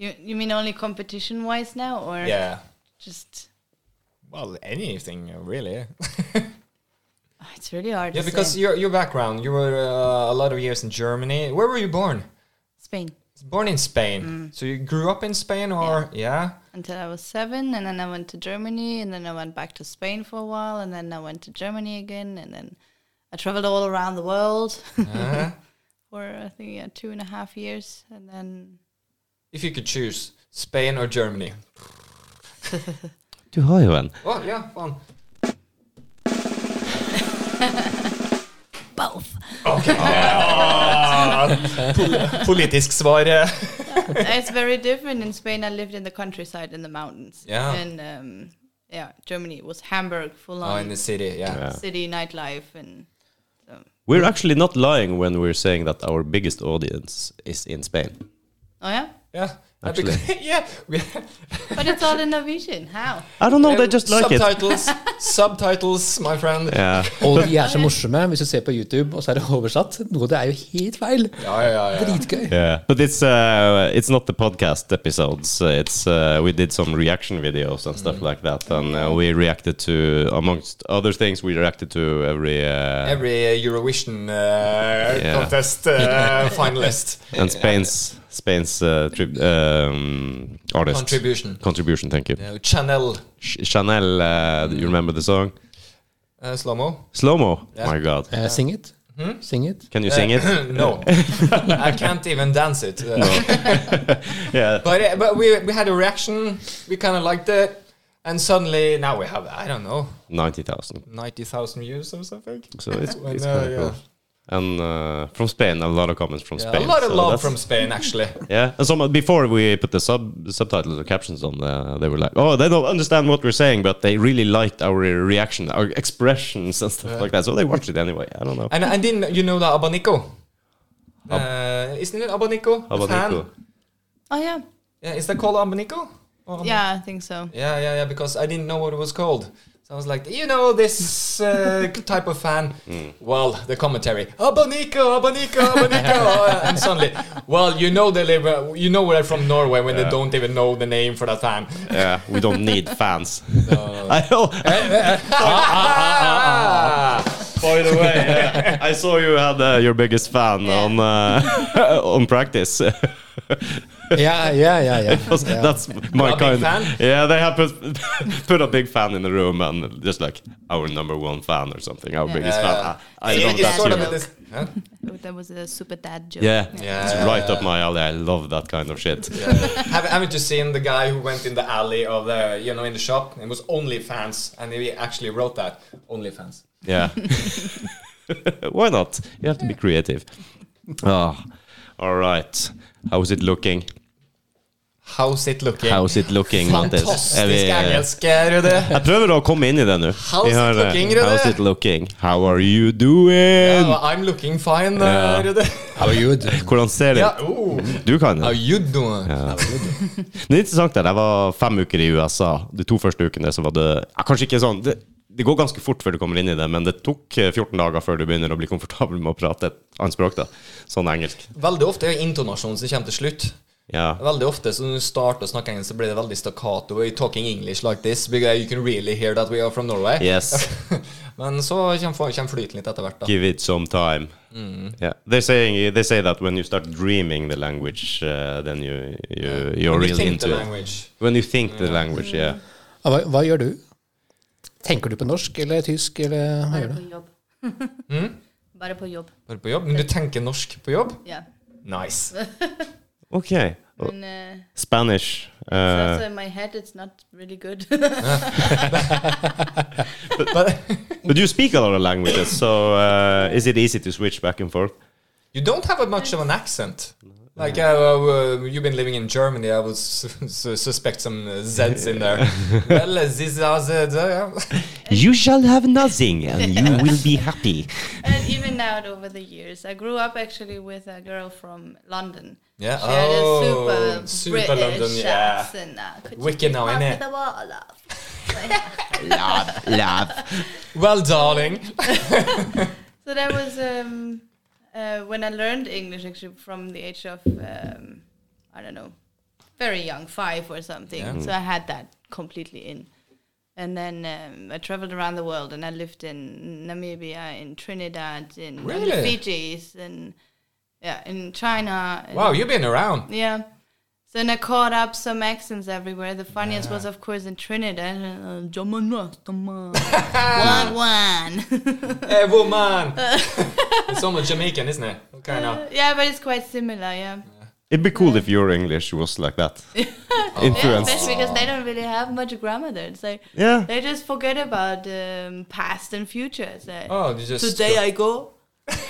Speaker 4: You you mean only competition wise now, or
Speaker 2: Yeah.
Speaker 4: just?
Speaker 2: Well, anything really.
Speaker 4: Oh, it's really hard.
Speaker 2: yeah,
Speaker 4: to
Speaker 2: because
Speaker 4: say.
Speaker 2: your your background, you were uh, a lot of years in Germany. Where were you born?
Speaker 4: Spain
Speaker 2: born in Spain.
Speaker 1: Mm.
Speaker 2: So you grew up in Spain, or yeah,
Speaker 4: until I was seven, and then I went to Germany, and then I went back to Spain for a while, and then I went to Germany again, and then I traveled all around the world [LAUGHS]
Speaker 2: Uh-huh.
Speaker 4: for I think yeah, two and a half years, and then
Speaker 2: [LAUGHS] if you could choose Spain or Germany.
Speaker 1: Du har jo en.
Speaker 2: Oh yeah, fun.
Speaker 4: both.
Speaker 2: [LAUGHS] Politisk svar. eh.
Speaker 4: it's very different in Spain. I lived in the countryside in the mountains.
Speaker 2: Yeah.
Speaker 4: And um, yeah, Germany it was Hamburg, full
Speaker 2: Oh, in
Speaker 4: on
Speaker 2: the city, yeah.
Speaker 4: city nightlife, and
Speaker 1: We're actually not lying when we're saying that our biggest audience is in Spain.
Speaker 4: oh yeah,
Speaker 2: Yeah.
Speaker 1: actually.
Speaker 2: [LAUGHS] yeah.
Speaker 1: [LAUGHS]
Speaker 2: We-
Speaker 4: But it's all in Norwegian. How?
Speaker 1: I don't know, they just like it.
Speaker 2: subtitles, subtitles, my friend.
Speaker 1: Yeah.
Speaker 3: Og de er så morsomme hvis du ser på YouTube, og så er det oversatt. Noe av det er jo helt feil.
Speaker 2: Ja, ja, ja, ja.
Speaker 3: Dritgøy.
Speaker 1: Yeah, but it's uh, it's not the podcast episodes. It's uh, we did some reaction videos and
Speaker 2: Mm-hmm.
Speaker 1: stuff like that, and uh, we reacted to amongst other things. We reacted to every uh,
Speaker 2: Every Eurovision uh, contest [LAUGHS] uh, finalist
Speaker 1: and Spain's Spain's uh, tri- um, artist
Speaker 2: contribution.
Speaker 1: Contribution, Thank you,
Speaker 2: You know, Chanel
Speaker 1: Ch- Chanel. Uh, do you remember the song
Speaker 2: uh, slow mo.
Speaker 1: Slow Mo?
Speaker 2: Yeah.
Speaker 1: My God,
Speaker 3: Eh, sing it.
Speaker 2: Mhm.
Speaker 3: Sing it.
Speaker 1: can you sing it?
Speaker 2: Eh, [CLEARS THROAT] [COUGHS] no, I can't even dance
Speaker 1: [LAUGHS]
Speaker 2: it. Uh,
Speaker 1: Yeah,
Speaker 2: But uh, but we we had a reaction. We kind of liked it, and suddenly now we have I don't know
Speaker 1: ninety thousand.
Speaker 2: ninety thousand views or something.
Speaker 1: So it's,
Speaker 2: Well,
Speaker 1: it's
Speaker 2: no,
Speaker 1: kind of
Speaker 2: yeah.
Speaker 1: cool. And uh, from Spain, a lot of comments from
Speaker 2: Yeah,
Speaker 1: Spain.
Speaker 2: a lot of
Speaker 1: so
Speaker 2: love
Speaker 1: that's-
Speaker 2: from Spain actually.
Speaker 1: Yeah, and some before we put the sub subtitles or captions on, uh, they were like, "Oh, they don't understand what we're saying, but they really liked our reaction, our expressions and stuff like that." So they watched it anyway. I don't know.
Speaker 2: And and then you know the Abanico. Uh, isn't it Abanico? The fan?
Speaker 1: Abanico.
Speaker 4: Oh yeah,
Speaker 2: Yeah, is that called Abanico? Or Aban-
Speaker 4: yeah, I think so.
Speaker 2: Yeah, yeah, yeah. Because I didn't know what it was called, so I was like, you know, this uh,
Speaker 1: [LAUGHS]
Speaker 2: type of fan.
Speaker 1: Mm.
Speaker 2: Well, the commentary, Abanico, Abanico,
Speaker 1: [LAUGHS]
Speaker 2: Abanico, uh, and suddenly, well, you know, they live, you know, we're from Norway when they don't even know the name for that
Speaker 1: [LAUGHS]
Speaker 2: fan.
Speaker 1: Yeah, we don't need fans. [LAUGHS] I, know-
Speaker 2: Ah!
Speaker 1: by the way, uh, I saw you had uh, your biggest fan
Speaker 4: Yeah.
Speaker 1: on uh, [LAUGHS] on practice.
Speaker 3: Ja, ja, ja.
Speaker 2: [LAUGHS]
Speaker 3: ja. ja.
Speaker 1: That's my
Speaker 2: A big
Speaker 1: kind.
Speaker 2: fan?
Speaker 1: Yeah, they have put, [LAUGHS] put a big fan in the room and just like our number one fan or something. Our
Speaker 4: Yeah.
Speaker 1: biggest
Speaker 2: Yeah,
Speaker 1: fan.
Speaker 2: yeah.
Speaker 1: I, I
Speaker 4: It-
Speaker 1: love
Speaker 4: it's
Speaker 1: that
Speaker 4: sort
Speaker 1: too.
Speaker 4: of a-
Speaker 2: this- huh?
Speaker 4: Oh, That was a super dad joke.
Speaker 1: Yeah,
Speaker 2: Yeah.
Speaker 1: it's right up my alley. I love that kind of shit.
Speaker 2: Yeah. Have, haven't you seen the guy who went in the alley of the, you know, in the shop? It was OnlyFans, and he actually wrote that OnlyFans.
Speaker 1: Yeah. [LAUGHS] Why not? You have to be creative. Ah, all right. How's it looking?
Speaker 2: How's it looking?
Speaker 1: How's it looking, Mattis? Er
Speaker 2: Fantastisk
Speaker 1: vi-
Speaker 2: engelsk,
Speaker 1: [LAUGHS]
Speaker 2: Rudi.
Speaker 1: Jeg prøver å komme inn i det nå.
Speaker 2: How's
Speaker 1: Vi
Speaker 2: it
Speaker 1: hører,
Speaker 2: looking, Rune?
Speaker 1: How's it looking? How are you doing?
Speaker 2: Oh, I'm looking fine,
Speaker 1: Yeah.
Speaker 2: uh, Rudi.
Speaker 3: How are you doing?
Speaker 1: Hvordan ser det
Speaker 2: Yeah.
Speaker 1: ut?
Speaker 2: Ooh.
Speaker 1: Du kan det.
Speaker 2: How you doing?
Speaker 1: Det er interessant der, jeg var fem uker i USA. De to første ukene så var det ja, Kanskje ikke sånn det, det går ganske fort før du kommer inn i det, men det tok eh, 14 dager før du begynner å bli komfortabel med å prate et annet språk. da Sånn engelsk.
Speaker 2: Veldig ofte er jo intonasjonen som kommer til slutt.
Speaker 1: Ja.
Speaker 2: Veldig ofte så når du starter å snakke engelsk, så blir er det veldig stakkato. i eh, Talking English like this, because you can really hear that we are from Norway.
Speaker 1: Yes.
Speaker 2: [LAUGHS] Men så kommer, kommer flyten litt etter hvert, da.
Speaker 1: Give it some time.
Speaker 2: Mm.
Speaker 1: Yeah. They're saying, they say that when you start dreaming the language, uh, then you, you, you're
Speaker 2: When you
Speaker 1: really
Speaker 2: think
Speaker 1: into
Speaker 2: the
Speaker 1: it.
Speaker 2: language. Mm.
Speaker 1: When you think the language, yeah.
Speaker 4: Mm.
Speaker 3: Hva, hva gjør du? Tenker du på norsk eller tysk, eller hva
Speaker 4: Bare
Speaker 3: gjør du?
Speaker 4: på jobb.
Speaker 2: Hmm?
Speaker 4: Bare på jobb.
Speaker 2: Bare på jobb. Men du tenker norsk på jobb?
Speaker 4: Yeah.
Speaker 2: Nice.
Speaker 1: Okay. Oh.
Speaker 4: And, uh,
Speaker 1: Spanish.
Speaker 4: it's
Speaker 1: Uh,
Speaker 4: also in my head, it's not really good. [LAUGHS]
Speaker 2: But
Speaker 1: but you speak a lot of languages, so uh, is it easy to switch back and forth?
Speaker 2: you don't have a much of an accent. Like uh, uh, you've been living in Germany, I would su- su- suspect some uh, Z's in there.
Speaker 1: [LAUGHS]
Speaker 2: well, uh, this is, uh, Z, uh, yeah.
Speaker 1: You shall have nothing, and you will be happy.
Speaker 4: and even now, over the years, I grew up actually with a girl from London.
Speaker 2: Yeah.
Speaker 4: She had a
Speaker 2: Oh,
Speaker 4: super,
Speaker 2: super
Speaker 4: British
Speaker 2: London, yeah.
Speaker 4: accent. Uh, could you
Speaker 2: Wicked now,
Speaker 4: pass
Speaker 2: innit?
Speaker 4: me the water?
Speaker 1: Love, love.
Speaker 2: Well, darling.
Speaker 4: So that was um, uh, when I learned English actually from the age of um, I don't know, very young, five or something. So I had that completely in. And then um, I traveled around the world, and I lived in Namibia, in Trinidad, in on the
Speaker 2: Really?
Speaker 4: Fijis, and yeah, in China. and-
Speaker 2: Wow, you've been [LAUGHS] around.
Speaker 4: yeah. So then I caught up some accents everywhere. The funniest was, of course, in Trinidad. Uh, "Jamana, tama, wagwan."
Speaker 2: Hey, Eh, [LAUGHS] woman. it's almost Jamaican, isn't it? Kind of.
Speaker 4: [LAUGHS] yeah, but it's quite similar, yeah.
Speaker 1: It'd be cool if your English was like that.
Speaker 4: Yeah,
Speaker 1: Influenced.
Speaker 4: especially because they don't really have much grammar there. It's like
Speaker 1: Yeah.
Speaker 4: they just forget about um, past and future. It's like,
Speaker 2: Oh, you just.
Speaker 4: today I go.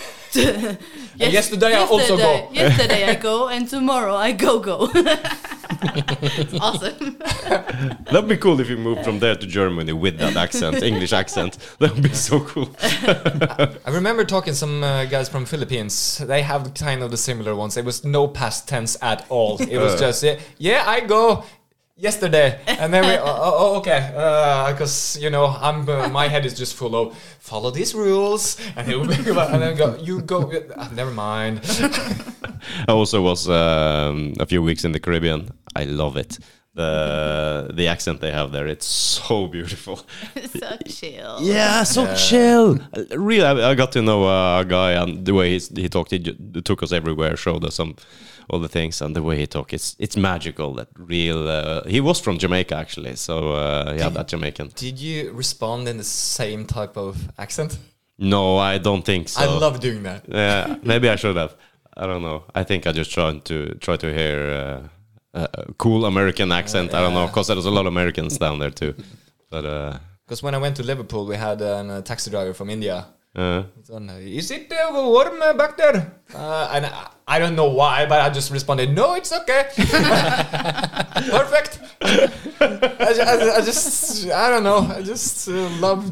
Speaker 4: [LAUGHS] yes,
Speaker 2: yesterday I also go.
Speaker 4: yesterday I go, [LAUGHS] and tomorrow I go go. It's awesome. [LAUGHS]
Speaker 1: That'd be cool if you moved from there to Germany with that accent, English accent. That would be so cool.
Speaker 2: I remember talking some uh, guys from Philippines. They have kind of the similar ones. It was no past tense at all. It was just yeah, yeah I go yesterday, and then we oh, oh okay, because you know I'm uh, my head is just full of follow these rules, and, it will be, [LAUGHS] and then go you go uh, never mind.
Speaker 1: I also was um, a few weeks in the Caribbean. I love it. The the accent they have there, it's so beautiful.
Speaker 4: so chill.
Speaker 1: Yeah, so
Speaker 2: Oh,
Speaker 1: chill. Really, I, I got to know uh, a guy and the way he's, he talked, he ju- took us everywhere, showed us some all the things, and the way he talked, it's it's magical. That real. Uh, he was from Jamaica actually, so uh, yeah, that Jamaican.
Speaker 2: Did you respond in the same type of accent?
Speaker 1: No, I don't think so.
Speaker 2: I love doing that.
Speaker 1: Yeah, maybe I should have. I don't know. I think I just tried to try to hear uh, uh, a cool American accent. I don't know, because there's a lot of Americans down there too. But uh,
Speaker 2: Because when I went to Liverpool, we had an uh, taxi driver from India.
Speaker 1: uh,
Speaker 2: It's on, uh, Is it uh, warm uh, back there? Uh, and I, I don't know why, but I just responded, "No, it's okay, [LAUGHS] perfect." I, ju- I ju- I just, I don't know, I just uh, love.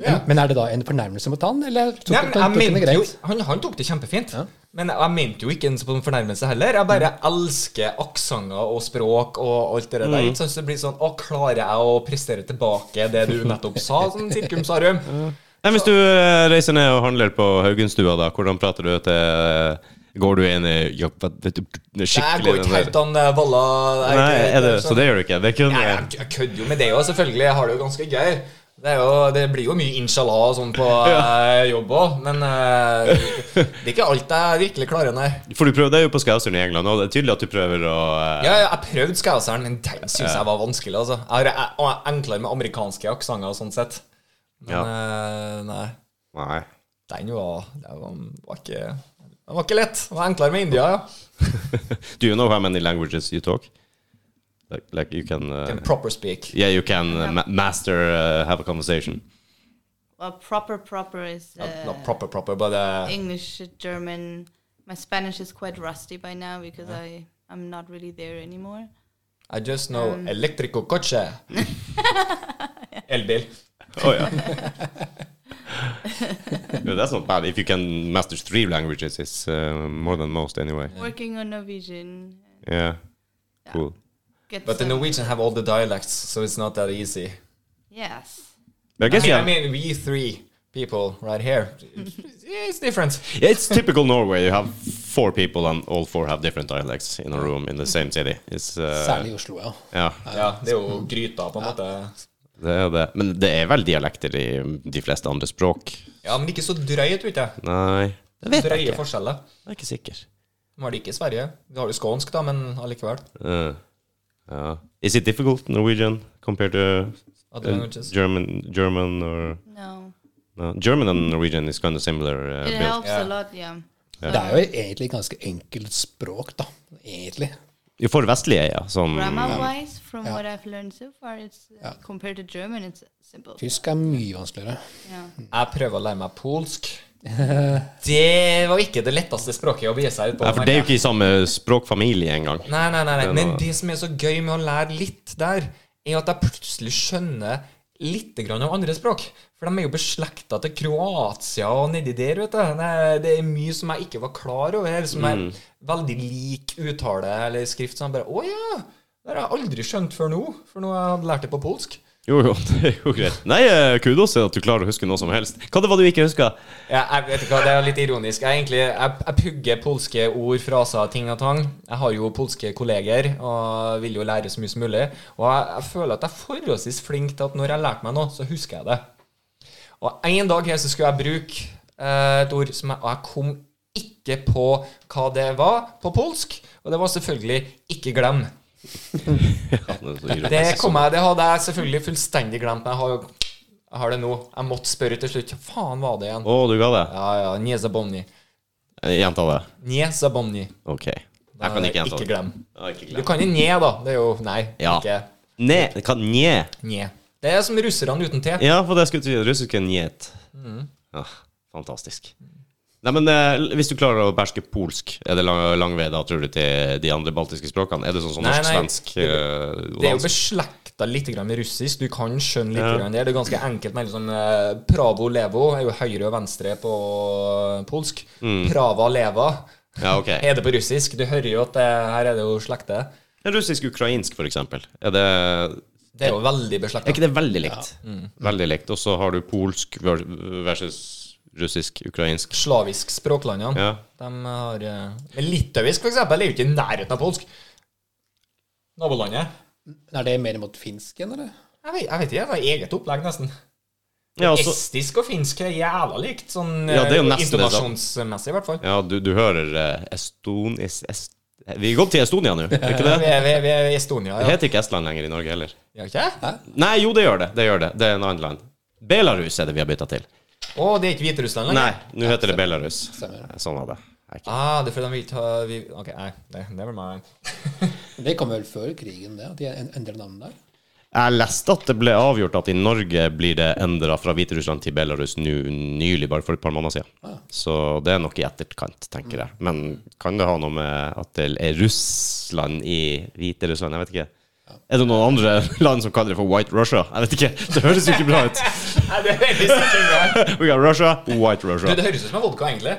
Speaker 2: Yeah.
Speaker 3: Men er det da en fornærmelse mot han, eller tok,
Speaker 2: Nei, men jeg
Speaker 3: tok han det
Speaker 2: mente jo,
Speaker 3: greit?
Speaker 2: han, han tok det kjempefint, men jeg mente jo ikke en sånn fornærmelse heller. Jeg
Speaker 3: Mm.
Speaker 2: bare elsker aksenter og språk og alt det der.
Speaker 3: Mm.
Speaker 2: Ikke sant? Så det blir sånn Å, klarer jeg å prestere tilbake det du nettopp sa, sånn sirkum sarum?
Speaker 3: Mm.
Speaker 1: Nei, hvis du eh, reiser ned og handler på Haugenstua, da, hvordan prater du til eh, Går du inn i ja, hva- vet du,
Speaker 2: Jeg går
Speaker 1: skikkelig
Speaker 2: ikke
Speaker 1: den
Speaker 2: helt
Speaker 1: der-
Speaker 2: an eh, Valla. jeg
Speaker 1: Nei, er eh, det,
Speaker 2: ikke-
Speaker 1: så det gjør du ikke? Det
Speaker 2: Nei,
Speaker 1: kunne
Speaker 2: jeg, jeg kødder jo med det òg, selvfølgelig. Jeg har det jo ganske gøy. Det, er jo, det blir jo mye inshallah og sånn på eh, jobb òg, men eh, det er ikke alt jeg virkelig klarer, nei.
Speaker 1: For du prøver, det er jo på Skauseren i England, og det er tydelig at du prøver å eh,
Speaker 2: Ja, jeg prøvde skauseren, men den syns jeg var vanskelig, altså. Jeg har- Jeg jeg er enklere med amerikanske aksenter og sånn sett. Men eh, nei,
Speaker 1: Nei.
Speaker 2: den var, den var, var ikke Den var ikke lett. Den var enklere med India, ja.
Speaker 1: Do you know how many languages you talk? Like, like you can, uh,
Speaker 2: Can proper speak.
Speaker 1: Yeah, you can uh, ma master uh, have a conversation.
Speaker 4: Well, proper, proper is uh,
Speaker 2: Not, not proper, proper, but uh,
Speaker 4: English, German. My Spanish is quite rusty by now because I I'm not really there anymore.
Speaker 2: I just know
Speaker 1: Um.
Speaker 2: electrico coche.
Speaker 1: [LAUGHS]
Speaker 2: Elbil.
Speaker 1: Oh
Speaker 2: [LAUGHS]
Speaker 1: yeah. no, that's not bad. If you can master three languages, it's uh, more than most anyway.
Speaker 4: Working on Norwegian.
Speaker 1: Yeah. Cool.
Speaker 4: Get
Speaker 2: But the
Speaker 4: some-
Speaker 2: Norwegian have all the dialects, so it's not that easy.
Speaker 4: Yes.
Speaker 1: I
Speaker 2: I
Speaker 1: guess
Speaker 2: mean,
Speaker 1: yeah.
Speaker 2: I mean we three people right here. It's different.
Speaker 1: Yeah,
Speaker 2: [LAUGHS]
Speaker 1: it's typical Norway. You have four people and all four have different dialects in a room in the same city. It's uh,
Speaker 3: Særlig i Oslo, ja.
Speaker 1: yeah.
Speaker 2: Ja, det er jo gryta, på en måte.
Speaker 1: Det er det. Men det er vel dialekter i de fleste andre språk?
Speaker 2: Ja, men ikke så drøyt, vet jeg.
Speaker 1: Nei. Det vet jeg
Speaker 2: Drøye
Speaker 1: ikke.
Speaker 2: forskjeller.
Speaker 1: Jeg er ikke sikker.
Speaker 2: Nå har de ikke i Sverige. De har jo skånsk, da, men allikevel.
Speaker 1: Uh, yeah. Is it difficult Norwegian compared to
Speaker 2: Other
Speaker 1: uh,
Speaker 2: languages.
Speaker 1: German, German or
Speaker 4: No.
Speaker 1: No, German and Norwegian is kind of similar. Uh,
Speaker 4: It
Speaker 1: built.
Speaker 4: helps
Speaker 2: Yeah.
Speaker 4: a lot. Yeah.
Speaker 3: Det er jo egentlig et ganske enkelt språk, da. Egentlig.
Speaker 1: Jo, For vestlige, er, ja. Som,
Speaker 4: Grammar wise, from
Speaker 3: Yeah.
Speaker 4: what I've learned so far, it's uh, compared to German, it's simple.
Speaker 3: Tysk er mye vanskeligere.
Speaker 4: Yeah.
Speaker 2: Jeg prøver å lære meg
Speaker 1: [LAUGHS]
Speaker 2: polsk. Det var ikke det letteste språket å begi seg ut på.
Speaker 1: ja, for det er jo ikke i samme språkfamilie engang.
Speaker 2: Nei, nei, nei, nei. Men det som er så gøy med å lære litt der, er at jeg plutselig skjønner litt grann av andre språk. For de er jo beslekta til Kroatia og nedi der, vet du. Det- Det er mye som jeg ikke var klar over, som er veldig lik uttale eller skrift. Så jeg bare Å ja! Det har jeg aldri skjønt før nå, for nå har jeg lært det på polsk.
Speaker 1: Jo, [LAUGHS] jo, det er jo greit. Nei, eh, kudos til at du klarer å huske noe som helst. Hva det var du ikke huska?
Speaker 2: Ja, jeg vet ikke hva, Det er litt ironisk. Jeg, egentlig, jeg, jeg pugger polske ord, fraser, ting og tang. Jeg har jo polske kolleger og vil jo lære så mye som mulig. Og jeg, jeg føler at jeg er forholdsvis flink til at når jeg har lært meg noe, så husker jeg det. Og en dag her så skulle jeg bruke eh, et ord som jeg, og jeg kom ikke på hva det var på polsk. Og det var selvfølgelig 'ikke glem'. Det kom jeg, det hadde jeg selvfølgelig fullstendig glemt. Men jeg har, jo- jeg har det nå. Jeg måtte spørre til slutt. Hva faen var det igjen?
Speaker 1: Å, du ga det? Eh,
Speaker 2: Ja, ja, Niezabonni.
Speaker 1: Gjenta det.
Speaker 2: Nje sabonni.
Speaker 1: Ok. Jeg kan ikke gjenta
Speaker 2: Ikke
Speaker 1: det.
Speaker 2: glem.
Speaker 1: Ja, ikke
Speaker 2: Du
Speaker 1: glem.
Speaker 2: kan jo nje, da. Det er jo Nei.
Speaker 1: Ja.
Speaker 2: Ikke
Speaker 1: Ne, det kan nje.
Speaker 2: nje. Det er som russerne uten T. Mm.
Speaker 1: Ja, for det skulle til russiske njet. Ja, Ah, fantastisk. Nei, men eh, Hvis du klarer å beherske polsk, er det lang, lang vei da, tror du, til de andre baltiske språkene? Er det sånn som
Speaker 2: Nei, nei,
Speaker 1: norsk-svensk?
Speaker 2: det-
Speaker 1: eh, og
Speaker 2: Det er jo
Speaker 1: dansk?
Speaker 2: beslekta litt grann med russisk. Du kan skjønne litt
Speaker 1: Ja.
Speaker 2: grann der. Det er ganske enkelt. Men liksom, eh, Pravo levo er jo høyre og venstre på polsk.
Speaker 1: Mm.
Speaker 2: Prava leva
Speaker 1: Ja, ok.
Speaker 2: er det på russisk. Du hører jo at det, her er det jo slekte.
Speaker 1: Russisk-ukrainsk, for eksempel. Er, det,
Speaker 2: Det er jo veldig
Speaker 1: er
Speaker 2: beslekta.
Speaker 1: ikke det veldig likt? Mm. Veldig likt. Og så har du polsk ver- versus russisk-ukrainsk.
Speaker 2: Slavisk språklandene.
Speaker 1: Ja.
Speaker 2: De har eh, Men litauisk, for eksempel, er jo ikke i nærheten av polsk. Nabolandet.
Speaker 3: Er det mer mot finsk igjen, eller?
Speaker 2: Jeg vet, jeg vet ikke. Det er eget opplegg, nesten.
Speaker 1: Ja, og så-
Speaker 2: Estisk og finsk er jævla likt, sånn
Speaker 1: Altså- Ja, det er jo
Speaker 2: eh,
Speaker 1: nesten det, da.
Speaker 2: intonasjonsmessig, i hvert fall.
Speaker 1: ja du, du hører eh, Eston... Es, est, vi har gått til Estonia nå, er ikke
Speaker 2: Vi [LAUGHS]
Speaker 1: det?
Speaker 2: er, vi er, vi er i Estonia,
Speaker 1: Det
Speaker 2: ja.
Speaker 1: heter ikke Estland lenger i Norge heller.
Speaker 2: Gjør ikke det?
Speaker 1: Nei, jo, det gjør det. Det gjør det. Det er en annen land. Belarus er det vi har bytta til.
Speaker 2: Å, det er ikke Hviterussland lenger?
Speaker 1: Nei, nå heter det Belarus. Sånn var det. Jeg er ikke-
Speaker 2: Ah, det er fordi de vil ta vi, Ok, nei, det, never mind. [LAUGHS]
Speaker 3: Det kom vel før krigen, det? At de en- endret navnet der?
Speaker 1: Jeg leste at det ble avgjort at i Norge blir det endra fra Hviterussland til Belarus nå nylig, bare for et par måneder
Speaker 2: Ah.
Speaker 1: siden. Så det er nok i etterkant, tenker jeg. Men kan det ha noe med at det er Russland i Hviterussland? Jeg vet ikke. Er det noen andre land som kaller det for White Russia? Jeg vet ikke. Det høres jo ikke bra ut. [LAUGHS]
Speaker 2: Nei, det er veldig sikkert bra.
Speaker 1: We got Russia, White
Speaker 2: Du,
Speaker 1: Russia.
Speaker 2: det høres ut som en vodka, egentlig.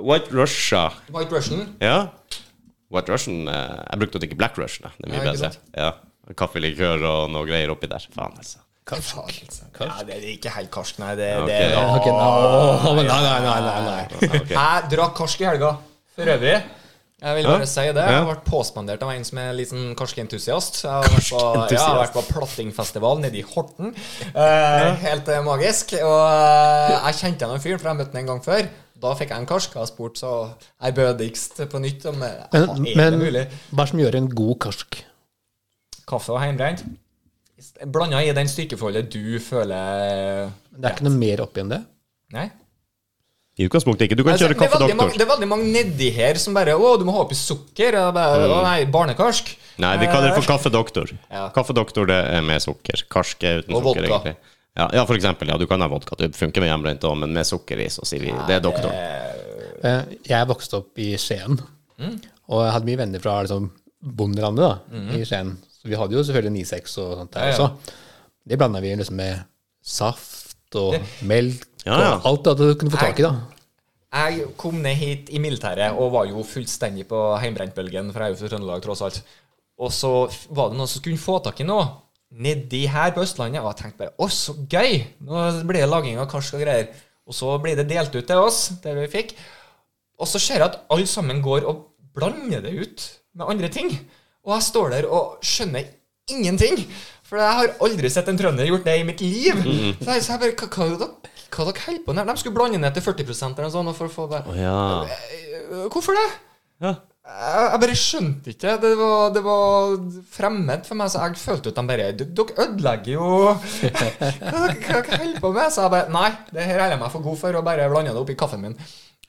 Speaker 1: White Russia.
Speaker 2: White Russian.
Speaker 1: Ja. White Russian eh, Jeg brukte å drikke Black Russian. da. Det er mye
Speaker 2: Ja, ikke
Speaker 1: bedre.
Speaker 2: sant?
Speaker 1: Ja. Kaffelikør og noe greier oppi der. Faen, altså.
Speaker 2: Nei, det er ikke helt karsk, nei. Det,
Speaker 1: Ok.
Speaker 2: det er
Speaker 3: Ok, nå- men nei, nei, nei, nei, nei.
Speaker 1: Ok.
Speaker 2: Jeg drakk karsk i helga. For øvrig. Jeg vil bare
Speaker 1: Ja.
Speaker 2: si det.
Speaker 1: Ja.
Speaker 2: Jeg ble påspandert av en som er en liten karskentusiast. Jeg har vært på,
Speaker 1: Karskentusiast.
Speaker 2: ja, jeg har vært på plattingfestival nede i Horten. Eh, helt eh, magisk. Og eh, jeg kjente igjen en fyr, for jeg møtte han en gang før. Da fikk jeg en karsk. Jeg har spurt så ærbødigst på nytt om eh, er
Speaker 3: Men,
Speaker 2: det
Speaker 3: men
Speaker 2: mulig.
Speaker 3: hva er det som gjør en god karsk?
Speaker 2: Kaffe og heimbrent. Blanda i den styrkeforholdet du føler
Speaker 3: Det er ikke noe mer oppi enn det?
Speaker 2: Nei?
Speaker 1: I utgangspunktet ikke. Du kan
Speaker 2: Altså,
Speaker 1: kjøre
Speaker 2: det, er
Speaker 1: Kaffe
Speaker 2: veldig mange,
Speaker 1: Doktor.
Speaker 2: det er veldig mange nedi her som bare Å, du må ha oppi sukker. Og jeg bare,
Speaker 1: Mm.
Speaker 2: Å nei, barnekarsk.
Speaker 1: Nei, vi kaller det for Kaffe Doktor.
Speaker 2: Eh, Ja.
Speaker 1: Kaffe Doktor det er med sukker. Karsk er uten
Speaker 2: Og
Speaker 1: sukker,
Speaker 2: vodka.
Speaker 1: egentlig. Ja, ja, for eksempel. Ja, du kan ha vodka. Det funker med hjemmebrent òg, men med sukker i, så sier vi det er doktoren.
Speaker 3: Eh, Jeg vokste opp i Skien,
Speaker 2: Mm.
Speaker 3: og jeg hadde mye venner fra liksom, bondelandet da, i Skien. Så vi hadde jo selvfølgelig 9-6 og sånt der
Speaker 2: Ja, ja.
Speaker 3: også. Det blanda vi liksom med saft og melk
Speaker 1: Ja, ja.
Speaker 3: og alt det du kunne få tak i, da.
Speaker 2: Jeg kom ned hit i militæret og var jo fullstendig på heimbrentbølgen, for jeg er jo fra Trøndelag, tross alt. Og så f- var det noen som skulle få tak i noe nedi her på Østlandet, og jeg tenkte bare Å, så gøy! Nå blir det laging av karsk og greier. Og så blir det delt ut til oss, det vi fikk. Og så ser jeg at alle sammen går og blander det ut med andre ting. Og jeg står der og skjønner ingenting. For jeg har aldri sett en trønder gjort det i mitt liv.
Speaker 1: Mm.
Speaker 2: Så jeg, så jeg bare, hva, hva, er det dere- hva dere holder på med? De skulle blande ned til 40 eller noe sånt. og For å få det.
Speaker 1: Ja.
Speaker 2: Øh, Hvorfor det?
Speaker 1: Ja.
Speaker 2: Jeg, jeg bare skjønte ikke. Det var, det var fremmed for meg. Så jeg følte at de bare "Du- Dere ødelegger jo [LAUGHS] Hva er det dere holder på med? Så jeg bare Nei, det her holder jeg meg for god for, og bare blanda det oppi kaffen min.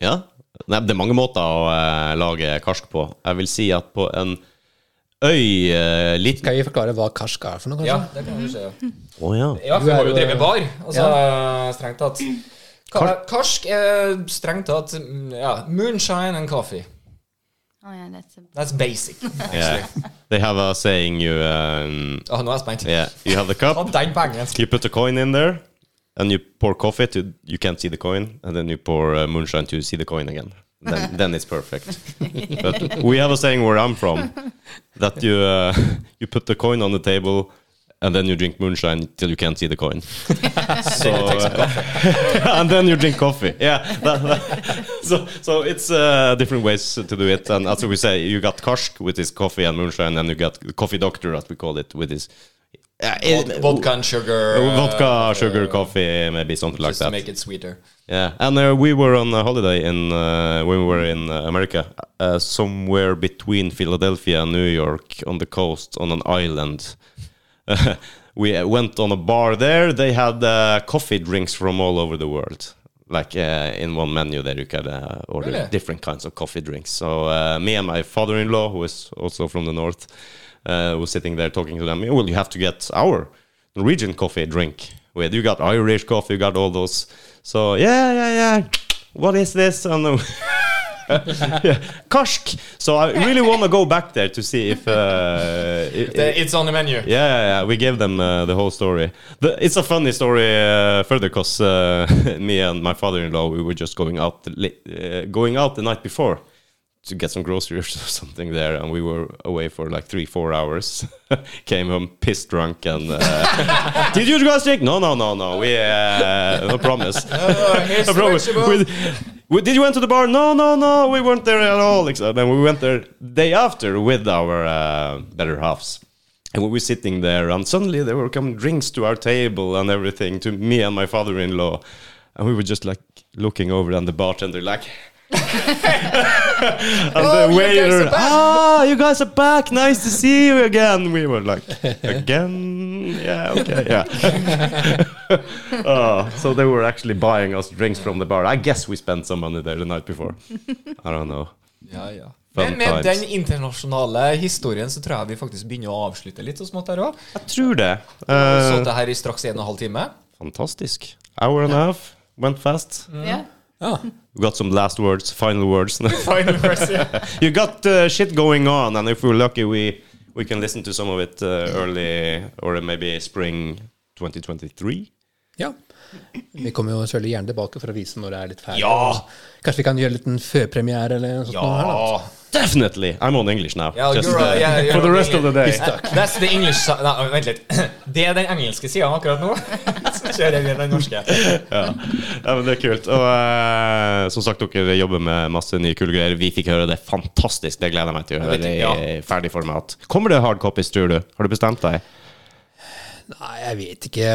Speaker 1: ja. Nei, det er mange måter å eh, lage karsk på. Jeg vil si at på en øy eh, litt Å
Speaker 3: Skal vi forklare hva karsk er for noe,
Speaker 2: Ja,
Speaker 3: kanskje?
Speaker 2: det kan du si. Ja.
Speaker 1: ja.
Speaker 2: Ja, for
Speaker 3: Du
Speaker 2: vi
Speaker 3: er
Speaker 2: må jo
Speaker 3: jo-
Speaker 2: drive bar. Altså, strengt tatt. Ka karsk er strengt tatt mm, ja, moonshine and coffee.
Speaker 4: Oh yeah, that's a
Speaker 2: That's basic.
Speaker 1: Yeah. Eh, They have a saying you um,
Speaker 2: Å, nå er jeg spent.
Speaker 1: yeah, You have the cup.
Speaker 2: Å, den på engelsk.
Speaker 1: You put a coin in there, and you pour coffee to you can't see the coin, and then you pour uh, moonshine to see the coin again. Then, then it's perfect. but we have a saying where I'm from that you uh, [LAUGHS] you put the coin on the table. And then you drink moonshine till you can't see the coin. so, uh, [LAUGHS] and then you drink coffee. Yeah. that- that- [LAUGHS] so, so it's uh, different ways to do it. And as we say, you got Karsk with his coffee and moonshine, and you got Coffee Doctor, as we call it, with his. uh, Yeah,
Speaker 2: Vod-
Speaker 1: it-
Speaker 2: Vodka and sugar.
Speaker 1: Uh,
Speaker 2: uh,
Speaker 1: vodka, sugar, coffee, maybe something like
Speaker 2: Just to
Speaker 1: that.
Speaker 2: make it sweeter.
Speaker 1: Yeah, and uh, we were on a holiday in uh, when we were in uh, America, uh, somewhere between Philadelphia and New York, on the coast, on an island. [LAUGHS] we uh, went on a bar there. They had uh, coffee drinks from all over the world. Like uh, in one menu there, you could uh, order
Speaker 2: Really?
Speaker 1: different kinds of coffee drinks. So uh, me and my father-in-law, who is also from the north, uh, was sitting there talking to them. Well, you have to get our Norwegian coffee drink. With you got Irish coffee, you got all those. So yeah, yeah, yeah. What is this? [LAUGHS] And, um, yeah, Karsk! So I really want to go back there to see if. Uh, i- i-
Speaker 2: It's on the menu. [LAUGHS]
Speaker 1: yeah, yeah, yeah, we gave them uh, the whole story. The, it's a funny story uh, further because uh, [LAUGHS] me and my father-in-law we were just going out the li- uh, going out the night before to get some groceries [LAUGHS] or something there, and we were away for like three four hours. [LAUGHS] Came home pissed drunk and uh, [LAUGHS] did you guys drink? No, no, no, no. We uh, no promise.
Speaker 2: Oh,
Speaker 1: [LAUGHS]
Speaker 2: here's
Speaker 1: No problem. We-
Speaker 2: Lunchables.
Speaker 1: we- did you went to the bar? No, no, no. We weren't there at all. Except, and we went there day after with our uh, better halves. And we were sitting there, and suddenly there were coming drinks to our table and everything to me and my father-in-law, and we were just like looking over, and the bartender like. [LAUGHS] and the
Speaker 2: Oh, you guys are
Speaker 1: waiter,
Speaker 2: back.
Speaker 1: ah, you guys are back. Nice to see you again. We were
Speaker 2: [LAUGHS]
Speaker 1: like, again, yeah, okay, yeah. Oh, so they were actually buying us drinks from the bar. I guess we spent some money there the night before. I don't know.
Speaker 2: Ja, ja.
Speaker 1: Fun
Speaker 2: Men med
Speaker 1: times.
Speaker 2: den internasjonale historien så tror jeg vi faktisk begynner å avslutte litt. så smått her også.
Speaker 1: Jeg tror det.
Speaker 2: Vi har
Speaker 1: Eh,
Speaker 2: Sittet her Oh, i straks en og en halv time.
Speaker 1: fantastisk. Hour and a half. Went fast.
Speaker 2: Mm. Mm-hmm.
Speaker 4: Yeah.
Speaker 1: We got some last words, final words.
Speaker 2: [LAUGHS]
Speaker 1: [LAUGHS]
Speaker 2: Final verse, ja.
Speaker 1: you got uh, shit going on, and if we're lucky, we we can listen to some of it uh, early or maybe spring 2023.
Speaker 3: Ja. Vi kommer jo selvfølgelig gjerne tilbake for å vise når det er litt ferdig.
Speaker 1: Ja.
Speaker 3: Kanskje vi kan gjøre en liten førpremiere eller noe sånt. noe her, da.
Speaker 1: Ja, definitely. I'm on English now.
Speaker 2: Ja,
Speaker 1: Just,
Speaker 2: you're
Speaker 1: uh,
Speaker 2: right.
Speaker 1: [LAUGHS]
Speaker 2: Yeah, you're
Speaker 1: for the
Speaker 2: on
Speaker 1: rest of the
Speaker 2: English.
Speaker 1: day.
Speaker 2: That's the English si- Nei, vent litt. [LAUGHS] Det er den engelske sida akkurat nå. [LAUGHS] Så kjører vi den norske.
Speaker 1: Ja, men Det er kult. Og eh, som sagt, dere jobber med masse nye kule greier. Vi fikk høre det fantastisk. Det gleder jeg meg til å høre
Speaker 2: vet
Speaker 1: i
Speaker 2: ikke,
Speaker 1: ferdig format. Kommer det hard copies, tror du? Har du bestemt deg?
Speaker 3: Nei, jeg vet ikke.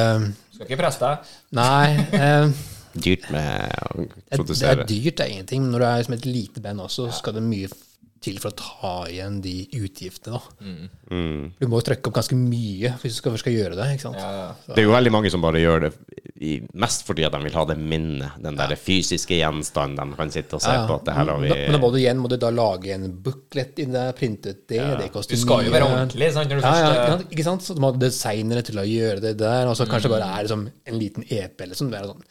Speaker 2: Skal ikke presse deg.
Speaker 3: Nei. Eh,
Speaker 1: Dyrt med å
Speaker 3: det, det er
Speaker 1: produsere.
Speaker 3: dyrt, det er ingenting. Men når du er liksom et lite band også, så skal det mye f- til for å ta igjen de utgiftene. Da.
Speaker 2: Mm.
Speaker 1: Mm.
Speaker 3: Du må jo trykke opp ganske mye hvis du skal, skal gjøre det. ikke sant?
Speaker 1: Det er jo veldig mange som bare gjør det i, mest fordi at de vil ha det minnet. Den der fysiske gjenstanden de kan sitte og se på. At det her har
Speaker 3: Men
Speaker 1: vi
Speaker 3: da- Men da må du igjen må du da lage en booklet inni der, printet det, det koster
Speaker 2: Du skal jo
Speaker 3: mye.
Speaker 2: være ordentlig. Sant? Når du
Speaker 3: Ja, ja, ikke
Speaker 2: først, Mm.
Speaker 3: sant? ikke sant? Så du må ha designere til å gjøre det der, og så kanskje bare er det som en liten EP eller sånn. Det er sånn.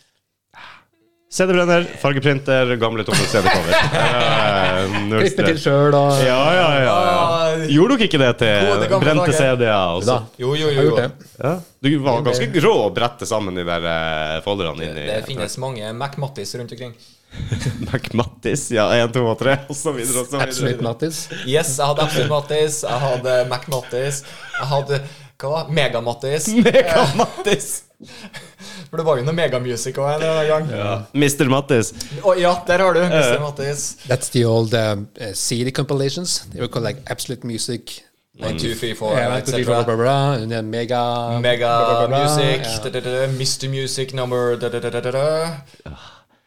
Speaker 1: CD-brenner, fargeprinter, gamle tomme [LAUGHS] CD-cover. Eh, null
Speaker 3: Klippe til
Speaker 1: stress.
Speaker 3: sjøl og
Speaker 1: Ja, ja, ja, ja. Gjorde dere ikke det
Speaker 2: Gode
Speaker 1: til
Speaker 2: gamle
Speaker 1: brente
Speaker 2: dager.
Speaker 1: CD-er?
Speaker 3: da.
Speaker 1: også?
Speaker 2: eh, Jo, jo,
Speaker 3: Jeg har
Speaker 2: jo.
Speaker 3: gjort
Speaker 2: jo.
Speaker 3: det.
Speaker 1: Ja. Du var ganske grå å brette sammen de der eh, folderne inni
Speaker 2: Det finnes mange Mac Mattis rundt omkring.
Speaker 1: McMattis. Ja, 1, 2 og 3, og så videre og så videre.
Speaker 3: Absolutt Mattis.
Speaker 2: Yes, jeg hadde Absolute Mattis, jeg hadde Mac Mattis, jeg hadde hva var det? Mega Mattis.
Speaker 1: [LAUGHS] Mega-Mattis.
Speaker 2: [LAUGHS] For det var jo noe Mega Music også en eller annen gang.
Speaker 1: Ja. Mr. Mattis.
Speaker 2: Å, ja, der har du Mr. Mattis.
Speaker 3: That's the old um, uh, CD compilations. They were called like Absolute Music.
Speaker 2: One, two, three, four,
Speaker 3: Yeah,
Speaker 2: et
Speaker 3: like, blah,
Speaker 2: cetera.
Speaker 3: blah, blah, blah, and then Mega blah, blah,
Speaker 2: Mega
Speaker 3: blah,
Speaker 2: Music,
Speaker 3: yeah.
Speaker 2: da, da, da, da, Mr. Music number da, da, da, da, da, da.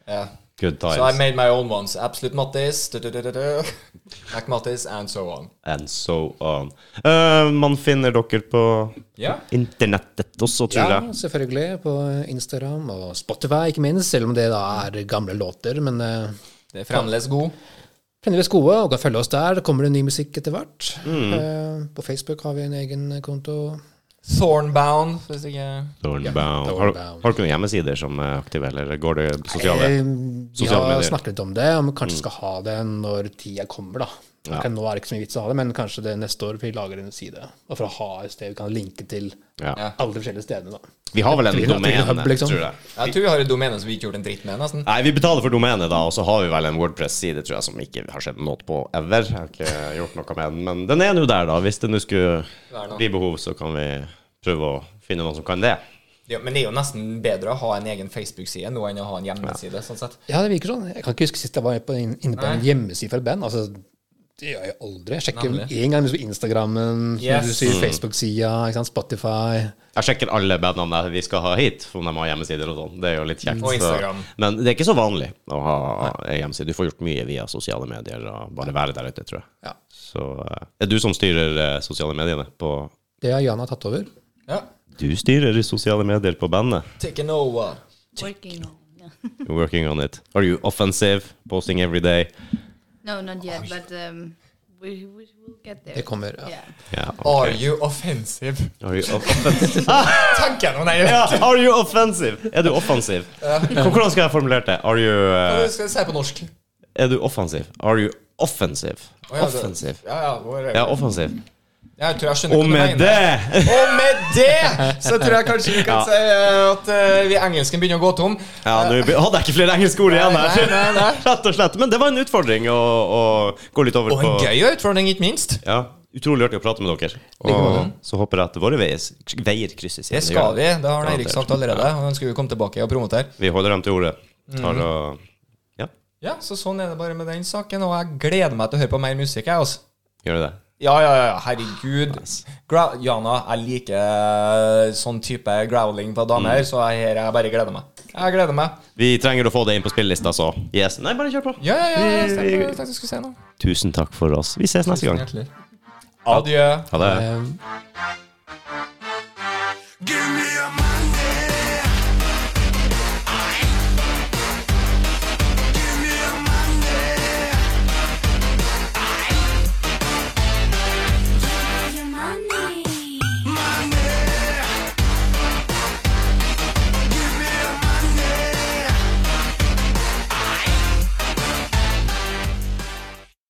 Speaker 2: Yeah.
Speaker 1: Good
Speaker 2: So I
Speaker 1: times.
Speaker 2: made my own ones. Absolute Mattis, da, da, da, da, da. Mac Mattis, and so on.
Speaker 1: And so on. Eh, man finner dere på
Speaker 2: Ja.
Speaker 1: internettet også, tror
Speaker 3: Ja,
Speaker 1: jeg.
Speaker 3: selvfølgelig. På Instagram og Spotify, ikke minst. Selv om det da er gamle låter. Men uh,
Speaker 2: Det er fremdeles god.
Speaker 3: fremdeles gode, og kan følge oss der. Det kommer det ny musikk etter hvert. Eh, på Facebook har vi en egen konto.
Speaker 2: Thornbound, hvis ikke
Speaker 1: Thornbound. Har, har
Speaker 3: Thornbound.
Speaker 1: dere noen hjemmesider som er aktive, eller går det sosiale?
Speaker 3: Eh, vi
Speaker 1: Sosiale
Speaker 3: har
Speaker 1: medier.
Speaker 3: snakket litt om det, om vi kanskje skal ha det når tida kommer, da.
Speaker 1: Ja.
Speaker 3: Ok, nå er det ikke så mye vits å ha det, men kanskje det neste år vi lager en side. Og for å ha et sted vi kan linke til
Speaker 1: Ja.
Speaker 3: alle de forskjellige stedene, da.
Speaker 1: Vi har vel en
Speaker 3: Vi har- vi har-
Speaker 1: domene,
Speaker 3: liksom.
Speaker 1: tror jeg.
Speaker 2: Jeg tror vi har et domene som vi ikke gjorde en dritt med, nesten.
Speaker 1: Nei, vi betaler for domenet, da, og så har vi vel en Wordpress-side tror jeg, som ikke har skjedd noe på ever. Jeg har ikke gjort noe med den, men den er nå der, da. Hvis det nå skulle
Speaker 2: er noe.
Speaker 1: bli behov, så kan vi prøve å finne noen som kan det.
Speaker 2: Ja, men det er jo nesten bedre å ha en egen Facebook-side nå enn å ha en hjemmeside. sånn sett.
Speaker 3: Ja, det virker sånn. Jeg kan ikke huske sist jeg var på, inne på en hjemmeside for et band. Altså, det gjør jeg aldri. Jeg sjekker
Speaker 2: Nemlig.
Speaker 3: én gang liksom Instagrammen, som du
Speaker 2: Yes.
Speaker 3: sier, Facebook-sida, ikke sant, Spotify.
Speaker 1: Jeg sjekker alle bandene vi skal ha hit, for om de har hjemmesider og sånn. Det er jo litt kjekt.
Speaker 2: Og
Speaker 1: så-
Speaker 2: Instagram.
Speaker 1: Men det er ikke så vanlig å ha en hjemmeside. Du får gjort mye via sosiale medier og bare være der ute, tror jeg.
Speaker 3: Ja.
Speaker 1: Så eh, er du som styrer eh, sosiale mediene på
Speaker 3: Det har Jan har tatt over.
Speaker 2: Ja.
Speaker 1: Du styrer sosiale medier på bandet.
Speaker 2: Take an over.
Speaker 4: Working on. Yeah.
Speaker 1: You're working on it. Are you offensive? Posting every day?
Speaker 4: No, not yet, but um, we, we will get there.
Speaker 3: Det kommer. Ja.
Speaker 4: Yeah.
Speaker 1: Ja, ok.
Speaker 2: Are you offensive?
Speaker 1: Are you offensive?
Speaker 2: Tenker jeg nå,
Speaker 1: [LAUGHS]
Speaker 2: nei.
Speaker 1: Ja, are you offensive? Er du offensiv? Hvordan skal jeg formulere det? Are you eh,
Speaker 2: Skal vi se på norsk?
Speaker 1: Er du offensiv? Are you offensive?
Speaker 2: Å, ja, det-
Speaker 1: Offensiv.
Speaker 2: Ja, ja, hvor-
Speaker 1: Ja, offensiv.
Speaker 2: Jeg tror jeg skjønner
Speaker 1: Og
Speaker 2: hva du
Speaker 1: med
Speaker 2: mener.
Speaker 1: det
Speaker 2: Og med det så tror jeg kanskje vi kan
Speaker 1: Ja.
Speaker 2: si eh, at eh, vi engelsken begynner å gå tom.
Speaker 1: Ja, nå be- hadde jeg ikke flere engelske ord igjen
Speaker 2: Nei,
Speaker 1: her.
Speaker 2: nei, nei.
Speaker 1: Rett og slett. Men det var en utfordring å, å gå litt over
Speaker 2: Og en
Speaker 1: på
Speaker 2: gøy utfordring, ikke minst.
Speaker 1: Ja, Utrolig artig å prate med dere. Og så håper jeg at våre veier, veier krysses. igjen.
Speaker 2: Det skal vi. Det har
Speaker 1: Ja,
Speaker 2: Eirik
Speaker 1: det-
Speaker 2: sagt allerede. Mhm. Og ønsker vi komme tilbake og promotere.
Speaker 1: Vi holder dem til ordet. Tar og Ja,
Speaker 2: Ja, så sånn er det bare med den saken. Og jeg gleder meg til å høre på mer musikk, jeg, altså.
Speaker 1: gjør vi det?
Speaker 2: Ja, ja, ja, herregud. Gra Jana, jeg liker sånn type growling på
Speaker 1: Mm.
Speaker 2: damer, så jeg, her, jeg bare gleder meg. Jeg gleder meg.
Speaker 1: Vi trenger å få det inn på spillelista, så yes. Nei, bare kjør på.
Speaker 2: Ja, ja, ja, jeg stemmer. Jeg tenkte jeg skulle si noe.
Speaker 1: Tusen takk for oss. Vi ses neste gang.
Speaker 2: Adjø.
Speaker 1: Ha det.
Speaker 3: Eh,
Speaker 4: Bye.